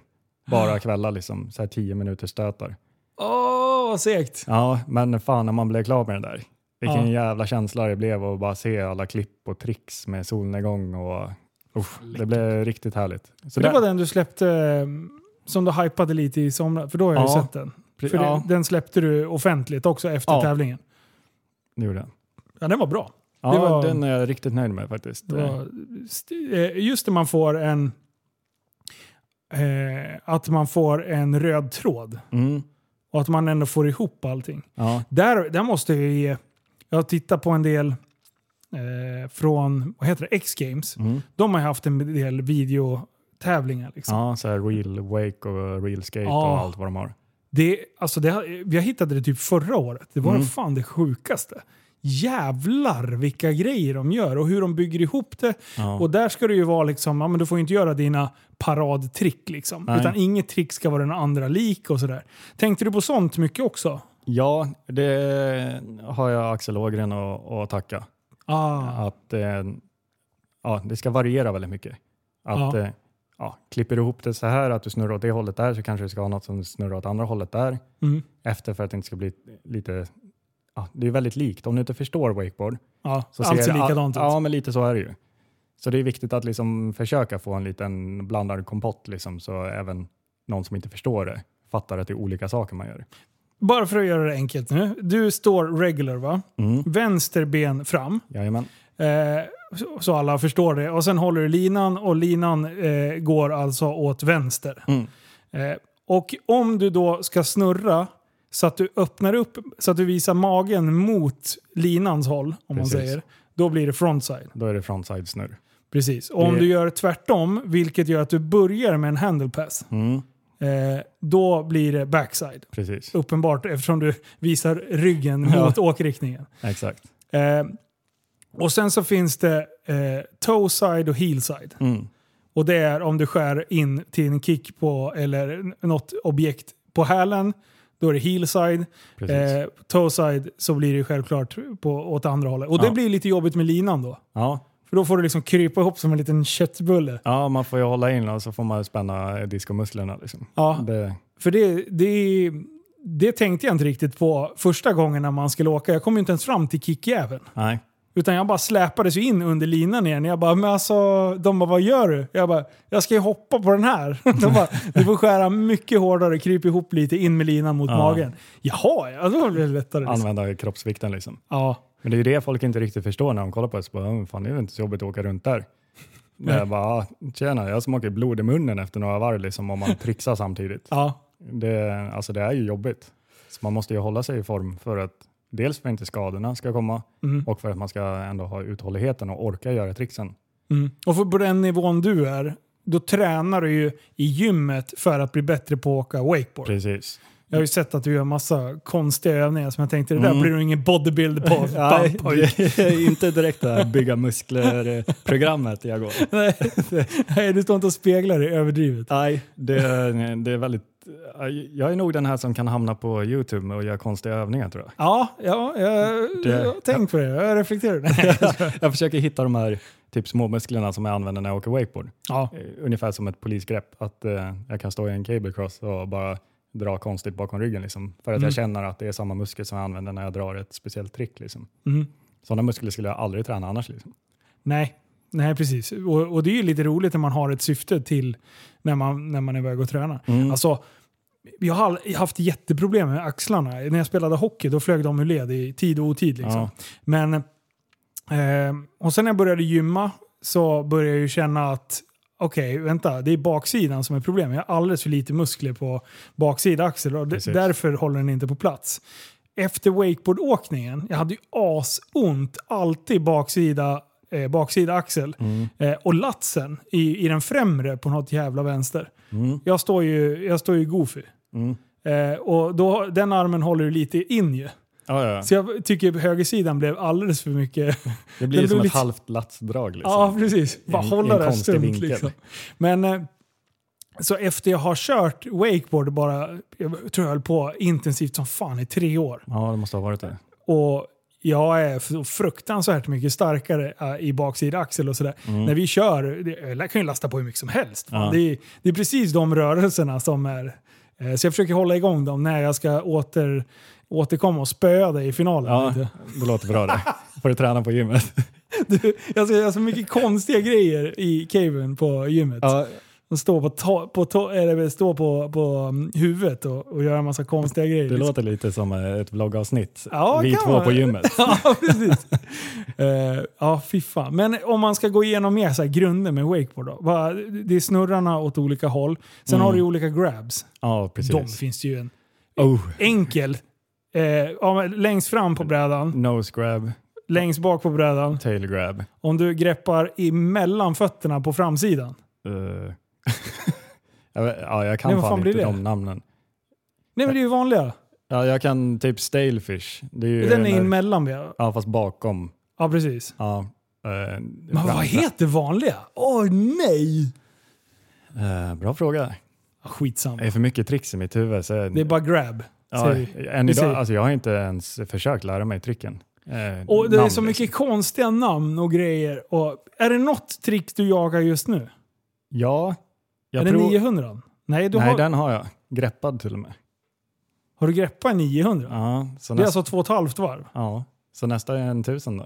Bara kvällar liksom, så här tio minuter stötar.
Åh, vad segt!
Ja, men fan när man blev klar med den där. Vilken jävla känsla det blev att bara se alla klipp och tricks med solnedgång och uff, det blev riktigt härligt. Så
Så det
där-
var den du släppte, eh, som du hypade lite i somras, för då har jag ju
Ja.
sett den.
pre-
För
ja,
den, den släppte du offentligt också efter
Ja.
tävlingen.
det gjorde jag.
Ja, den var bra.
Ja,
Det var-
den är jag riktigt nöjd med faktiskt.
Det var, st- eh, just när man får en... Eh, att man får en röd tråd
Mm,
och att man ändå får ihop allting.
ja,
Där, där måste jag ge... Jag tittar på en del eh, från, vad heter det, X-Games.
mm.
De har ju haft en del videotävlingar. Liksom.
ja, så här real wake och real skate
Ja.
och allt vad de har.
Det, alltså det, har- jag hittade det typ förra året. Det var
Mm.
fan det sjukaste. Jävlar vilka grejer de gör och hur de bygger ihop det.
Ja.
Och där ska det ju vara liksom, ja, men du får ju inte göra dina paradtrick liksom.
Nej.
Utan inget trick ska vara den andra lik och sådär. Tänkte du på sånt mycket också?
Ja, det har jag Axel Ågren att att tacka.
Ah,
Att, eh, ja, det ska variera väldigt mycket. Att,
Ja.
Eh, ja, klipper du ihop det så här, att du snurrar åt det hållet där, så kanske du ska ha något som snurrar åt andra hållet där.
mm,
Efter för att det inte ska bli lite... Ja, det är väldigt likt. Om du inte förstår wakeboard.
ja,
Så
allt
ser
ser
det-
likadant ut.
Ja, men lite så är det ju. Så det är viktigt att liksom försöka få en liten blandad kompott, liksom, så även någon som inte förstår det fattar att det är olika saker man gör.
Bara för att göra det enkelt nu. Du står regular va?
Mm.
Vänster ben fram.
Jajamän.
Eh, så- så alla förstår det. Och sen håller du linan och linan eh, går alltså åt vänster.
Mm.
Eh, och om du då ska snurra så att du öppnar upp, så att du visar magen mot linans håll, om
Precis.
man säger, då blir det frontside.
Då är det frontside-snurr.
Precis. Och om
Det-
du gör tvärtom, vilket gör att du börjar med en handle pass,
Mm.
eh, då blir det backside.
Precis,
Uppenbart eftersom du visar ryggen
Ja.
mot åkriktningen.
exakt.
Eh, och sen så finns det eh, toe side och heel side.
Mm.
Och det är om du skär in till en kick på, eller n- något objekt på hälen, då är det heel side.
Precis.
Eh, toe side så blir det självklart på, åt andra hållet. Och det
Ja.
blir lite jobbigt med linan då.
Ja.
För då får du liksom krypa ihop som en liten köttbulle.
ja, man får ju hålla in och så får man spänna diskomusklerna. Liksom.
Ja,
Det,
för det, det, det tänkte jag inte riktigt på första gången när man skulle åka. Jag kom ju inte ens fram till kickjäveln.
nej.
Utan jag bara släpades ju in under linan igen. Jag bara, men alltså, de bara, vad gör du? Jag bara, jag ska ju hoppa på den här. De bara, du får skära mycket hårdare, kryp ihop lite, in med linan mot
Ja.
magen. Jaha, ja, då blir det lättare. Liksom.
Använda kroppsvikten liksom.
Ja.
Men det är ju det folk inte riktigt förstår när de kollar på det. Så bara, "Mm, fan, det är väl inte så jobbigt att åka runt där.
Nej.
Jag bara, "Ah, tjena, jag smakar blod i munnen efter några varv liksom, om man trixar samtidigt.
ja.
Det, alltså, det är ju jobbigt. Så man måste ju hålla sig i form för att dels för att inte skadorna ska komma
Mm.
och för att man ska ändå ha uthålligheten och orka göra trixen.
Mm. Och för på den nivån du är, då tränar du ju i gymmet för att bli bättre på att åka wakeboard.
Precis.
Jag har ju sett att du gör massa konstiga övningar som jag tänkte, det där
Mm.
blir du ingen bodybuilder på.
Nej,
Bump och-
det är inte direkt det här bygga muskler-programmet jag går.
Nej, Nej, du står inte och speglar dig överdrivet.
Nej, det, är- det är väldigt... Jag är nog den här som kan hamna på YouTube och göra konstiga övningar tror jag.
Ja, ja jag,
Det-
jag har tänkt på det. Jag reflekterar.
Jag försöker hitta de här typ småmusklerna som jag använder när jag åker wakeboard.
ja.
Eh, Ungefär som ett polisgrepp, att eh, jag kan stå i en cable cross och bara dra konstigt bakom ryggen liksom. För att
Mm.
jag känner att det är samma muskel som jag använder när jag drar ett speciellt trick liksom.
Mm.
Sådana muskler skulle jag aldrig träna annars liksom.
Nej. Nej, precis. Och, och det är ju lite roligt när man har ett syfte till när man, när man är iväg och tränar.
Mm.
Alltså, jag har all- jag har haft jätteproblem med axlarna. När jag spelade hockey då flög de ur led i tid och otid. Liksom.
Ja.
Men Eh, och sen när jag började gymma så började jag ju känna att okej, vänta, det är baksidan som är problemet. Jag har alldeles för lite muskler på baksida axel och d-
Precis.
därför håller den inte på plats. Efter wakeboardåkningen, jag hade ju asont alltid baksida, eh, baksida axel eh, och latsen i, i den främre på något jävla vänster.
Mm.
Jag står ju, jag står ju goofy.
Mm.
Eh, och då, den armen håller ju lite in ju.
Ja, ja.
Så jag tycker högersidan blev alldeles för mycket
Det blir
det
ju som
blir
ett
lite-
halvt latsdrag. Liksom.
Ja, precis. Bara
en-
hålla
en
det
konstig
stumt
vinkel.
liksom. Men eh, så efter jag har kört wakeboard bara, jag tror jag höll på intensivt som fan i tre år.
ja, det måste ha varit det.
Och jag är så fruktansvärt mycket starkare eh, i baksida axel och sådär. När vi kör, det- jag kan ju lasta på hur mycket som helst. fan.
Mm. Ja.
Det, är, det är precis de rörelserna som är... eh, Så jag försöker hålla igång dem när jag ska åter, återkomma och spöa dig i finalen.
Ja,
vet du.
det låter bra det. Får du träna på gymmet.
Du, jag ser så mycket konstiga grejer i caven på gymmet.
Ja,
De står på, ta, på, ta, eller står på, på mm, huvudet och, och gör en massa konstiga grejer.
det
liksom.
låter lite som eh, ett vloggavsnitt.
Ja,
Vi
kan
två
man.
på gymmet.
ja, precis. Eh, ja, fy fan. Men om man ska gå igenom mer så här grunder med wakeboard då. Vad- Det är snurrarna åt olika håll. Sen
Mm.
har du ju olika grabs.
Ja,
De
precis.
finns det ju en
Oh,
enkel. Eh, ja, men längst fram på brädan,
nose grab,
längst bak på brädan.
tail grab.
Om du greppar emellan fötterna på framsidan.
Eh, jag vet- ja, jag kan
Nej, vad
fan,
fan blir
inte
det?
de namnen.
Nej men det är ju vanliga.
Ja, jag kan typ stalefish. Det är ju
Den är
när-
emellan. ja.
Ja, fast bakom.
Ja precis.
Ja, eh,
Men
fram-
vad heter vanliga? Åh nej!
Eh, bra fråga.
Ah, Skitsamma.
Det är för mycket tricks i mitt huvud. Så jag,
Det är bara grab.
ja,
säger vi.
än
Vi säger-
idag, alltså, jag har inte ens försökt lära mig tricken. Eh,
Och det är
namn,
så
liksom.
mycket konstiga namn och grejer. Och är det något trick du jagar just nu?
Ja, jag
är
tror...
det 900? Nej, du
Nej,
har,
den har jag. Greppad till och med.
har du greppat 900?
Ja, så,
Det är
nästa,
alltså två och ett halvt varv.
ja, så nästa är en tusen då.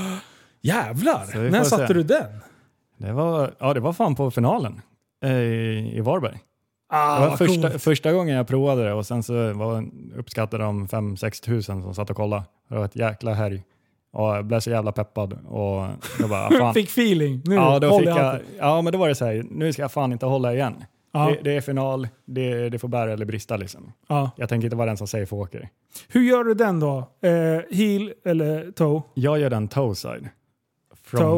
Så vi
Jävlar!
får
När
se.
satte du den?
Det var, ja, det var fan på finalen eh, i i Varberg.
Ah,
det var
vad
första,
coolt.
första gången jag provade det och sen så var, uppskattade de 5-6 tusen som satt och kollade. Det var ett jäkla härj. Och jag blev så jävla peppad. Och jag bara, fan.
Fick feeling. Nu
ja, då
håller
fick
jag
jag,
hatten.
ja, men då var det så här, nu ska jag fan inte hålla igen.
Ja,
Det, det är final, det, det får bära eller brista liksom.
ja.
Jag tänker inte vara den som säger för åker.
Hur gör du den då? Eh, heel eller toe?
Jag gör den toe side. From,
toe.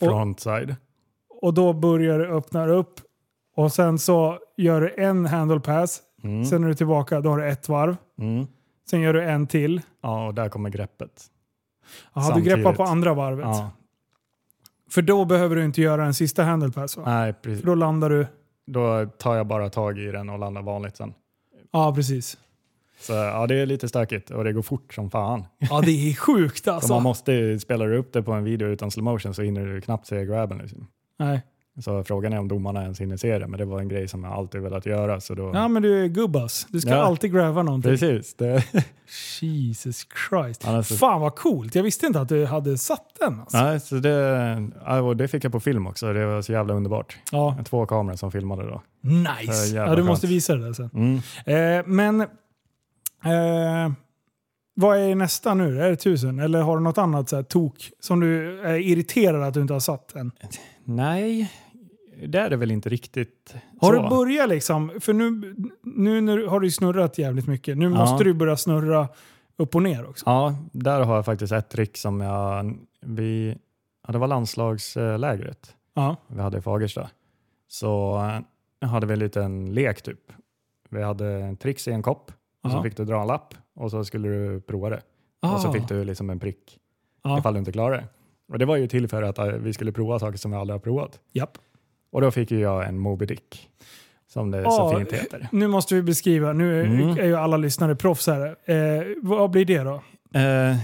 Och,
Front side.
och då börjar du öppna upp. Och sen så gör du en handle pass.
Mm.
Sen är du tillbaka, då har du ett varv.
Mm.
Sen gör du en till.
Ja, och där kommer greppet.
Jaha, du greppar
Samtidigt.
på andra varvet.
Ja.
För då behöver du inte göra en sista handlepass va?
Nej, precis.
För då landar du...
Då tar jag bara tag i den och landar vanligt sen.
Ja, precis.
Så ja, det är lite stökigt och det går fort som fan.
Ja, det är sjukt
Så
alltså.
man måste ju, spelar du upp det på en video utan slow motion så hinner du knappt se grabben. Liksom.
Nej.
Så frågan är om domarna ens hinner se det, men det var en grej som jag alltid velat göra. Så då...
Ja, men du är gubbas. Du ska
Ja.
alltid gräva någonting.
Precis. Det...
Jesus Christ.
Ja, alltså-
Fan vad coolt. Jag visste inte att du hade satt den. Alltså.
Nej, så det, ja, och det fick jag på film också. Det var så jävla underbart.
Ja,
Två kameror som filmade då. Det är
nice.
jävla
Ja, du måste
skönt.
visa det där sen.
Mm.
Eh, men... Eh, vad är nästa nu? Är det tusen? Eller har du något annat så här, tok som du är irriterad att du inte har satt än?
Nej, det är det väl inte riktigt.
Har
så.
du börjat liksom, för nu, nu när du, har du ju snurrat jävligt mycket, nu
Ja.
måste du börja snurra upp och ner också.
Ja, där har jag faktiskt ett trick som jag... Vi, ja, det var landslagslägret
Ja.
vi hade i Fagersta. Så eh, hade vi en liten lek typ. Vi hade en tricks i en kopp och så
Ja.
fick du dra en lapp och så skulle du prova det. Och så
Ah.
fick du liksom en prick
Ja.
ifall du inte klarade det. Och det var ju till för att eh, vi skulle prova saker som vi aldrig har provat.
Japp.
Och då fick ju jag en Moby Dick, som det
Ah.
så fint heter.
Nu måste vi beskriva, nu är,
Mm.
är ju alla lyssnare proffs här. Eh, vad blir det då?
Eh,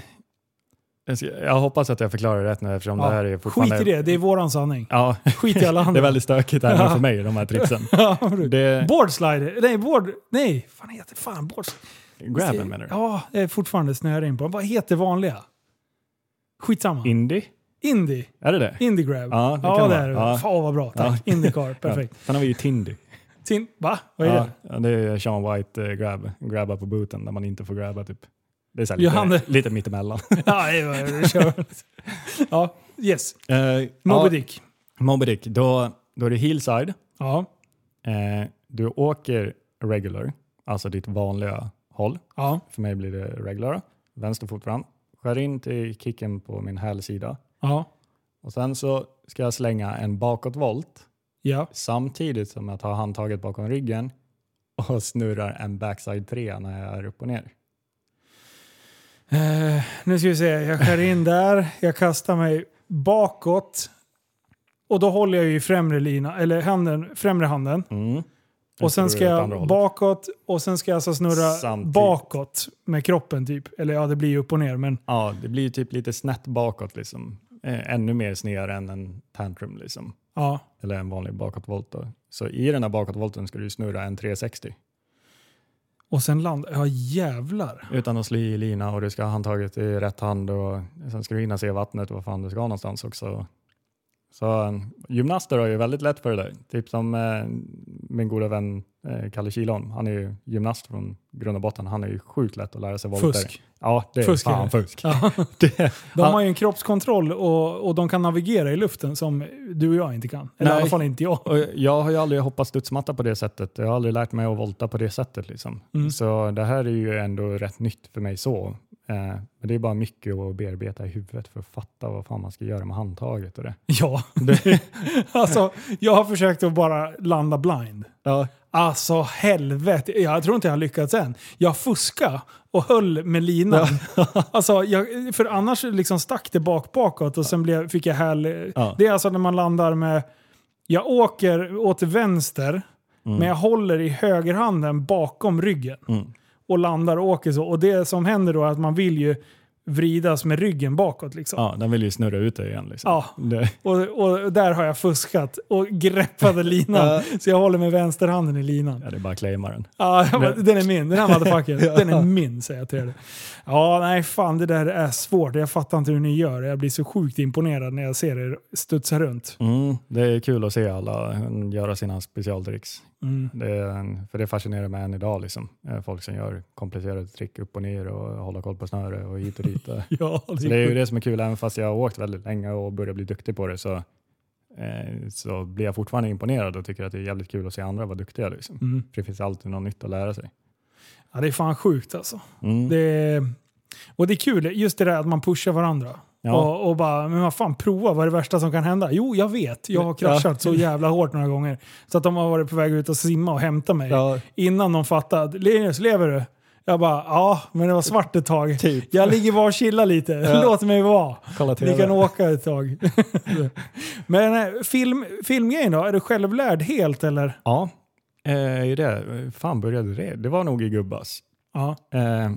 jag ska- jag hoppas att jag förklarar det rätt nu eftersom
Ja,
det här är
Skit
fortfarande...
i det, det är våran sanning.
Ja,
Skit i alla
det
andra.
är väldigt stökigt även för mig, de här tripsen. Det,
Boardslider, nej board, nej, fan heter fan boardslider?
grabben menar du?
Ja, jag är fortfarande snöar in på. Vad heter vanliga? Skitsamma.
Indie?
Indie.
Är det det?
Indie grab.
Ja, det
ja
kan
det
vara.
är det.
Ja.
Fan vad bra, tack. Indiecar, perfekt.
Ja. Sen har vi ju Tindy.
Sin, va? Vad är
Ja,
det?
ja, det är Sean White eh, grab. Grabba på booten där man inte får grabba typ. Det är så här lite,
Johanne.
lite mittemellan.
Ja, det var- vi kör. ja, yes.
Eh,
Moby
ja,
Dick.
Moby Dick. Då, då är det hillside.
Ja,
Eh, du åker regular, alltså ditt vanliga håll.
ja,
För mig blir det regular. Vänster fot fram. Skär in till kicken på min hälsida.
ja,
Och sen så ska jag slänga en bakåtvolt
ja.
samtidigt som jag tar handtaget bakom ryggen och snurrar en backside 3 när jag är upp och ner.
Eh, nu ska vi se, jag skär in där, jag kastar mig bakåt. Och då håller jag ju i främre lina, eller handen, främre handen.
Nu
Och sen ska
snurrar du åt andra
jag
hållet.
bakåt och sen ska jag alltså snurra
Samtidigt.
bakåt med kroppen typ. Eller ja, det blir ju upp och ner men
Ja, det blir ju typ lite snett bakåt liksom. Eh, Ännu mer snedare än en tantrum liksom.
ja.
Eller en vanlig bakåtvolt då. Så i den här bakåtvolten ska du snurra en 360
Och sen landar Ja jävlar.
utan att slå i lina och du ska ha handtaget i rätt hand och sen ska du hinna se vattnet och vad fan du ska någonstans också. Så eh, gymnaster har ju väldigt lätt för det där. Typ som eh, min goda vän eh, Kalle Kilon. Han är ju gymnast från grund och botten. Han är ju sjukt lätt att lära sig volter.
Fusk.
Ja, det är
Fusk är
fan
det.
fusk.
Ja.
Det,
De har ju en kroppskontroll och, och de kan navigera i luften som du och jag inte kan. Eller i
Nej.
alla fall inte jag.
Och jag har ju aldrig hoppat studsmatta på det sättet. Jag har aldrig lärt mig att volta på det sättet. Liksom.
Mm.
Så det här är ju ändå rätt nytt för mig så. Eh, men det är bara mycket att bearbeta i huvudet för att fatta vad fan man ska göra med handtaget och det.
Ja. alltså, jag har försökt att bara landa blind.
Ja,
Alltså helvete, jag tror inte jag har lyckats än. Jag fuskade och höll med linan. alltså, jag, för annars liksom stack det bak bakåt och sen blev, fick jag häl...
Ja.
Det är alltså när man landar med... Jag åker åt vänster, men jag håller i högerhanden bakom ryggen.
Mm.
Och landar och åker så. Och det som händer då är att man vill ju vridas med ryggen bakåt. Liksom.
ja den vill ju snurra ut det igen. Liksom.
Ja.
Det,
Och, och där har jag fuskat och greppade linan. så jag håller med vänsterhanden i linan.
ja, det är bara att claima den.
Ja, jag bara,
Men-
den är min. Den här motherfuckern. Den är min, säger jag till er. Ja, nej fan det där är svårt. Jag fattar inte hur ni gör. Jag blir så sjukt imponerad när jag ser er studsa runt.
Mm, det är kul att se alla eh, göra sina specialtricks.
Mm.
Det är, för det fascinerar mig än idag. Liksom. Eh, Folk som gör komplicerade trick upp och ner och håller koll på snöre och hit och dit.
Ja,
Så Alltså, det är ju det som är kul, även fast jag har åkt väldigt länge och börjat bli duktig på det så, eh, så blir jag fortfarande imponerad och tycker att det är jävligt kul att se andra vara duktiga. Liksom.
Mm.
För det finns alltid något nytt att lära sig.
ja, det är fan sjukt alltså.
Mm.
Det är, och det är kul, just det där att man pushar varandra.
ja.
Och, och bara, men vad fan prova, vad är det värsta som kan hända? Jo, jag vet. Jag har kraschat så jävla hårt några gånger. Så att de har varit på väg ut och simma och hämta mig.
Ja,
Innan de fattade, Linus lever du? Jag bara, ja, men det var svart ett tag.
typ.
Jag ligger bara och chillar lite. Låt mig vara.
Kolla
Ni kan
TV.
åka ett tag. Men eh, film, filmgrejen då? Är du självlärd helt eller?
Ja, eh, i det. Fan började det? Det var nog i Gubbas.
Ja.
Eh,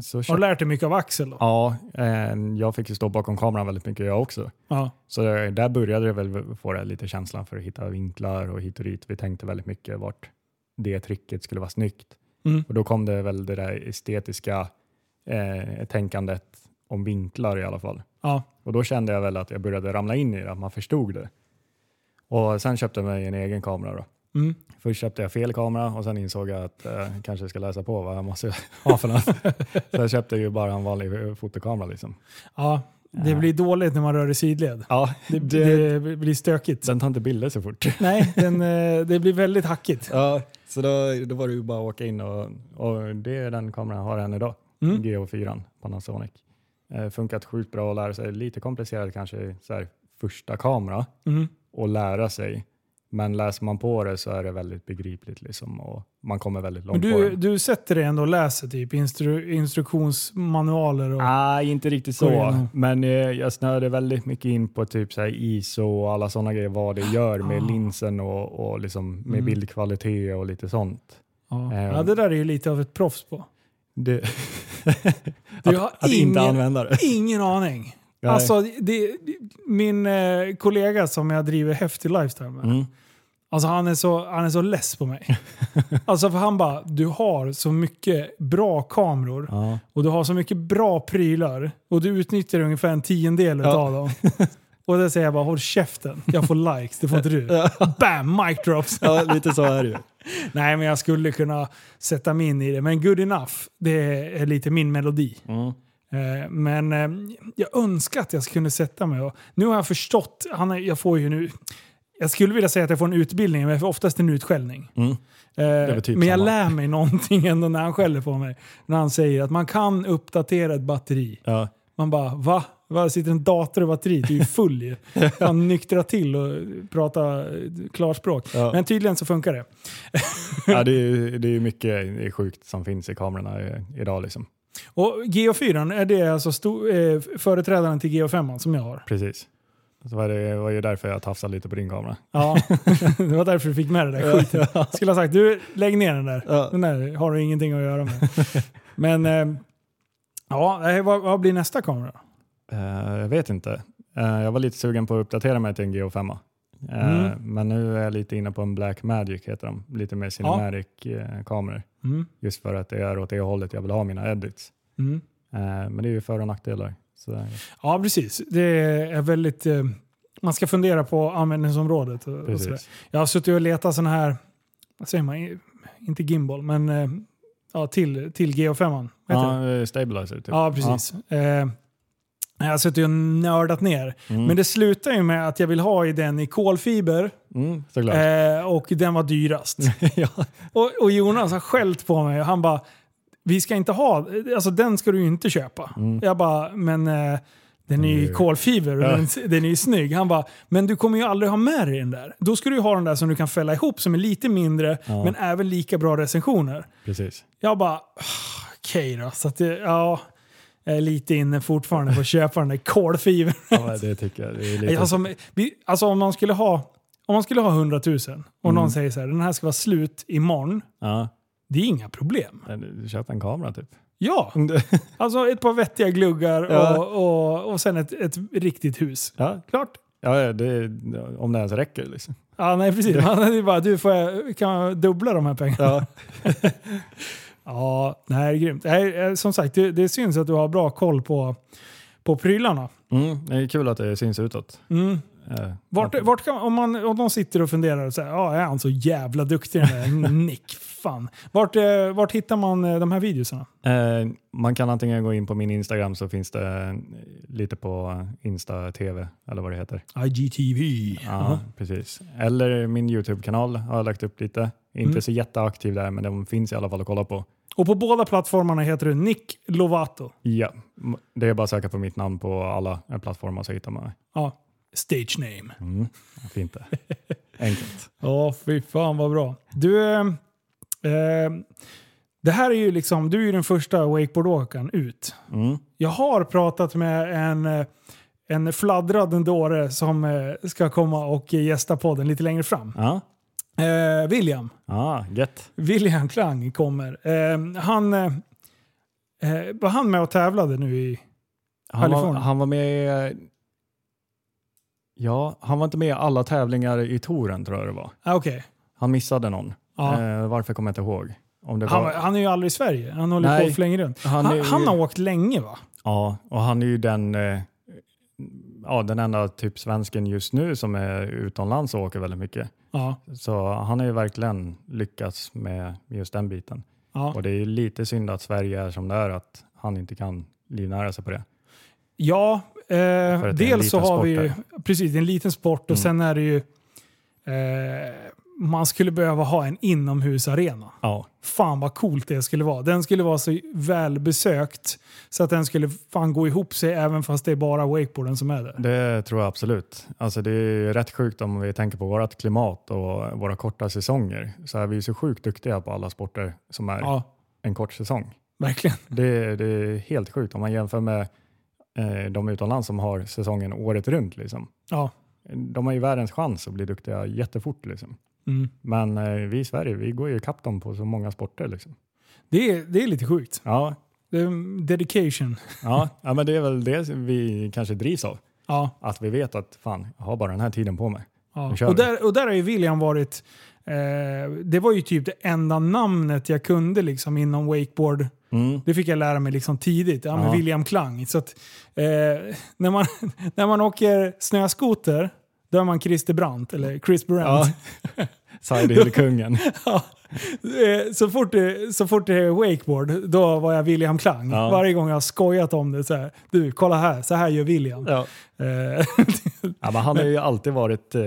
så
Har
köpt,
du lärt dig mycket av Axel då?
ja, eh, jag fick ju stå bakom kameran väldigt mycket jag också.
Ja.
Så det- där började det väl få det lite känslan för att hitta vinklar och hit och dit. Vi tänkte väldigt mycket vart det tricket skulle vara snyggt.
Mm.
Och då kom det väl det där estetiska eh, tänkandet om vinklar i alla fall.
Ja.
Och då kände jag väl att jag började ramla in i det, att man förstod det. Och sen köpte jag mig en egen kamera. Då.
Mm.
Först köpte jag fel kamera och sen insåg jag att eh, jag kanske ska läsa på vad jag måste ha för något. Så jag köpte ju bara en vanlig eh, fotokamera. Liksom.
ja. Det blir dåligt när man rör i sidled.
Ja,
Det,
det,
det blir stökigt.
den tar inte bilder så fort.
Nej, den, eh, det blir väldigt hackigt.
Ja, så då, då var det ju bara att åka in och, och det är den kameran jag har än idag.
Mm.
GH4 Panasonic. Eh, funkat sjukt bra att lära sig. Lite komplicerat kanske så här, första kamera
Mm.
och lära sig. Men läser man på det så är det väldigt begripligt liksom och man kommer väldigt
Men
långt på
du,
den.
du sätter dig ändå och läser typ instru, instruktionsmanualer och...
Nej, inte riktigt
Går
så.
igenom.
Men eh, jag snöade väldigt mycket in på typ så här ISO och alla sådana grejer. Vad det gör med
Ah.
linsen och, och liksom med
Mm.
bildkvalitet och lite sånt.
Ja.
eh.
ja, det där är ju lite av ett proffs på.
Det,
Du
att,
har
att inte
ingen-
använda det.
Ingen aning.
Nej.
Alltså, det, min eh, kollega som jag driver Häftig Lifestyle med,
Mm.
alltså, han, är så, han är så less på mig. alltså, för han bara, du har så mycket bra kameror
Ja.
och du har så mycket bra prylar och du utnyttjar ungefär en tiondel
Ja.
av dem. Och då säger jag bara håll käften, jag får likes, det får inte du.
Ja.
Bam! Mic drops.
Ja, lite så är det ju.
Nej, men jag skulle kunna sätta mig in i det. Men good enough, det är lite min melodi.
Mm.
Eh, Men eh, jag önskar att jag kunde sätta mig. Och nu har jag förstått, han är, jag får ju nu... Jag skulle vilja säga att jag får en utbildning, men jag får oftast en utskällning.
Mm.
Eh,
väl typ
men jag
samma.
lär mig någonting ändå när han skäller på mig. När han säger att man kan uppdatera ett batteri.
Ja.
Man bara va? Var sitter en dator och batteri? Du är ju full ju. Han nyktra till och prata klarspråk.
Ja.
Men tydligen så funkar det.
ja, det är ju det är ju mycket det är sjukt som finns i kamerorna i- idag. Liksom.
Och GH4 är det alltså stor, eh, företrädaren till GH5 som jag har.
Precis. Så var det var ju därför jag tafsade lite på din kamera.
Ja, det var därför du fick med det där skiten. Skulle ha sagt du, lägg ner den där.
Ja.
Den där har du ingenting att göra med. Men eh, ja, eh, vad, vad blir nästa kamera? då?
Eh, jag vet inte. Eh, jag var lite sugen på att uppdatera mig till en GH5. Eh,
Mm.
Men nu är jag lite inne på en Black Magic heter de. Lite mer cinematic-kameror.
Mm.
Just för att det är åt det hållet jag vill ha mina edits.
Mm.
Eh, men det är ju för och nackdelar. Så, eh,
Ja, precis. Det är väldigt... Eh, man ska fundera på användningsområdet. och- Och sådär.
precis.
jag har suttit och letat sådana här, vad säger man, I- inte gimbal, men eh, ja, till, till GH5. Vad heter det?
Ja, eh, stabilizer typ.
Ja, precis. Eh, jag har suttit och nördat ner.
Ja. Mm.
Men det slutar ju med att jag vill ha i den i kolfiber
mm, såklart.
eh, och den var dyrast. och, och Jonas har skällt på mig och han bara, vi ska inte ha, alltså den ska du ju inte köpa.
Mm.
Jag bara, men eh, den är ju i
Mm.
kolfiber och
Ja.
den, den är ju snygg. Han bara, men du kommer ju aldrig ha med dig den där. Då ska du ju ha den där som du kan fälla ihop som är lite mindre
Ja.
men även lika bra recensioner.
Precis.
Jag bara, "Ah, okej då. Så att det, ja, jag är lite inne fortfarande på att köpa den där kolfibern.
Ja, det tycker jag. Det är lite...
Alltså, men vi- alltså om man skulle ha, om man skulle ha 100 000 och
Mm.
någon säger så här, den här ska vara slut imorgon.
ja.
Det är inga problem.
men Köp en kamera typ.
Ja, alltså ett par vettiga gluggar och,
Ja.
och, och sen ett, ett riktigt hus.
Ja,
Klart.
ja ja, det, om det ens räcker liksom.
Ja, nej precis. Man hade ju bara, du får jag, kan jag dubbla de här pengarna?
Ja.
Ja, nej det är grymt. Nej, eh, som sagt, det, det syns att du har bra koll på, på prylarna.
Mm, det är kul att det syns utåt.
Mm.
Eh,
Vart,
att-
vart kan, om, man, om någon sitter och funderar och säger ja är han så jävla duktig den där Nick? Fan. Vart, eh, vart hittar man eh, de här videorna?
Eh, man kan antingen gå in på min Instagram så finns det eh, lite på Insta TV eller vad det heter.
IGTV.
Ja, precis. Eller min YouTube-kanal har jag lagt upp lite. Inte
Mm.
så jätteaktiv där men de finns i alla fall att kolla på.
Och på båda plattformarna heter du Nick Lovato.
Ja, m- det är bara att söka på mitt namn på alla eh, plattformar så hittar man mig.
Ja, stage name.
Mm. Fint det. Enkelt.
Ja, fy fan vad bra. Du, eh, eh, det här är ju liksom, du är ju den första wakeboardåkaren ut.
Mm.
Jag har pratat med en, eh, en fladdrad dåre som eh, ska komma och gästa podden lite längre fram.
Ja,
Eh, William.
ah, gött.
William Klang kommer. Eh, han eh, eh, var han med och tävlade nu i...
Han var,
Kalifornien.
han var med... Ja, han var inte med i alla tävlingar i touren tror jag det var.
Ah, Okej.
Han missade någon.
Ja.
Eh, varför kommer jag inte ihåg. Om det
han,
var,
var- han är ju aldrig i Sverige. Han håller
Nej.
på för länge runt.
han,
Han,
är ju-
han, har åkt länge va?
Ja, och han är ju den, eh, ja, den enda typ svensken just nu som är utomlands och åker väldigt mycket.
Ja.
Så han har ju verkligen lyckats med just den biten.
ja.
Och det är ju lite synd att Sverige är som det är, att han inte kan livnära sig på det.
ja
att det är
eh,
en
dels så
liten
har vi
sport
ju... Precis, det är en liten sport och
Mm.
sen är det ju... Eh, man skulle behöva ha en inomhusarena.
Ja,
Fan vad coolt det skulle vara. Den skulle vara så välbesökt så att den skulle fan gå ihop sig även fast det är bara wakeboarden som är där.
det tror jag absolut. Alltså det är ju rätt sjukt om vi tänker på vårt klimat och våra korta säsonger. Så är vi ju så sjukt duktiga på alla sporter som är
Ja,
en kort säsong.
verkligen.
Det, det är helt sjukt om man jämför med eh, de utomlands som har säsongen året runt. Liksom.
Ja.
De har ju världens chans att bli duktiga jättefort. Liksom.
Mm.
Men eh, vi i Sverige, vi går ju ikapp dem på så många sporter. Liksom.
Det är, det är lite sjukt.
Ja,
Det är dedication.
ja, ja, men det är väl det vi kanske drivs av.
Ja,
Att vi vet att fan, jag har bara den här tiden på mig.
ja.
Nu kör
Och,
vi.
där, och där har ju William varit... Eh, det var ju typ det enda namnet jag kunde liksom inom wakeboard.
Mm.
Det fick jag lära mig liksom tidigt, ja, med
Ja.
William Klang. Så att, eh, när, man, när man åker snöskoter, då är man Christer Brandt, eller Chris Brandt.
Ja. Sidehill-kungen.
Ja. Eh, Så fort, det- så fort det är wakeboard, då var jag William Klang.
Ja.
Varje gång jag har skojat om det så här. Du, kolla här, så här gör William.
ja.
Eh,
Ja, men han har ju alltid varit eh,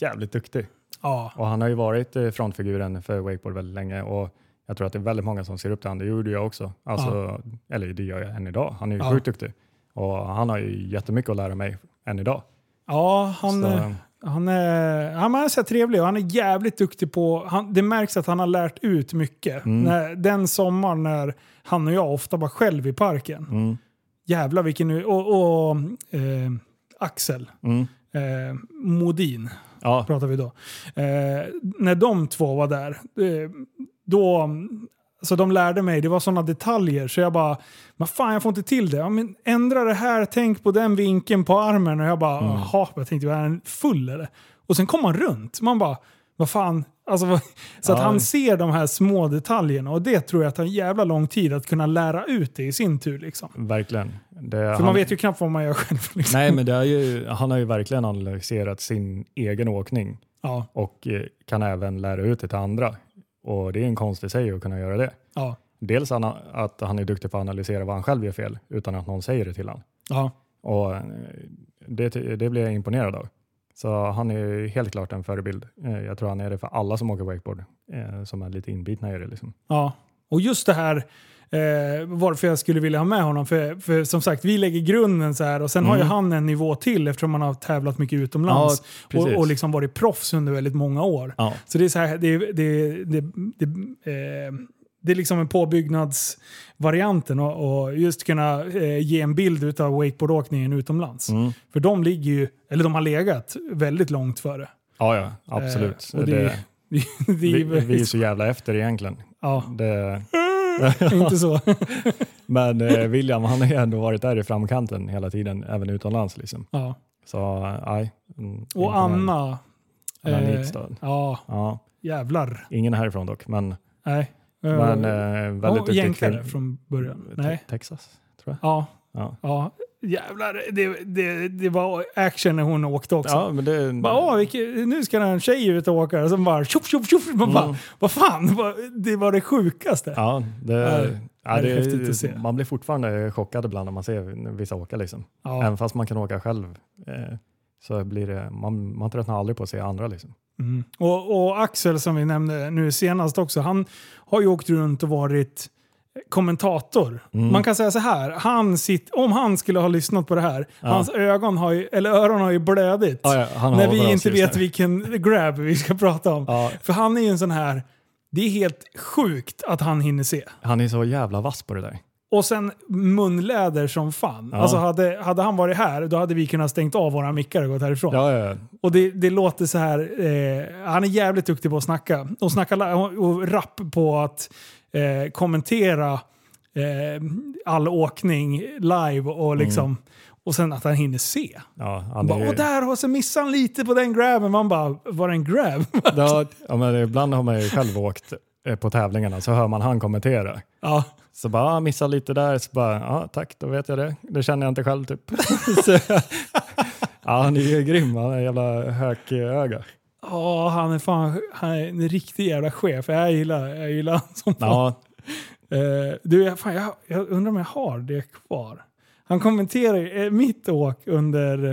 jävligt duktig.
ja.
Och han har ju varit eh, frontfiguren för wakeboard väldigt länge och jag tror att det är väldigt många som ser upp till honom. Det gjorde jag också. Alltså, Eller det gör jag än idag. Han är ju
Ja.
sjukt duktig. Och han har ju jättemycket att lära mig än idag.
ja, han,
Så,
eh, han är, han är så här trevlig och han är jävligt duktig på... Han, det märks att han har lärt ut mycket.
Mm.
När, den sommaren när han och jag ofta var själv i parken.
mm,
Jävlar vilken... nu- Och, och eh, Axel
mm.
eh, Modin.
Ja,
pratar vi då. Eh, när de två var där, eh, då... Så de lärde mig, det var sådana detaljer så jag bara, men fan jag får inte till det. Ja, men ändra det här, tänk på den vinkeln på armen. Och jag bara, jaha, jag tänkte, är han full eller? Och sen kom han runt. Man bara, vad fan. Alltså, vad- så att
Ja.
han ser de här små detaljerna och det tror jag tar jävla lång tid att kunna lära ut det i sin tur. Liksom.
verkligen. Det,
För man vet ju knappt vad man gör själv. Liksom.
Nej, men det är ju, han har ju verkligen analyserat sin egen åkning
Ja,
och eh, kan även lära ut det till andra. Och det är en konst i sig att kunna göra det.
ja,
Dels han- att han är duktig på att analysera vad han själv gör fel utan att någon säger det till honom.
ja.
Och eh, det, det blir jag imponerad av. Så han är ju helt klart en förebild. Eh, Jag tror han är det för alla som åker wakeboard, eh, som är lite inbitna i det. Liksom.
Ja, och just det här eh, varför jag skulle vilja ha med honom. För, för som sagt, vi lägger grunden så här och sen har ju
Mm.
han en nivå till eftersom han har tävlat mycket utomlands
Ja,
och,
precis.
och liksom varit proffs under väldigt många år.
Ja.
Så det är så här, det, det, det, det, eh, det är liksom en påbyggnadsvarianten och, och just kunna eh, ge en bild av wakeboardåkningen utomlands.
Mm.
För de ligger ju, eller de har legat väldigt långt före.
ja, ja, absolut.
Eh, och det-
det,
Det är
vi,
ju-
vi är så jävla efter egentligen.
ja,
Det,
inte så.
men eh, William, han har ju ändå varit där i framkanten hela tiden, även utomlands. Liksom.
Ja.
Så eh, nej. Mm,
Och
imponerande.
Anna.
Anna
eh,
Nikstad.
Ja,
Ja,
jävlar.
ingen härifrån dock, men,
Nej.
men
Eh,
eh,
hon
väldigt duktig Mm, typ.
jänkare
kvinna.
från början.
Te-
Nej.
Texas, tror jag.
Ja,
Ja.
ja. Jävlar, det, det, det var action när hon åkte också.
Ja, men det,
Bara, åh, vilken, nu ska en tjej ut och åka och sen bara tjoff, tjoff, tjoff. Man bara,
Mm.
Vad fan, Vad- det var det sjukaste.
Ja, det,
är-
ja,
det
det
är häftigt att se.
Man blir fortfarande chockad ibland när man ser vissa åka. Liksom.
Ja.
Även fast man kan åka själv eh, så blir det, man, man tröttnar aldrig på att se andra. Liksom.
Mm. Och, och Axel som vi nämnde nu senast också, han har ju åkt runt och varit kommentator.
Mm.
Man kan säga så här, han sitt, om han skulle ha lyssnat på det här,
Ja.
hans ögon har ju, eller öron har ju blödit.
Ja, ja, han
när
har
vi
oss
inte
just
vet
nu.
vilken grab vi ska prata om.
Ja,
För han är ju en sån här, det är helt sjukt att han hinner se.
han är så jävla vass på det där.
Och sen munläder som fan.
Ja.
Alltså hade, hade han varit här, då hade vi kunnat stängt av våra mickar och gått härifrån.
Ja, ja, ja.
Och det, det låter så här, eh, han är jävligt duktig på att snacka. Och snacka la- och rapp på att eh, kommentera eh, all åkning live och liksom. Och sen att han hinner se.
ja,
Han
han
bara,
är,
Åh, där har så missade han lite på den grabben. Man bara, var det en grab?
ja, ja, men ibland har man ju själv åkt eh, på tävlingarna så hör man han kommentera.
ja.
Så bara, ah, missa lite där, så bara, ja tack, då vet jag det. Det känner jag inte själv typ. så, ja, han är ju grym, han är jävla hököga.
Ja, han är fan han är en riktig jävla chef. Jag gillar, jag gillar han som fan.
Ja,
Eh, du, jag, fan, jag, jag undrar om jag har det kvar. Han kommenterar ju, eh, mitt åk under,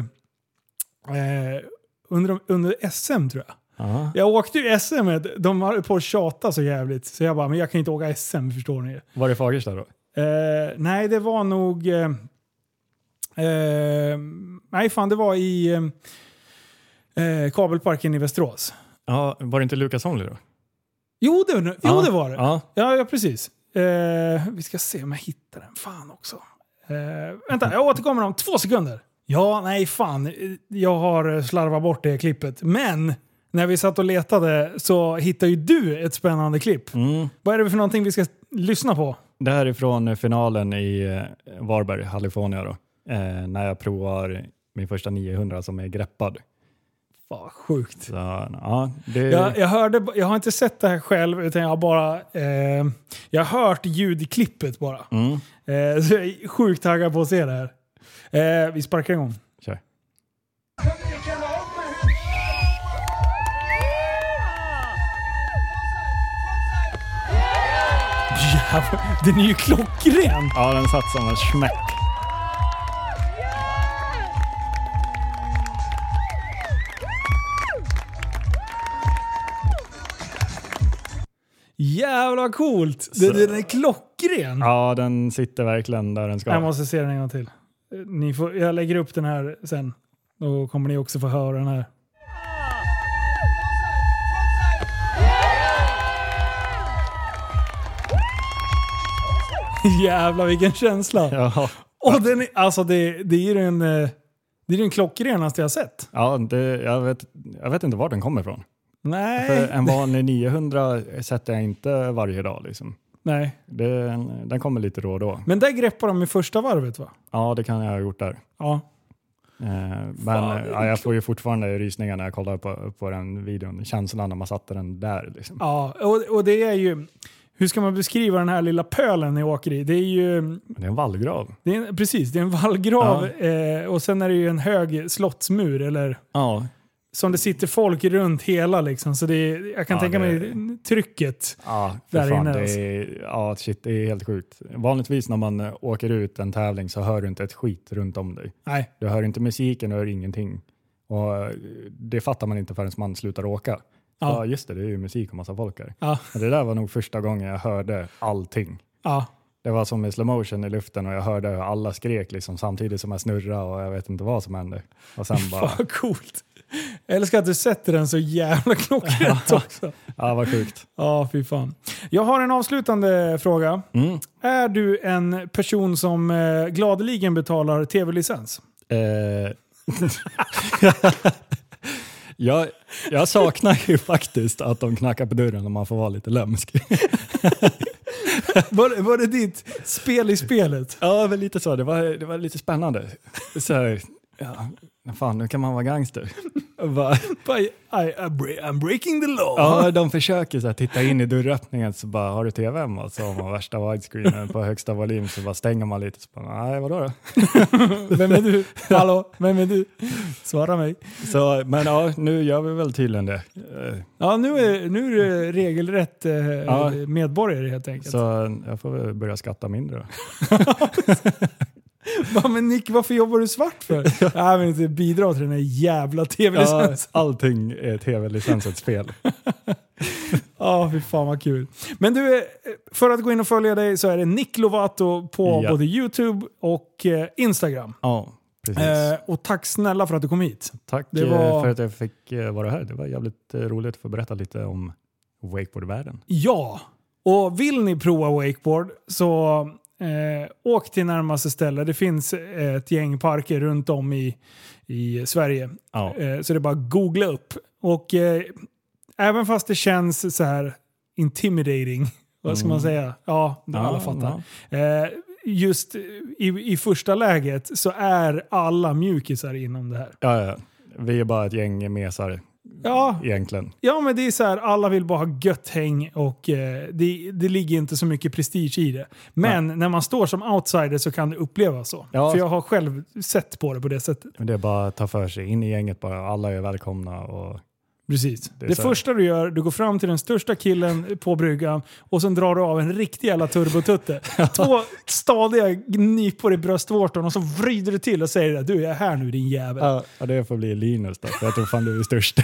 eh, under, under SM tror jag.
ja.
Jag åkte ju SM, et, de var på att tjata så jävligt. Så jag bara, men jag kan inte åka SM förstår ni.
Var det Fagersta då?
Eh, nej, det var nog... Eh, eh, nej, fan det var i eh, eh, kabelparken i Västerås.
Ja, var det inte Lukas Holmley då?
Jo, det, jo,
Ja.
det var det.
Ja,
Ja, ja precis. Eh, vi ska se om jag hittar den. Fan också. Eh, vänta, jag återkommer om två sekunder. Ja, nej fan. Eh, Jag har slarvat bort det klippet. Men när vi satt och letade så hittade ju du ett spännande klipp.
mm.
Vad är det för någonting vi ska lyssna på?
det här är från finalen i eh, Varberg, California då. Eh, när jag provar min första 900 som är greppad.
Fan vad sjukt.
Så, ja, det,
Jag, jag, hörde, jag har inte sett det här själv, utan jag har bara eh, jag har hört ljudklippet bara.
Mm,
Eh, så jag är sjukt taggad på att se det här. Eh, vi sparkar igång.
kör.
Kunde ni kalla upp mig?
Jävlar, den är ju klockren!
Ja, den satt som en smäck.
Jävlar vad coolt! Den, den är klockren!
Ja, den sitter verkligen där den ska.
Jag måste se den en gång till. Eh, Ni får, jag lägger upp den här sen. Då kommer ni också få höra den här. Jävlar vilken känsla!
Ja,
Och den är, alltså det, det är ju den, eh, det är den klockrenaste jag sett.
ja det, jag, vet, jag vet inte var den kommer ifrån. För
Nej.
en vanlig 900 sätter jag inte varje dag. Liksom.
Nej.
Det, den kommer lite då och då.
Men där greppar de i första varvet va?
Ja, det kan jag ha gjort där.
Ja.
Eh, Men
Fan,
eh, ja, jag får ju fortfarande rysningar när jag kollar på, på den videon. Känslan när man satte den där. Liksom.
ja. Och, och det är ju... Hur ska man beskriva den här lilla pölen ni åker i? Det är ju...
Men Det är en vallgrav.
Det är en, precis, det är en vallgrav eh, och sen är det ju en hög slottsmur eller
Ja,
som det sitter folk runt hela liksom. Så det är, jag kan
Ja,
tänka
det-
mig trycket.
Ja, för
Där
fan,
inne
det
alltså.
är, ja, shit, det är helt sjukt. Vanligtvis när man eh, åker ut en tävling så hör du inte ett skit runt om dig.
Nej.
Du hör inte musiken, du hör ingenting. Och eh, det fattar man inte förrän man slutar åka.
Ja.
Ja, just det, det är ju musik och massa folk här.
Ja.
Men det där var nog första gången jag hörde allting.
Ja.
Det var som i slow motion i luften och jag hörde hur alla skrek liksom, samtidigt som jag snurrade och jag vet inte vad som hände. Och sen bara,
Fan vad coolt. Jag älskar att du sätter den så jävla klockrent också.
ja vad sjukt.
Ja, fy fan. Jag har en avslutande fråga.
Mm.
Är du en person som eh, gladeligen betalar tv-licens?
Eh, jag, jag saknar ju faktiskt att de knackar på dörren och man får vara lite lömsk.
Var, var det ditt spel i spelet?
Ja, men lite så. Det var, det var lite spännande. Så här, ja, fan, nu kan man vara gangster. Bara,
I, I, I'm breaking the law.
ja, de försöker så här, titta in i dörröppningen så bara, har du tv hemma? Och Så har man värsta widescreenen på högsta volym så bara stänger man lite. Så bara, nej, vadå då?
Vem är du? Hallå, vem är du? Svara mig.
Så, men ja, nu gör vi väl tydligen det. Eh,
Ja, nu är, nu är du regelrätt eh,
Ja.
medborgare helt enkelt.
Så jag får väl börja skatta mindre då.
Va, men Nick, varför jobbar du svart för? Nej, men inte bidra till den här jävla
Ja,
tv-licensen.
allting är tv-licensens fel.
Ja, fy fan vad kul. Men du, eh, för att gå in och följa dig så är det Nick Lovato på
Ja.
både YouTube och eh, Instagram.
Ja, precis.
Eh, och tack snälla för att du kom hit.
Tack
det
eh,
var-
för att jag fick eh, vara här. Det var jävligt eh, roligt att få berätta lite om wakeboardvärlden.
Ja, och vill ni prova wakeboard så eh, åk till närmaste ställe. Det finns eh, ett gäng parker runt om i, i Sverige.
Ja,
Eh, så det är bara att googla upp. Och eh, även fast det känns så här intimidating, vad ska man säga? Mm. Ja, det alla fattar. Eh, just i, i första läget så är alla mjukisar inom det här.
Ja, ja. Vi är bara ett gäng mesar
Ja,
egentligen.
Ja, men det är så här, alla vill bara ha gött häng och eh, det, det ligger inte så mycket prestige i det. Men när man står som outsider så kan det upplevas så.
Ja.
För jag har själv sett på det på det sättet.
Men Det är bara att ta för sig in i gänget bara. Alla är välkomna. Och...
Precis. Det,
är så här.
första du gör, du går fram till den största killen på bryggan och sen drar du av en riktig jävla turbotutte. Två stadiga nypor i bröstvårtan och så vrider du till och säger du jag är här nu din jävel.
Ja, ja, det får bli Linus då, för jag tror fan du är störst.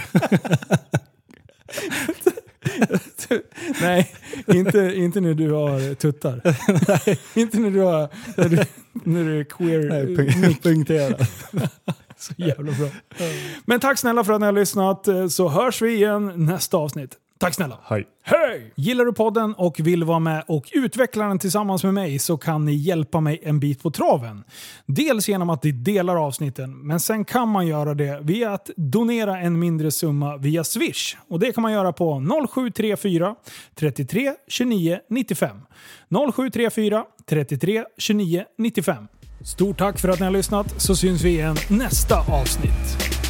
Nej, inte, inte när du har tuttar. inte när du har... När du, när du är queer.
Punktera.
Så jävla bra. Men tack snälla för att ni har lyssnat, eh, så hörs vi igen nästa avsnitt. Tack snälla!
Hej.
Hej! Gillar du podden och vill vara med och utveckla den tillsammans med mig så kan ni hjälpa mig en bit på traven. Dels genom att ni delar avsnitten, men sen kan man göra det via att donera en mindre summa via Swish. Och det kan man göra på 0734 33 29 95. 0734 33 29 95. Stort tack för att ni har lyssnat så syns vi igen nästa avsnitt.